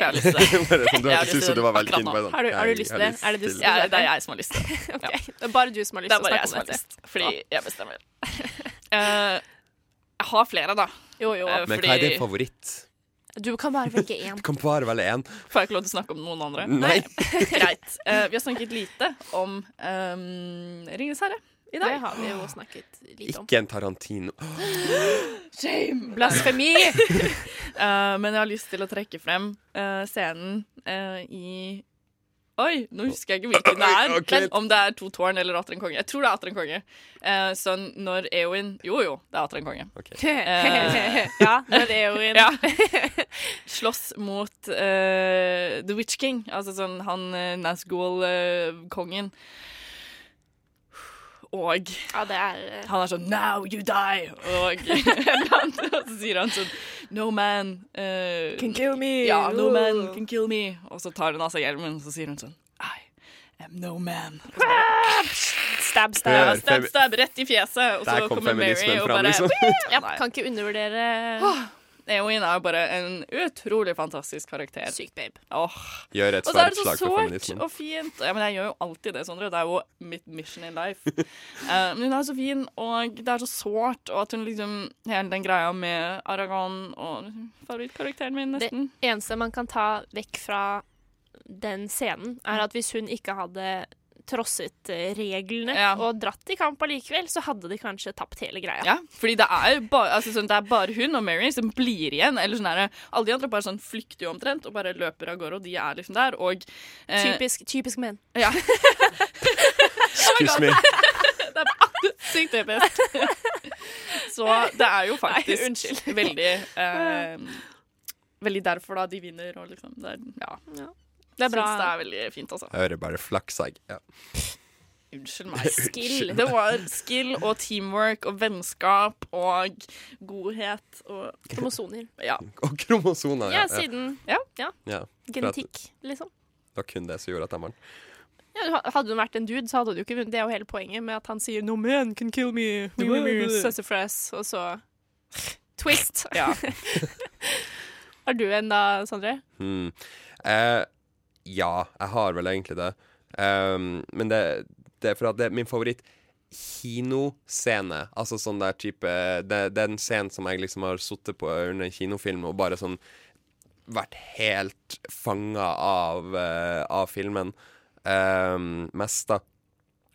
[SPEAKER 6] for jeg har lyst til det.
[SPEAKER 8] Bare sånn, du
[SPEAKER 6] Jeg
[SPEAKER 8] hørtes
[SPEAKER 6] har lyst
[SPEAKER 8] ut som
[SPEAKER 6] til
[SPEAKER 8] du var
[SPEAKER 6] det
[SPEAKER 8] veldig
[SPEAKER 6] akkurat
[SPEAKER 8] innpå
[SPEAKER 6] nå.
[SPEAKER 8] sånn.
[SPEAKER 7] Har du, har du
[SPEAKER 8] Jeg
[SPEAKER 7] lyst til
[SPEAKER 8] har
[SPEAKER 7] det?
[SPEAKER 8] lyst
[SPEAKER 7] Er det du
[SPEAKER 8] til
[SPEAKER 7] som
[SPEAKER 8] det.
[SPEAKER 6] Ja, det er jeg som har lyst til det.
[SPEAKER 7] Ok, Det er bare du som har lyst
[SPEAKER 6] Det
[SPEAKER 7] til
[SPEAKER 6] er
[SPEAKER 7] å
[SPEAKER 6] bare
[SPEAKER 7] snakke
[SPEAKER 6] jeg som
[SPEAKER 7] om
[SPEAKER 6] har
[SPEAKER 7] dette.
[SPEAKER 6] lyst, fordi jeg bestemmer. Eh, jeg har flere, da.
[SPEAKER 7] Jo, jo.
[SPEAKER 6] Eh,
[SPEAKER 8] Men
[SPEAKER 6] fordi
[SPEAKER 8] hva er din favoritt?
[SPEAKER 7] Du kan bare velge én.
[SPEAKER 8] Du kan bare velge én.
[SPEAKER 6] Får jeg ikke lov til å snakke om noen andre?
[SPEAKER 8] Nei.
[SPEAKER 6] Greit. Eh, vi har snakket lite om um, Ringenes herre i dag.
[SPEAKER 7] Det har vi jo snakket litt om.
[SPEAKER 8] Ikke en Tarantino.
[SPEAKER 6] Shame!
[SPEAKER 7] Blasfemi!
[SPEAKER 6] Eh, men jeg har lyst til å trekke frem eh, scenen eh, i Oi, nå husker jeg ikke hvilken det er.
[SPEAKER 7] Ok.
[SPEAKER 6] Men om det er To tårn eller Atter en konge. Jeg tror det er Atter en konge. Eh, sånn når Eowyn Jo, jo, det er Atter en konge. Eh,
[SPEAKER 7] ja, når Eowyn
[SPEAKER 6] ja. slåss mot eh, The Witch King, altså sånn han eh, uh, Nazgul-kongen. og
[SPEAKER 7] Ja, det er eh,
[SPEAKER 6] han er sånn 'Now you die!' Og, og så sier han sånn 'No man eh,
[SPEAKER 7] Can kill me!»
[SPEAKER 6] Ja, no
[SPEAKER 7] Ooh.
[SPEAKER 6] man can kill me. Og så tar hun av seg hjelmen, og så sier hun sånn I am no man. Og så bare,
[SPEAKER 7] Stab,
[SPEAKER 6] stab,
[SPEAKER 8] Hør,
[SPEAKER 6] stab,
[SPEAKER 8] femi-
[SPEAKER 6] stab, rett i fjeset. Og
[SPEAKER 8] Der
[SPEAKER 6] så
[SPEAKER 8] kom
[SPEAKER 6] kommer Mary
[SPEAKER 8] feminismen
[SPEAKER 6] og
[SPEAKER 8] fram,
[SPEAKER 6] bare
[SPEAKER 8] liksom.
[SPEAKER 7] ja, Kan ikke undervurdere
[SPEAKER 6] Eowyn Eh, er jo bare en utrolig fantastisk karakter.
[SPEAKER 7] Syk babe.
[SPEAKER 6] Åh.
[SPEAKER 8] Gjør et
[SPEAKER 6] Og så er
[SPEAKER 8] svært
[SPEAKER 6] det så
[SPEAKER 8] slag for
[SPEAKER 6] sårt
[SPEAKER 8] feminismen.
[SPEAKER 6] og fint. Ja, men jeg gjør jo alltid det, Sondre. Det er jo mitt mission in life. Eh, men hun er så fin, og det er så sårt, og at hun liksom Hele den greia med Aragon og favorittkarakteren min,
[SPEAKER 7] Det
[SPEAKER 6] nesten.
[SPEAKER 7] eneste man kan ta vekk fra den scenen,
[SPEAKER 6] Mm.
[SPEAKER 7] er at hvis hun ikke hadde trosset eh, reglene
[SPEAKER 6] Ja.
[SPEAKER 7] og dratt i kamp allikevel, så hadde de kanskje tapt hele greia.
[SPEAKER 6] Ja, fordi det er jo bare, altså, sånn, det er bare hun og Mary som blir igjen. Eller sånn er det. Alle de andre bare sånn flykter jo omtrent og bare løper av gårde, og de er liksom der. Og eh,
[SPEAKER 7] Typisk, typisk menn.
[SPEAKER 6] Ja.
[SPEAKER 8] Excuse me.
[SPEAKER 6] Sykt typisk. Så det er jo faktisk veldig eh, Veldig derfor da de vinner og liksom det er, ja.
[SPEAKER 7] Det er bra.
[SPEAKER 6] Syns det er veldig fint, altså.
[SPEAKER 8] Jeg hører bare flakssegg. Ja.
[SPEAKER 6] Unnskyld meg.
[SPEAKER 7] Skill.
[SPEAKER 6] Det var skill og teamwork og vennskap og godhet og
[SPEAKER 7] Kromosoner.
[SPEAKER 6] Ja.
[SPEAKER 8] Og kromosoner.
[SPEAKER 7] Ja, siden
[SPEAKER 6] Ja.
[SPEAKER 8] Ja, for at
[SPEAKER 7] Genetikk, liksom.
[SPEAKER 8] Det var kun det som gjorde at jeg vant.
[SPEAKER 7] Ja, du- hadde hun vært en dude, så hadde hun jo ikke vunnet. Det er jo hele poenget med at han sier 'No man can kill me', we will be sassafras, og så twist.
[SPEAKER 6] Ja.
[SPEAKER 7] er du en da, Sondre?
[SPEAKER 8] Hmm. Eh, ja, jeg har vel egentlig det. Ehm, men det, det er for at det er min favoritt kinoscene. Altså sånn der type det, Den scenen som jeg liksom har sittet på under en kinofilm og bare sånn vært helt fanga av, eh, av filmen. Um, mest, da.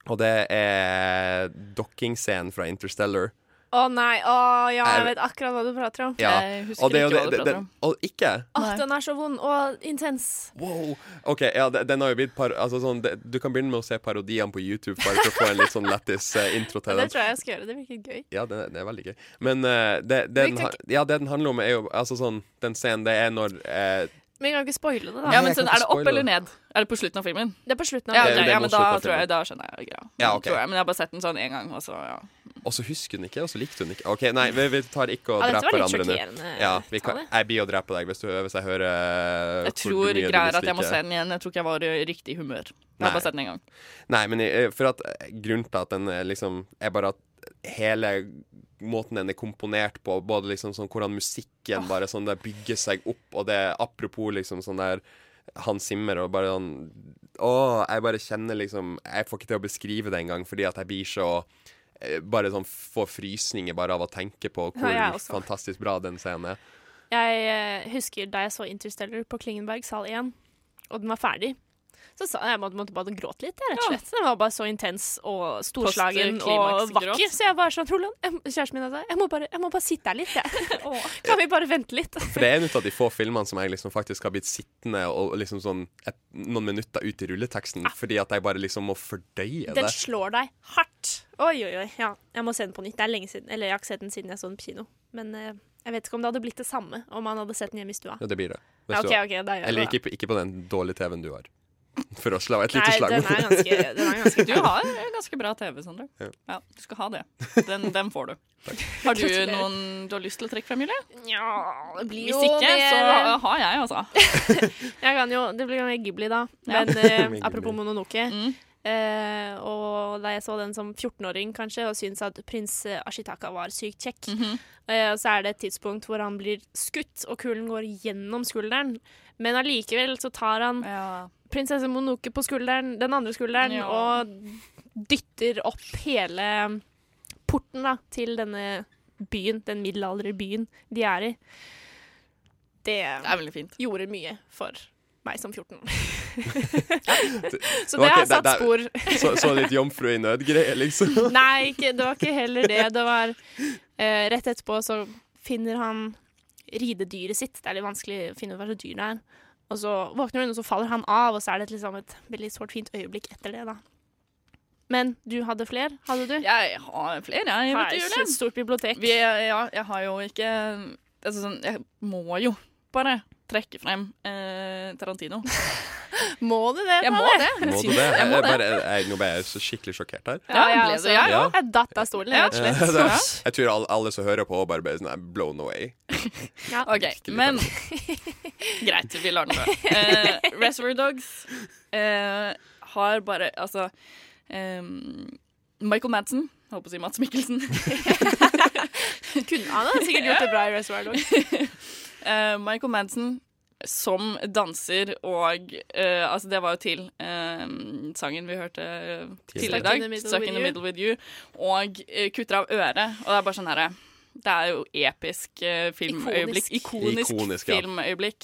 [SPEAKER 8] Og det er dokkingscenen fra Interstellar.
[SPEAKER 7] Å nei, å ja, jeg
[SPEAKER 8] Er-
[SPEAKER 7] vet akkurat hva du prater om.
[SPEAKER 8] Ja. og det er jo det- det- det-
[SPEAKER 6] om.
[SPEAKER 8] Og ikke?
[SPEAKER 7] Åh, den er så vond og intens.
[SPEAKER 8] Wow. OK, ja, de- den har jo blitt par altså, sånn, de- Du kan begynne med å se parodiene på YouTube bare for å få en litt sånn lættis eh, intro til den.
[SPEAKER 7] Det tror jeg jeg skal gjøre. Det virker gøy.
[SPEAKER 8] Ja, det, det er veldig gøy. Men eh, det, det,
[SPEAKER 7] Vi
[SPEAKER 8] den,
[SPEAKER 7] kan
[SPEAKER 8] ha- ja, det den handler om, er jo altså sånn Den scenen, det er når eh,
[SPEAKER 7] Men jeg kan ikke spoile det, da.
[SPEAKER 6] Ja, men
[SPEAKER 8] kan
[SPEAKER 6] sånn,
[SPEAKER 8] ikke
[SPEAKER 6] Er det opp
[SPEAKER 8] spoile
[SPEAKER 6] eller
[SPEAKER 8] det.
[SPEAKER 6] ned? Er det på slutten av filmen?
[SPEAKER 7] Det er på slutten av
[SPEAKER 6] Ja,
[SPEAKER 8] Det er jo
[SPEAKER 6] ok,
[SPEAKER 8] det
[SPEAKER 6] ja
[SPEAKER 8] mot
[SPEAKER 6] men da,
[SPEAKER 8] slutten av
[SPEAKER 6] tror jeg,
[SPEAKER 8] filmen.
[SPEAKER 6] da skjønner jeg greia.
[SPEAKER 8] Ja, ok.
[SPEAKER 6] Tror jeg, men jeg har bare sett den sånn én gang, og så ja.
[SPEAKER 8] Og så husker hun ikke, og så likte hun ikke. OK, nei, vi, vi tar ikke og
[SPEAKER 7] Ja, dette var
[SPEAKER 8] dreper
[SPEAKER 7] litt
[SPEAKER 8] hverandre nå.
[SPEAKER 7] sjokkerende
[SPEAKER 8] Ja, vi kan,
[SPEAKER 6] tale.
[SPEAKER 8] jeg blir å drepe deg hvis, du, hvis jeg hører
[SPEAKER 6] Jeg
[SPEAKER 8] hvor mye
[SPEAKER 6] tror
[SPEAKER 8] du
[SPEAKER 6] greier at jeg må
[SPEAKER 8] misliker.
[SPEAKER 6] se den igjen. Jeg tror ikke jeg var i riktig humør. Jeg
[SPEAKER 8] Nei.
[SPEAKER 6] har bare sett den en gang.
[SPEAKER 8] Nei, men jeg- for at eh, grunnen til at den er liksom er bare at hele måten den er komponert på, både liksom sånn hvordan musikken bare sånn der bygger seg opp, og det apropos liksom sånn der Hans Zimmer og bare sånn Å, jeg bare kjenner liksom Jeg får ikke til å beskrive det engang, fordi at jeg blir så eh, Bare sånn får frysninger bare av å tenke på hvor
[SPEAKER 7] Ja, jeg også.
[SPEAKER 8] fantastisk bra den scenen er.
[SPEAKER 7] Jeg eh, husker da jeg så Interstellar på Klingenberg sal 1, og den var ferdig. Så sa jeg måtte, måtte bare gråte litt, jeg, rett og slett. Den var bare så intens og storslagen og
[SPEAKER 6] Postklimaksgråt.
[SPEAKER 7] vakker. Så jeg var sånn Roland, jeg, kjæresten min sa jeg må bare, jeg må bare sitte her litt, jeg. Kan vi bare vente litt?
[SPEAKER 8] For det er en av de få filmene som jeg liksom faktisk har blitt sittende og liksom sånn et, noen minutter ut i rulleteksten, fordi at jeg bare liksom må fordøye det.
[SPEAKER 7] Ah. Den slår deg hardt. Oi, oi, oi. Ja, jeg må se den på nytt. Det er lenge siden. Eller jeg har ikke sett den siden jeg så den på kino. Men eh, jeg vet ikke om det hadde blitt det samme om man hadde sett den hjemme i stua.
[SPEAKER 8] Ja, det blir det.
[SPEAKER 7] Ja,
[SPEAKER 8] du-
[SPEAKER 7] ok, ok, da gjør jeg
[SPEAKER 8] Eller
[SPEAKER 7] det, da.
[SPEAKER 8] ikke, på- ikke på den dårlige TV-en du har. For å slå et lite
[SPEAKER 7] Nei,
[SPEAKER 8] slag
[SPEAKER 7] den
[SPEAKER 8] mot
[SPEAKER 7] er ganske, den er ganske
[SPEAKER 6] Du har ganske bra TV, Sondre.
[SPEAKER 8] Ja.
[SPEAKER 6] Ja. du skal ha det. Den, den får du. Har du noen du har lyst til å trekke frem, Julie?
[SPEAKER 7] Ja, det blir
[SPEAKER 6] Hvis
[SPEAKER 7] jo
[SPEAKER 6] ikke,
[SPEAKER 7] mer,
[SPEAKER 6] så
[SPEAKER 7] eh,
[SPEAKER 6] har jeg, altså.
[SPEAKER 7] Jeg kan jo, det blir jo mer Ghibli da.
[SPEAKER 6] Ja. Mm.
[SPEAKER 7] Men eh,
[SPEAKER 6] Mer Ghibli.
[SPEAKER 7] apropos Mononoke. eh, og da jeg så den som 14-åring kanskje, og syntes at prins eh, Ashitaka var sykt kjekk,
[SPEAKER 6] Mhm.
[SPEAKER 7] eh, og så er det et tidspunkt hvor han blir skutt, og kulen går gjennom skulderen. Men allikevel så tar han prinsesse Mononoke på skulderen, den andre skulderen,
[SPEAKER 6] Ja.
[SPEAKER 7] og dytter opp hele mm, porten da, til denne byen, den middelalderbyen de er i. Det,
[SPEAKER 6] er veldig fint.
[SPEAKER 7] gjorde mye for meg som 14 år. så
[SPEAKER 8] var ikke-
[SPEAKER 7] det har satt
[SPEAKER 8] det-
[SPEAKER 7] spor.
[SPEAKER 8] Så, så litt jomfru i nød-greie, liksom.
[SPEAKER 7] Nei, ikke, det var ikke heller det. Det var eh, Rett etterpå så finner han ridedyret sitt. Det er litt vanskelig å finne ut hva slags dyr det er. Og så våkner hun, og så faller han av, og så er det et liksom et veldig sårt fint øyeblikk etter det, da. Men du hadde flere, hadde du?
[SPEAKER 6] Jeg har flere, jeg.
[SPEAKER 7] Har
[SPEAKER 6] Vet du,
[SPEAKER 7] ikke
[SPEAKER 6] Julie.
[SPEAKER 7] et stort bibliotek.
[SPEAKER 6] Vi, ja, jeg har jo ikke altså, sånn, Jeg må jo bare trekke frem eh, Tarantino.
[SPEAKER 7] Må du det?
[SPEAKER 6] Jeg må
[SPEAKER 7] Palle?
[SPEAKER 6] det.
[SPEAKER 8] Må du det?
[SPEAKER 6] Jeg
[SPEAKER 8] Jeg,
[SPEAKER 6] må det.
[SPEAKER 8] bare, jeg, nå ble jeg så skikkelig sjokkert her.
[SPEAKER 7] Ja,
[SPEAKER 6] ble
[SPEAKER 7] jeg, også.
[SPEAKER 6] det, jeg
[SPEAKER 8] Ja.
[SPEAKER 7] også. jeg datt av stolen, rett og
[SPEAKER 8] Eh,
[SPEAKER 7] slett.
[SPEAKER 8] det- Jeg tror alle, alle som hører på, bare ble sånn eh, blown away.
[SPEAKER 6] OK, men Greit, vi lar den være. Eh, Reservoir Dogs eh, har bare Altså eh, Michael Madsen, holdt på å si Mats Mikkelsen.
[SPEAKER 7] Kunne han da sikkert gjort det bra i Reservoir Dogs.
[SPEAKER 6] Eh, Michael Madsen som danser og eh, Altså, det var jo til eh, sangen vi hørte eh, tidligere i
[SPEAKER 7] Stuck in the
[SPEAKER 6] dag,
[SPEAKER 7] Middle
[SPEAKER 6] 'Stuck
[SPEAKER 7] with
[SPEAKER 6] in the
[SPEAKER 7] You.
[SPEAKER 6] Middle With You', og eh, kutter av øret. Og det er bare sånn herre Det er jo episk eh, filmøyeblikk. Ikonisk,
[SPEAKER 8] Ikonisk, ja.
[SPEAKER 6] filmøyeblikk.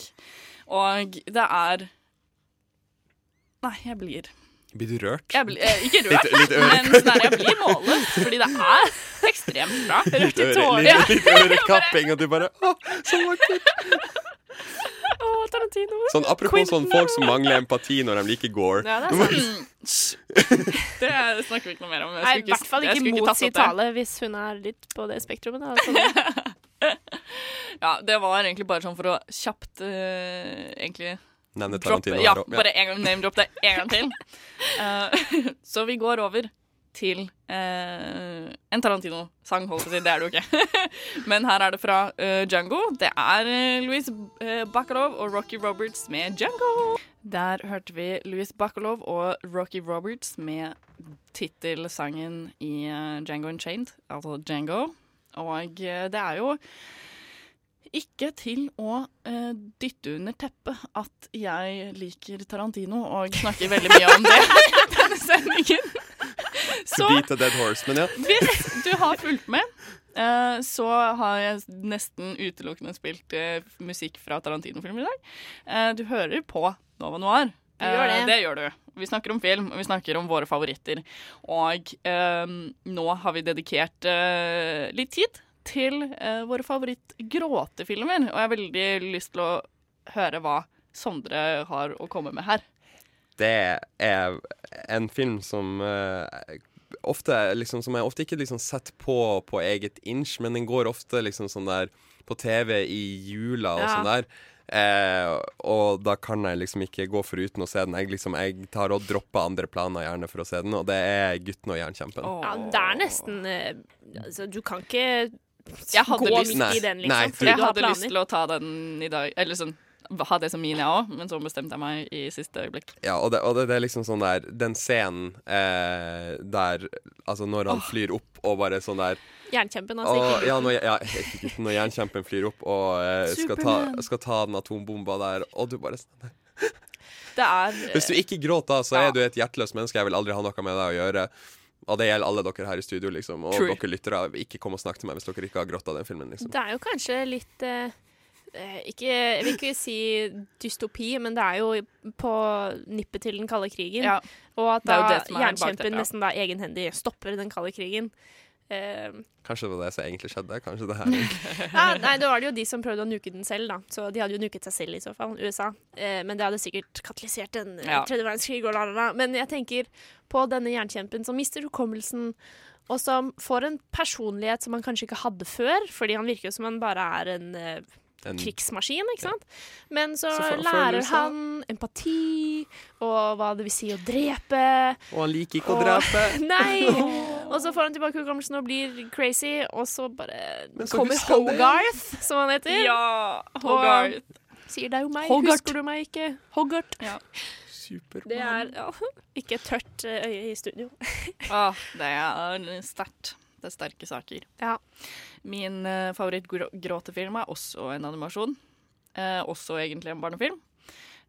[SPEAKER 6] Og det er Nei, jeg blir
[SPEAKER 8] Blir du rørt?
[SPEAKER 6] jeg blir, eh, Ikke rørt,
[SPEAKER 8] Litt- litt øre-
[SPEAKER 6] men sånn her, jeg blir målet, fordi det er ekstremt bra.
[SPEAKER 8] Litt
[SPEAKER 6] i
[SPEAKER 8] øre-
[SPEAKER 6] tårer.
[SPEAKER 8] litt- litt ørekapping, og du bare «Å, så vakkert.
[SPEAKER 7] Å, Tarantino.
[SPEAKER 8] Sånn apropos sånn folk som mangler empati når de liker gore.
[SPEAKER 7] Ja, det er
[SPEAKER 6] sant. Det snakker vi ikke noe mer om. Jeg
[SPEAKER 7] Nei,
[SPEAKER 6] skulle
[SPEAKER 7] i hvert fall
[SPEAKER 6] jeg
[SPEAKER 7] ikke
[SPEAKER 6] skulle
[SPEAKER 7] mot
[SPEAKER 6] tatt
[SPEAKER 7] sin
[SPEAKER 6] opp det.
[SPEAKER 7] tale hvis hun er litt på det spektrumet. Da. Altså, Så,
[SPEAKER 6] Ja, det var egentlig bare sånn for å kjapt eh, egentlig
[SPEAKER 8] Nevne
[SPEAKER 6] droppe-
[SPEAKER 8] Tarantino
[SPEAKER 6] Ja,
[SPEAKER 8] her også, ja.
[SPEAKER 6] bare en gang name drop det en gang til. Eh, så vi går over til eh, en Tarantino-sang, holdt jeg på å si. Det er det jo ikke. Men her er det fra eh, Django. Det er uh, Louis eh, Bacalov og Rocky Roberts med Django. Der hørte vi Louis Bacalov og Rocky Roberts med tittelsangen i eh, Django Unchained, altså Django. Og eh, det er jo ikke til å eh, dytte under teppet at jeg liker Tarantino og snakker veldig mye om det i denne sendingen.
[SPEAKER 8] To
[SPEAKER 6] Så
[SPEAKER 8] beat a dead horse, men ja.
[SPEAKER 6] hvis du har fulgt med, eh, så har jeg nesten utelukkende spilt eh, musikk fra Tarantino-filmer i dag. Eh, du hører på Nova Noir.
[SPEAKER 7] Du gjør
[SPEAKER 6] Eh,
[SPEAKER 7] det.
[SPEAKER 6] det gjør du. Vi snakker om film, og vi snakker om våre favoritter. Og eh, nå har vi dedikert eh, litt tid til eh, våre favorittgråtefilmer. Og jeg har veldig lyst til å høre hva Sondre har å komme med her.
[SPEAKER 8] det er en film som eh, ofte liksom, Som jeg ofte ikke liksom setter på på eget inch, men den går ofte liksom sånn der på TV i jula og
[SPEAKER 6] Ja.
[SPEAKER 8] sånn der. Eh, og da kan jeg liksom ikke gå foruten å se den. Jeg, liksom, jeg tar og dropper andre planer gjerne for å se den, og det er 'Gutten og jernkjempen'.
[SPEAKER 7] Ja, det er nesten eh, altså, Du kan ikke
[SPEAKER 6] Jeg hadde
[SPEAKER 7] gå
[SPEAKER 6] lyst-
[SPEAKER 7] midt i den, liksom.
[SPEAKER 8] Nei,
[SPEAKER 7] fordi
[SPEAKER 6] For jeg
[SPEAKER 7] du har
[SPEAKER 6] hadde lyst
[SPEAKER 7] planer.
[SPEAKER 6] til å ta den i dag, eller sånn ha det som min, jeg òg, men så bestemte jeg meg i siste øyeblikk.
[SPEAKER 8] Ja, og det, og det, det er liksom sånn der Den scenen eh, der Altså, når han
[SPEAKER 6] Åh.
[SPEAKER 8] flyr opp og bare sånn der
[SPEAKER 7] Jernkjempen, altså.
[SPEAKER 8] og,
[SPEAKER 7] ikke
[SPEAKER 8] ja,
[SPEAKER 7] gutten.
[SPEAKER 8] når, ja, ikke gutten, når jernkjempen flyr opp og eh, skal, ta,
[SPEAKER 7] Superman.
[SPEAKER 8] skal ta den atombomba der, og du bare sånn
[SPEAKER 6] Det er eh,
[SPEAKER 8] Hvis du ikke gråter, så er du et hjerteløst menneske. Jeg vil aldri ha noe med deg å gjøre. Og det gjelder alle dere her i studio, liksom. Og
[SPEAKER 7] True.
[SPEAKER 8] dere lyttere, ikke kom og snakk til meg hvis dere ikke har grått av den filmen, liksom.
[SPEAKER 7] Det er jo kanskje litt eh, eh, ikke, Jeg vil ikke si dystopi, men det er jo på nippet til den kalde krigen.
[SPEAKER 6] Ja.
[SPEAKER 7] Og at
[SPEAKER 6] Det er jo
[SPEAKER 7] da
[SPEAKER 6] det som er bak dette,
[SPEAKER 7] jernkjempen
[SPEAKER 6] ja.
[SPEAKER 7] nesten da egenhendig stopper den kalde krigen. Eh,
[SPEAKER 8] Kanskje det var det som egentlig skjedde. Kanskje det her
[SPEAKER 7] ja, nei, da var det jo de som prøvde å nuke den selv, da. Så de hadde jo nuket seg selv, i så fall, USA. Eh, men det hadde sikkert katalysert en eh,
[SPEAKER 6] Ja.
[SPEAKER 7] tredje verdenskrig og la, la, la. Men jeg tenker på denne jernkjempen som mister hukommelsen, og som får en personlighet som han kanskje ikke hadde før, fordi han virker jo som han bare er en eh,
[SPEAKER 6] En-
[SPEAKER 7] krigsmaskin, ikke sant? Men så,
[SPEAKER 6] Så føl-
[SPEAKER 7] lærer
[SPEAKER 6] følelser.
[SPEAKER 7] han empati, og hva det vil si å drepe.
[SPEAKER 8] Og han liker ikke
[SPEAKER 7] og-
[SPEAKER 8] å drepe.
[SPEAKER 7] Nei! Og så får han tilbake hukommelsen og blir crazy, og så bare
[SPEAKER 8] Men så
[SPEAKER 7] kommer
[SPEAKER 8] husker han det.
[SPEAKER 7] Hogarth, som han heter.
[SPEAKER 6] Ja,
[SPEAKER 7] og
[SPEAKER 6] Hogarth.
[SPEAKER 7] Sier 'det er jo meg,
[SPEAKER 6] Hogarth.
[SPEAKER 7] husker du meg ikke?' Hogarth. Det er
[SPEAKER 6] Superman.
[SPEAKER 7] ja, ikke et tørt eh, øye i studio.
[SPEAKER 6] Åh, det er sterkt. Det er sterke saker.
[SPEAKER 7] Ja.
[SPEAKER 6] Min uh, favorittgråtefilm er også en animasjon. Eh, også egentlig en barnefilm.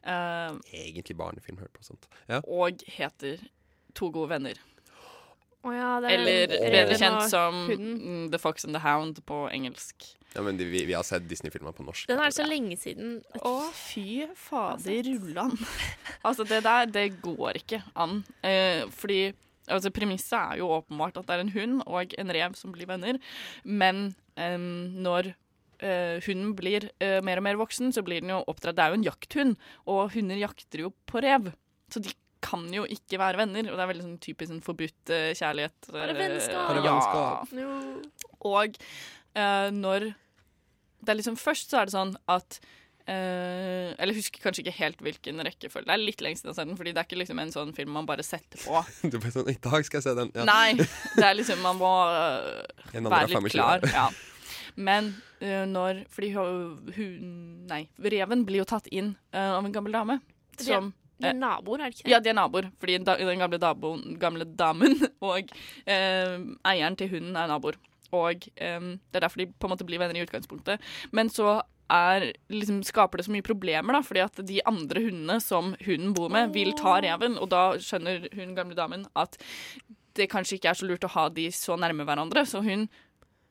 [SPEAKER 6] Eh,
[SPEAKER 8] Egentlig barnefilm, hørt på sånt. Ja.
[SPEAKER 6] Og heter To gode venner.
[SPEAKER 7] Å ja, det er
[SPEAKER 6] Eller
[SPEAKER 7] den
[SPEAKER 6] bedre
[SPEAKER 7] reven
[SPEAKER 6] kjent
[SPEAKER 7] og
[SPEAKER 6] som
[SPEAKER 7] hunden.
[SPEAKER 6] mm, The Fox and the Hound på engelsk.
[SPEAKER 8] Ja, men de, vi, vi har sett Disney-filmer på norsk.
[SPEAKER 7] Den er så lenge siden.
[SPEAKER 6] Å, fy fader rullan. altså, det der, det går ikke an. Eh, fordi altså, premisset er jo åpenbart at det er en hund og en rev som blir venner, men eh, når eh, hunden blir eh, mer og mer voksen, så blir den jo oppdratt Det er jo en jakthund, og hunder jakter jo på rev. Så de kan jo ikke være venner, og det er veldig sånn typisk sånn forbudt eh, kjærlighet.
[SPEAKER 7] Bare
[SPEAKER 6] eh,
[SPEAKER 7] vennskap.
[SPEAKER 6] ja. Og eh, når Det er liksom først så er det sånn at eh, Eller jeg husker kanskje ikke helt hvilken rekkefølge. Det er litt lengst siden jeg har sett den, fordi det er ikke liksom en sånn film man bare setter på.
[SPEAKER 8] Du bare sånn I dag skal jeg se den. Ja.
[SPEAKER 6] Nei, det er liksom Man må øh,
[SPEAKER 8] En andre
[SPEAKER 6] være
[SPEAKER 8] fem i
[SPEAKER 6] litt
[SPEAKER 8] tjue.
[SPEAKER 6] klar. Ja. Men øh, når Fordi hun, hun Nei, reven blir jo tatt inn øh, av en gammel dame
[SPEAKER 7] De-
[SPEAKER 6] som
[SPEAKER 7] de er
[SPEAKER 6] eh,
[SPEAKER 7] naboer, er det ikke det?
[SPEAKER 6] Ja, de er naboer. Fordi da, den gamle, daboen, gamle damen og eh, eieren til hunden er naboer. Og eh, det er derfor de på en måte blir venner i utgangspunktet. Men så er, liksom, skaper det så mye problemer, da, fordi at de andre hundene som hunden bor med, vil ta reven. Og da skjønner hun gamle damen at det kanskje ikke er så lurt å ha de så nærme hverandre, så hun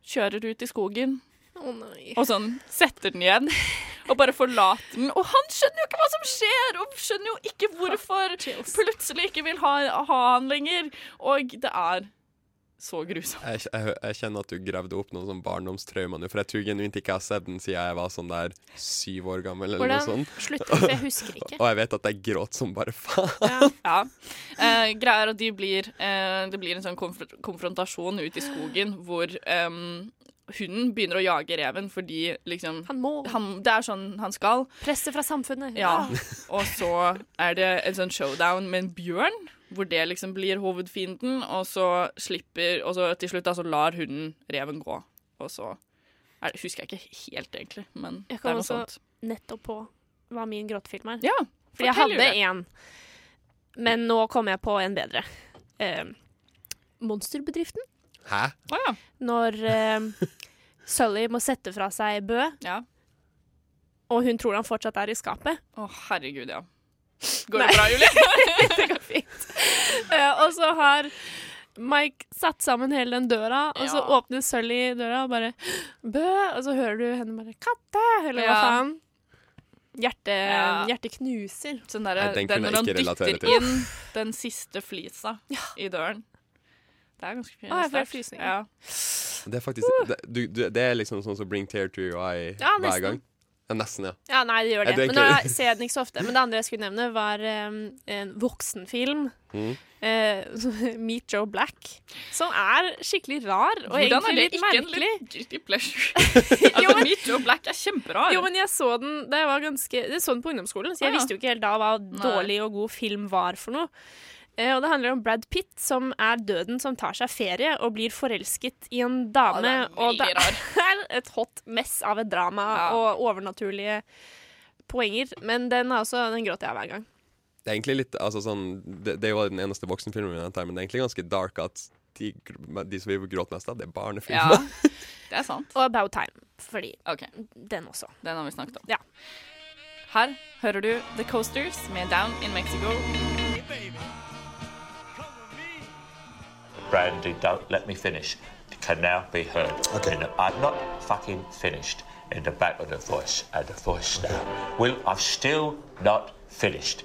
[SPEAKER 6] kjører ut i skogen
[SPEAKER 7] Å nei.
[SPEAKER 6] og sånn setter den igjen. Og bare forlater den. Og han skjønner jo ikke hva som skjer! Og skjønner jo ikke hvorfor plutselig ikke vil ha, ha han lenger. Og det er så grusomt.
[SPEAKER 8] Jeg, jeg, jeg kjenner at du gravde opp noen sånn barndomstraumer nå, for jeg tror genuint ikke jeg har sett den siden jeg var sånn der syv år gammel, eller
[SPEAKER 6] Hvordan?
[SPEAKER 8] noe sånt.
[SPEAKER 6] Slutt, for jeg husker ikke.
[SPEAKER 8] Og jeg vet at jeg gråt som bare faen.
[SPEAKER 6] Ja. Eh, greier at de blir eh, Det blir en sånn konf konfrontasjon ute i skogen hvor em, hunden begynner å jage reven fordi liksom
[SPEAKER 7] Han må.
[SPEAKER 6] det er sånn han skal.
[SPEAKER 7] Presset fra samfunnet.
[SPEAKER 6] Ja. Og så er det en sånn showdown med en bjørn, hvor det liksom blir hovedfienden, og så slipper Og så til slutt da, så lar hunden reven gå, og så er det, Husker jeg ikke helt, egentlig, men det
[SPEAKER 7] Jeg
[SPEAKER 6] er
[SPEAKER 7] kom
[SPEAKER 6] noe
[SPEAKER 7] også
[SPEAKER 6] sånt.
[SPEAKER 7] nettopp på hva min gråtefilm er.
[SPEAKER 6] Ja,
[SPEAKER 7] For jeg
[SPEAKER 6] fortell,
[SPEAKER 7] hadde
[SPEAKER 6] Julie.
[SPEAKER 7] én, men nå kom jeg på en bedre. Eh, monsterbedriften.
[SPEAKER 8] Hæ?
[SPEAKER 7] Når eh, Sully må sette fra seg Bø, og hun tror han fortsatt er i skapet.
[SPEAKER 6] Å, herregud, ja. Går det bra, Julie?
[SPEAKER 7] det går fint. Eh, og så har Mike satt sammen hele den døra, og så åpner Sully døra og bare Bø! Og så hører du henne bare 'Katte!' eller hva
[SPEAKER 6] Ja.
[SPEAKER 7] faen. Hjerte,
[SPEAKER 6] Ja.
[SPEAKER 7] Hjertet knuser.
[SPEAKER 6] Sånn der,
[SPEAKER 8] Nei, den
[SPEAKER 6] den
[SPEAKER 8] kunne
[SPEAKER 6] når han
[SPEAKER 8] jeg ikke
[SPEAKER 6] dytter
[SPEAKER 8] relatere til.
[SPEAKER 6] inn den siste flisa i døren. Det er ganske
[SPEAKER 7] Å, jeg får helt
[SPEAKER 6] sterkt.
[SPEAKER 7] frysninger.
[SPEAKER 6] Ja.
[SPEAKER 8] Det er faktisk det, du, du, det er liksom sånn som Bring Tear to Your Eye
[SPEAKER 6] Ja,
[SPEAKER 8] hver
[SPEAKER 6] nesten.
[SPEAKER 8] gang. Ja, nesten, ja.
[SPEAKER 7] Ja, nei, det gjør
[SPEAKER 8] Er
[SPEAKER 7] det.
[SPEAKER 8] du
[SPEAKER 7] Men nå
[SPEAKER 8] egentlig-
[SPEAKER 7] ser jeg den ikke så ofte. Men det andre jeg skulle nevne, var em, en voksenfilm.
[SPEAKER 8] Mhm.
[SPEAKER 7] eh, Meet Joe Black, som er skikkelig rar og
[SPEAKER 6] Hvordan er
[SPEAKER 7] egentlig
[SPEAKER 6] det
[SPEAKER 7] litt
[SPEAKER 6] ikke en
[SPEAKER 7] merkelig.
[SPEAKER 6] litt guilty pleasure? altså, Meet Joe Black er kjemperar.
[SPEAKER 7] Jo, men jeg så den da jeg var ganske Jeg så den på ungdomsskolen, så jeg
[SPEAKER 6] Ah, ja.
[SPEAKER 7] visste jo ikke helt da hva
[SPEAKER 6] Nei.
[SPEAKER 7] dårlig og god film var for noe. Eh, og det handler om Brad Pitt, som er døden som tar seg ferie og blir forelsket i en dame.
[SPEAKER 6] Ja, det er
[SPEAKER 7] og det
[SPEAKER 6] veldig
[SPEAKER 7] er et hot mess av et drama og overnaturlige poenger. Men den, er også, den gråter jeg av hver gang.
[SPEAKER 8] Det er egentlig litt altså, sånn, det, det er jo den eneste voksenfilmen vi nevnte her, men det er egentlig ganske dark at de, gr- de som vi gråter mest av, det er barnefilmer.
[SPEAKER 6] Det er sant.
[SPEAKER 7] Og About Time, fordi den også.
[SPEAKER 6] Den har vi snakket om.
[SPEAKER 7] Ja.
[SPEAKER 6] Her hører du The Coasters med Down in Mexico.
[SPEAKER 15] Brandy, don't let me finish. It can now be heard. Okay. I'm not fucking finished. In the back of the voice, and the voice now. Will, I'm still not finished.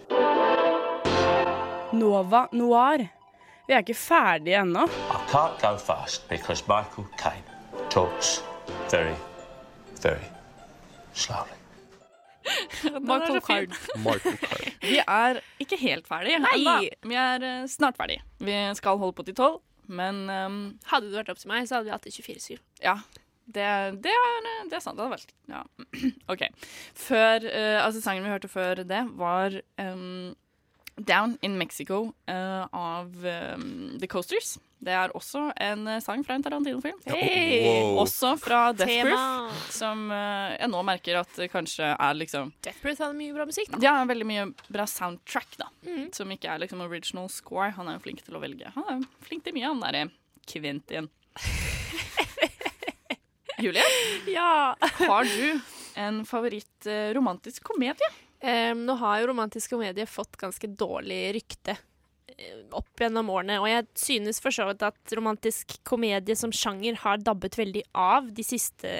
[SPEAKER 10] Nova Noir. Vi er ikke ferdige ennå.
[SPEAKER 15] I can't go fast because Michael Caine talks very, very slowly.
[SPEAKER 6] Michael Card. Vi er ikke helt ferdige
[SPEAKER 7] Nei!
[SPEAKER 6] ennå. Vi er eh, snart ferdige. Vi skal holde på til tolv, men ehm,
[SPEAKER 7] Hadde det vært opp til meg, så hadde vi hatt det 24-7.
[SPEAKER 6] Ja. Det, det, er, det er sant. Det hadde vært ja. OK. Før, eh, altså sangen vi hørte før det, var ehm, Down in Mexico eh, av ehm, The Coasters. Det er også en eh, sang fra en Tarantino-film.
[SPEAKER 7] Hey! wow.
[SPEAKER 6] Også fra Death
[SPEAKER 7] Tema.
[SPEAKER 6] Proof, som eh, jeg nå merker at det kanskje er liksom
[SPEAKER 7] Death Proof hadde mye bra musikk, da.
[SPEAKER 6] ja, veldig mye bra soundtrack, da. Som ikke er liksom original score. Han er jo flink til å velge. Han er jo flink til mye, han eh, derre Quentin. Julie,
[SPEAKER 7] Ja.
[SPEAKER 6] har du en favoritt eh, romantisk komedie?
[SPEAKER 7] Em, Ehm, nå har jo romantisk komedie fått ganske dårlig rykte eh, opp gjennom årene, og jeg synes for så vidt at romantisk komedie som sjanger har dabbet veldig av de siste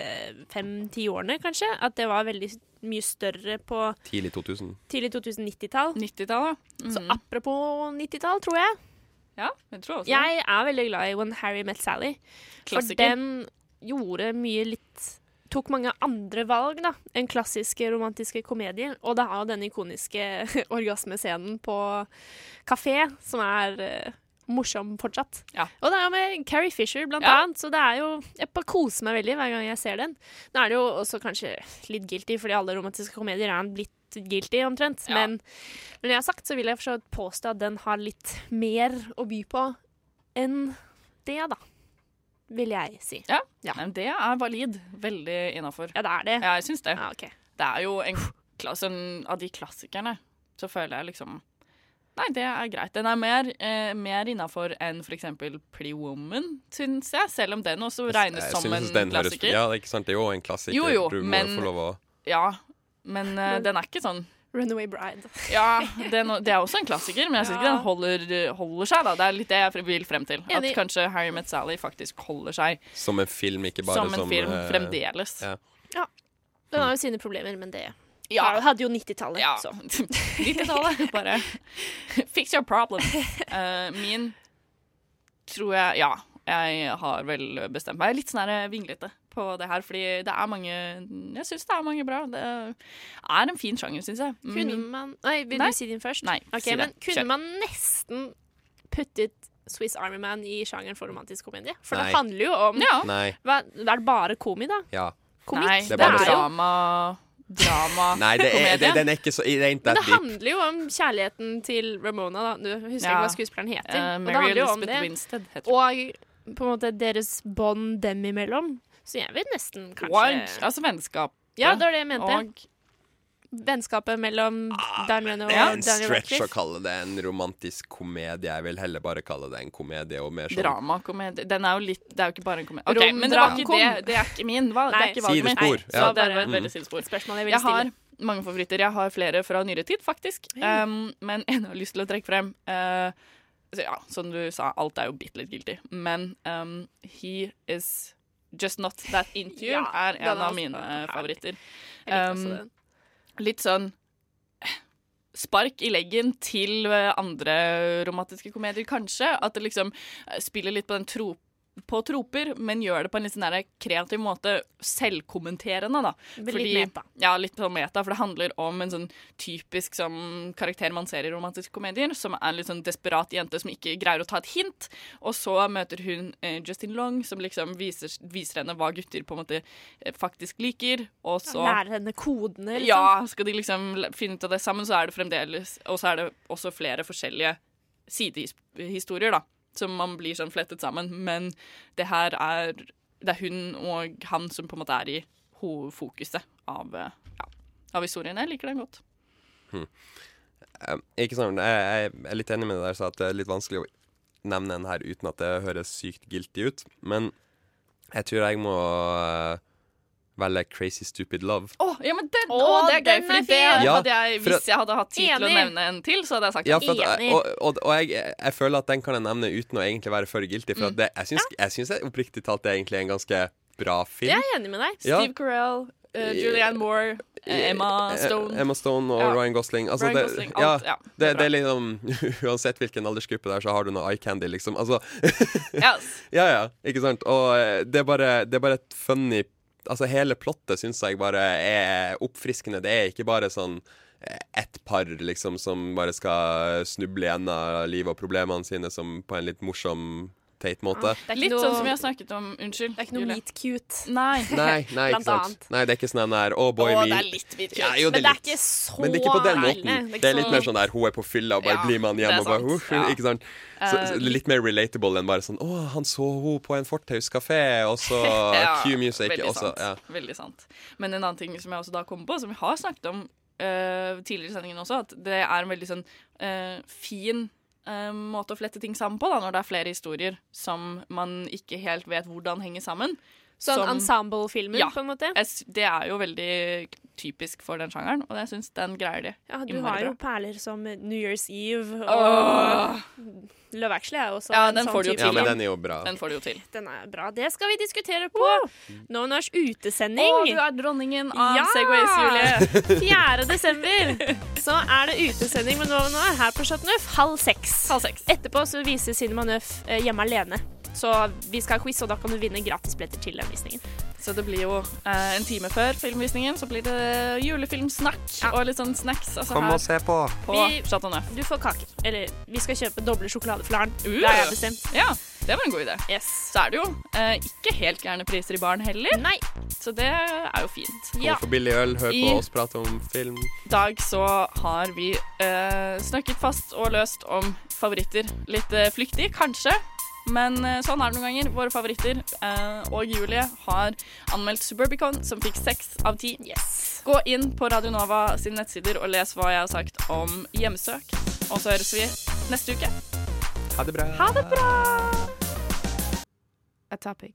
[SPEAKER 7] fem-ti årene, kanskje. At det var veldig mye større på
[SPEAKER 8] Tidlig 2000.
[SPEAKER 7] tidlig 2090-tall.
[SPEAKER 6] 90-tall,
[SPEAKER 7] Så
[SPEAKER 6] Mm.
[SPEAKER 7] apropos 90-tall, tror jeg.
[SPEAKER 6] Ja, jeg tror også
[SPEAKER 7] Jeg er veldig glad i When Harry Met Sally.
[SPEAKER 6] Klassiker.
[SPEAKER 7] For den gjorde mye litt Tok mange andre valg da, enn klassiske romantiske komedier. Og det har jo den ikoniske orgasmescenen på kafé, som er eh, morsom fortsatt. Og det er jo med Carrie Fisher, blant
[SPEAKER 6] Ja.
[SPEAKER 7] annet. Så det er jo Jeg bare koser meg veldig hver gang jeg ser den. Nå er det jo også kanskje litt guilty, fordi alle romantiske komedier er blitt guilty, omtrent.
[SPEAKER 6] Ja.
[SPEAKER 7] Men når det er sagt, så vil jeg for så vidt påstå at den har litt mer å by på enn det, da. Vil jeg si.
[SPEAKER 6] Ja. men det er valid. Veldig innafor.
[SPEAKER 7] Ja, det er det.
[SPEAKER 6] Ja, jeg syns det.
[SPEAKER 7] Det
[SPEAKER 6] er jo en klass, en av de klassikerne. Så føler jeg liksom Nei, det er greit. Den er mer, eh, mer innafor enn f.eks. Pretty Woman, syns jeg. Selv om den også regnes
[SPEAKER 8] Jeg
[SPEAKER 6] som en
[SPEAKER 8] synes den høres-
[SPEAKER 6] klassiker.
[SPEAKER 8] Ja, det er ikke sant, det er jo en klassiker.
[SPEAKER 6] Jo, jo,
[SPEAKER 8] du må
[SPEAKER 6] men-
[SPEAKER 8] få lov å
[SPEAKER 6] Ja, men eh, den er ikke sånn
[SPEAKER 7] Runaway Bride.
[SPEAKER 6] Ja, det er, no, det er også en klassiker, men jeg syns ikke
[SPEAKER 7] Ja.
[SPEAKER 6] den holder, holder seg. da Det er litt det jeg fre- vil frem til. At
[SPEAKER 7] Enig.
[SPEAKER 6] kanskje Harry Met Sally faktisk holder seg
[SPEAKER 8] Som en film, ikke bare
[SPEAKER 6] som
[SPEAKER 8] som
[SPEAKER 6] en film
[SPEAKER 8] eh,
[SPEAKER 6] fremdeles.
[SPEAKER 8] Ja.
[SPEAKER 7] Den har jo sine problemer, men det
[SPEAKER 6] Ja.
[SPEAKER 7] Da hadde jo 90-tallet,
[SPEAKER 6] Ja.
[SPEAKER 7] så.
[SPEAKER 6] 90-tallet. Bare fix your problem. Eh, min tror jeg Ja, jeg har vel bestemt meg. Jeg er Litt sånn her vinglete på det her, fordi det er mange Jeg syns det er mange bra. Det er en fin sjanger, syns jeg.
[SPEAKER 7] Kunne
[SPEAKER 6] Min-
[SPEAKER 7] man Nei, vil
[SPEAKER 6] Nei.
[SPEAKER 7] du si din først?
[SPEAKER 6] Nei,
[SPEAKER 7] Ok,
[SPEAKER 6] si det.
[SPEAKER 7] men kunne
[SPEAKER 6] Kjør.
[SPEAKER 7] man nesten puttet Swiss Army Man i sjangeren for romantisk komedie? For
[SPEAKER 8] Nei.
[SPEAKER 7] det handler jo om
[SPEAKER 8] Ja. Nei.
[SPEAKER 7] Hva, er det bare komi, da?
[SPEAKER 8] ja.
[SPEAKER 7] Komikk,
[SPEAKER 6] Nei,
[SPEAKER 8] det
[SPEAKER 6] det
[SPEAKER 8] er
[SPEAKER 6] er,
[SPEAKER 8] bare sånn.
[SPEAKER 6] drama. Drama.
[SPEAKER 8] Nei, det er,
[SPEAKER 6] komedie.
[SPEAKER 8] det, den er ikke så rent
[SPEAKER 7] Men
[SPEAKER 8] that
[SPEAKER 7] det
[SPEAKER 8] deep.
[SPEAKER 7] handler jo om kjærligheten til Ramona, da. Du husker
[SPEAKER 6] Ja.
[SPEAKER 7] ikke hva skuespilleren heter.
[SPEAKER 6] Eh,
[SPEAKER 7] Og det
[SPEAKER 6] Mary
[SPEAKER 7] handler jo om
[SPEAKER 6] Elizabeth
[SPEAKER 7] det.
[SPEAKER 6] Winstead heter
[SPEAKER 7] Og på en måte deres bånd dem imellom. Så jeg vil nesten
[SPEAKER 6] Og,
[SPEAKER 7] kanskje
[SPEAKER 6] altså vennskap.
[SPEAKER 7] Ja, det var det jeg mente.
[SPEAKER 6] Og
[SPEAKER 7] Vennskapet mellom Dan Reno og
[SPEAKER 8] Ah, Det er en
[SPEAKER 7] Daniel
[SPEAKER 8] stretch å
[SPEAKER 7] Radcliffe.
[SPEAKER 8] kalle det en romantisk komedie. Jeg vil heller bare kalle det en komedie. Og mer sånn
[SPEAKER 6] dramakomedie. Den er jo litt Det er jo ikke bare en komedie. Ok,
[SPEAKER 7] Rom-
[SPEAKER 6] men det var ikke
[SPEAKER 7] dramkom.
[SPEAKER 6] det. Det er ikke min. Hva? det
[SPEAKER 7] Nei.
[SPEAKER 6] er ikke valget mitt.
[SPEAKER 8] Sidespor,
[SPEAKER 6] Nei,
[SPEAKER 8] ja.
[SPEAKER 6] Så det var
[SPEAKER 8] Mm.
[SPEAKER 6] et veldig sidespor.
[SPEAKER 7] Spørsmål jeg
[SPEAKER 6] Jeg,
[SPEAKER 7] ville
[SPEAKER 6] har
[SPEAKER 7] stille.
[SPEAKER 6] mange favoritter. Jeg har flere fra nyere tid, faktisk.
[SPEAKER 7] Hei.
[SPEAKER 6] Um, men en jeg har lyst til å trekke frem eh, så Ja, som du sa, alt er jo bitte litt guilty. Men um, He Is Just Not That Into You
[SPEAKER 7] Ja,
[SPEAKER 6] er
[SPEAKER 7] den
[SPEAKER 6] en
[SPEAKER 7] er
[SPEAKER 6] av
[SPEAKER 7] også
[SPEAKER 6] mine favoritter.
[SPEAKER 7] Jeg liker også den.
[SPEAKER 6] litt sånn spark i leggen til eh, andre romantiske komedier, kanskje. At det liksom eh, spiller litt på den tro på troper, men gjør det på en litt sånn der kreativ måte, selvkommenterende, da.
[SPEAKER 7] Litt meta.
[SPEAKER 6] Ja, litt sånn meta, for det handler om en sånn typisk sånn, karakter man ser i romantiske komedier, som er litt sånn desperat jente som ikke greier å ta et hint, og så møter hun eh, Justin Long, som liksom viser, viser henne hva gutter på en måte eh, faktisk liker, og så
[SPEAKER 7] Lære henne kodene, liksom.
[SPEAKER 6] ja, skal de liksom l- finne ut av det sammen, så er det fremdeles Og så er det også flere forskjellige sidehistorier, da, som man blir sånn flettet sammen. Men det her er Det er hun og han som på en måte er i hovedfokuset av, eh, ja, av historien. Jeg liker den godt.
[SPEAKER 8] Um, ikke sånn, jeg, jeg er litt enig med det der, så at det er litt vanskelig å nevne den her uten at det høres sykt guilty ut. Men jeg tror jeg må eh, velge Crazy Stupid Love.
[SPEAKER 6] Å, ja, men den,
[SPEAKER 7] Å,
[SPEAKER 6] å, det er gøy,
[SPEAKER 7] den
[SPEAKER 6] for
[SPEAKER 7] er
[SPEAKER 6] det
[SPEAKER 7] fin!
[SPEAKER 8] Ja,
[SPEAKER 6] hadde jeg
[SPEAKER 8] for at-
[SPEAKER 6] Hvis jeg hadde hatt tid til å
[SPEAKER 7] Enig.
[SPEAKER 6] nevne en til, så hadde jeg sagt
[SPEAKER 8] Ja, for at,
[SPEAKER 6] enig.
[SPEAKER 8] og og, og jeg, jeg føler at den kan jeg nevne uten å egentlig være for guilty. For at
[SPEAKER 6] Mm.
[SPEAKER 8] det, jeg syns, jeg syns jeg oppriktig talt det er egentlig en ganske bra film.
[SPEAKER 7] Jeg er enig med deg.
[SPEAKER 8] Ja.
[SPEAKER 6] Steve Carell, eh, Julianne Moore, eh, Emma Stone.
[SPEAKER 8] Eh, Emma Stone og
[SPEAKER 6] Ja.
[SPEAKER 8] Ryan Gosling. Altså,
[SPEAKER 6] Ryan
[SPEAKER 8] det,
[SPEAKER 6] Gosling,
[SPEAKER 8] ja,
[SPEAKER 6] alt, ja,
[SPEAKER 8] det,
[SPEAKER 6] det
[SPEAKER 8] det,
[SPEAKER 6] er
[SPEAKER 8] er liksom Uansett hvilken aldersgruppe det er, så har du noe eye candy, liksom. Altså,
[SPEAKER 6] Yes.
[SPEAKER 8] ja, ja, ikke sant? Og eh, det er bare, det er bare et funny Altså, hele plottet syns jeg bare er oppfriskende. Det er ikke bare sånn eh, ett par liksom som bare skal snuble gjennom livet og problemene sine som på en litt morsom, teit måte.
[SPEAKER 6] Litt
[SPEAKER 7] noe-
[SPEAKER 6] sånn som vi har snakket om Unnskyld. Det er ikke noe meet
[SPEAKER 7] cute.
[SPEAKER 6] Nei.
[SPEAKER 8] Nei, nei, ikke sant? nei, det er ikke sånn der Å, boy,
[SPEAKER 6] Å,
[SPEAKER 8] vi
[SPEAKER 6] det er litt meet cute.
[SPEAKER 8] Ja, jo,
[SPEAKER 7] Men det er
[SPEAKER 8] litt.
[SPEAKER 7] ikke så
[SPEAKER 8] Men det er ikke på den
[SPEAKER 7] ille.
[SPEAKER 8] måten. Det er litt mer sånn der hun er på fylla, og bare
[SPEAKER 7] Ja,
[SPEAKER 8] blir man
[SPEAKER 7] det
[SPEAKER 8] hjem
[SPEAKER 7] er
[SPEAKER 8] og bare
[SPEAKER 7] sant.
[SPEAKER 8] «Huff», Ikke sant? Så,
[SPEAKER 7] Eh,
[SPEAKER 8] så det er litt mer relatable enn bare sånn Å, han så hun på en fortauskafé, og så
[SPEAKER 6] Ja,
[SPEAKER 8] Q-music.
[SPEAKER 6] veldig
[SPEAKER 8] og så-
[SPEAKER 6] sant.
[SPEAKER 8] Ja.
[SPEAKER 6] Veldig sant. Men en annen ting som jeg også da kom på, som vi har snakket om eh, tidligere i sendingen også, at det er en veldig sånn eh, fin eh, måte å flette ting sammen på, da, når det er flere historier som man ikke helt vet hvordan henger sammen.
[SPEAKER 7] Sånn
[SPEAKER 6] Som-
[SPEAKER 7] ensemble-filmer,
[SPEAKER 6] Ja.
[SPEAKER 7] på en måte.
[SPEAKER 6] Jeg s- Det er jo veldig typisk for den sjangeren, og jeg syns den greier de.
[SPEAKER 7] Ja, du
[SPEAKER 6] innmari bra.
[SPEAKER 7] har jo perler som New Year's Eve og
[SPEAKER 6] Åh.
[SPEAKER 7] Love Actually er jo også
[SPEAKER 6] Ja,
[SPEAKER 7] en
[SPEAKER 6] den
[SPEAKER 7] sånn
[SPEAKER 6] får du jo
[SPEAKER 7] type
[SPEAKER 6] til.
[SPEAKER 8] ja, men
[SPEAKER 7] film.
[SPEAKER 8] den er jo bra.
[SPEAKER 6] Den får du jo til.
[SPEAKER 7] Den er bra. Det skal vi diskutere på Novnars utesending.
[SPEAKER 6] Å, du er dronningen av
[SPEAKER 7] ja!
[SPEAKER 6] Segways, Julie.
[SPEAKER 7] 4. desember så er det utesending med Novnar her på Chateau Neuf halv seks. Etterpå så viser Cinema Neuf eh, hjemme alene. Så vi skal ha quiz, og da kan du vinne gratisbilletter til den visningen.
[SPEAKER 6] Så det blir jo eh, en time før filmvisningen, så blir det julefilmsnakk og litt sånn snacks. Altså her
[SPEAKER 8] på.
[SPEAKER 6] på
[SPEAKER 7] Vi-
[SPEAKER 6] Chateau Neuf.
[SPEAKER 7] Du får kaker. Eller vi skal kjøpe doble sjokoladeflaren.
[SPEAKER 6] Uh.
[SPEAKER 7] Det har jeg bestemt.
[SPEAKER 6] Ja, det var en god idé. Så er det jo eh, ikke helt gærne priser i baren heller.
[SPEAKER 7] Nei.
[SPEAKER 6] Så det er jo fint.
[SPEAKER 8] Gå for billig øl, hør på
[SPEAKER 6] I-
[SPEAKER 8] oss prate om film.
[SPEAKER 6] I dag så har vi eh, snakket fast og løst om favoritter. Litt eh, flyktig, kanskje. Men eh, sånn er det noen ganger. Våre favoritter eh, og Julie har anmeldt Suburbicon, som fikk seks av ti. Gå inn på Radio Nova sine nettsider og les hva jeg har sagt om hjemsøk. Og så høres vi neste uke.
[SPEAKER 8] Ha det bra.
[SPEAKER 6] Ha det bra!
[SPEAKER 7] A topic.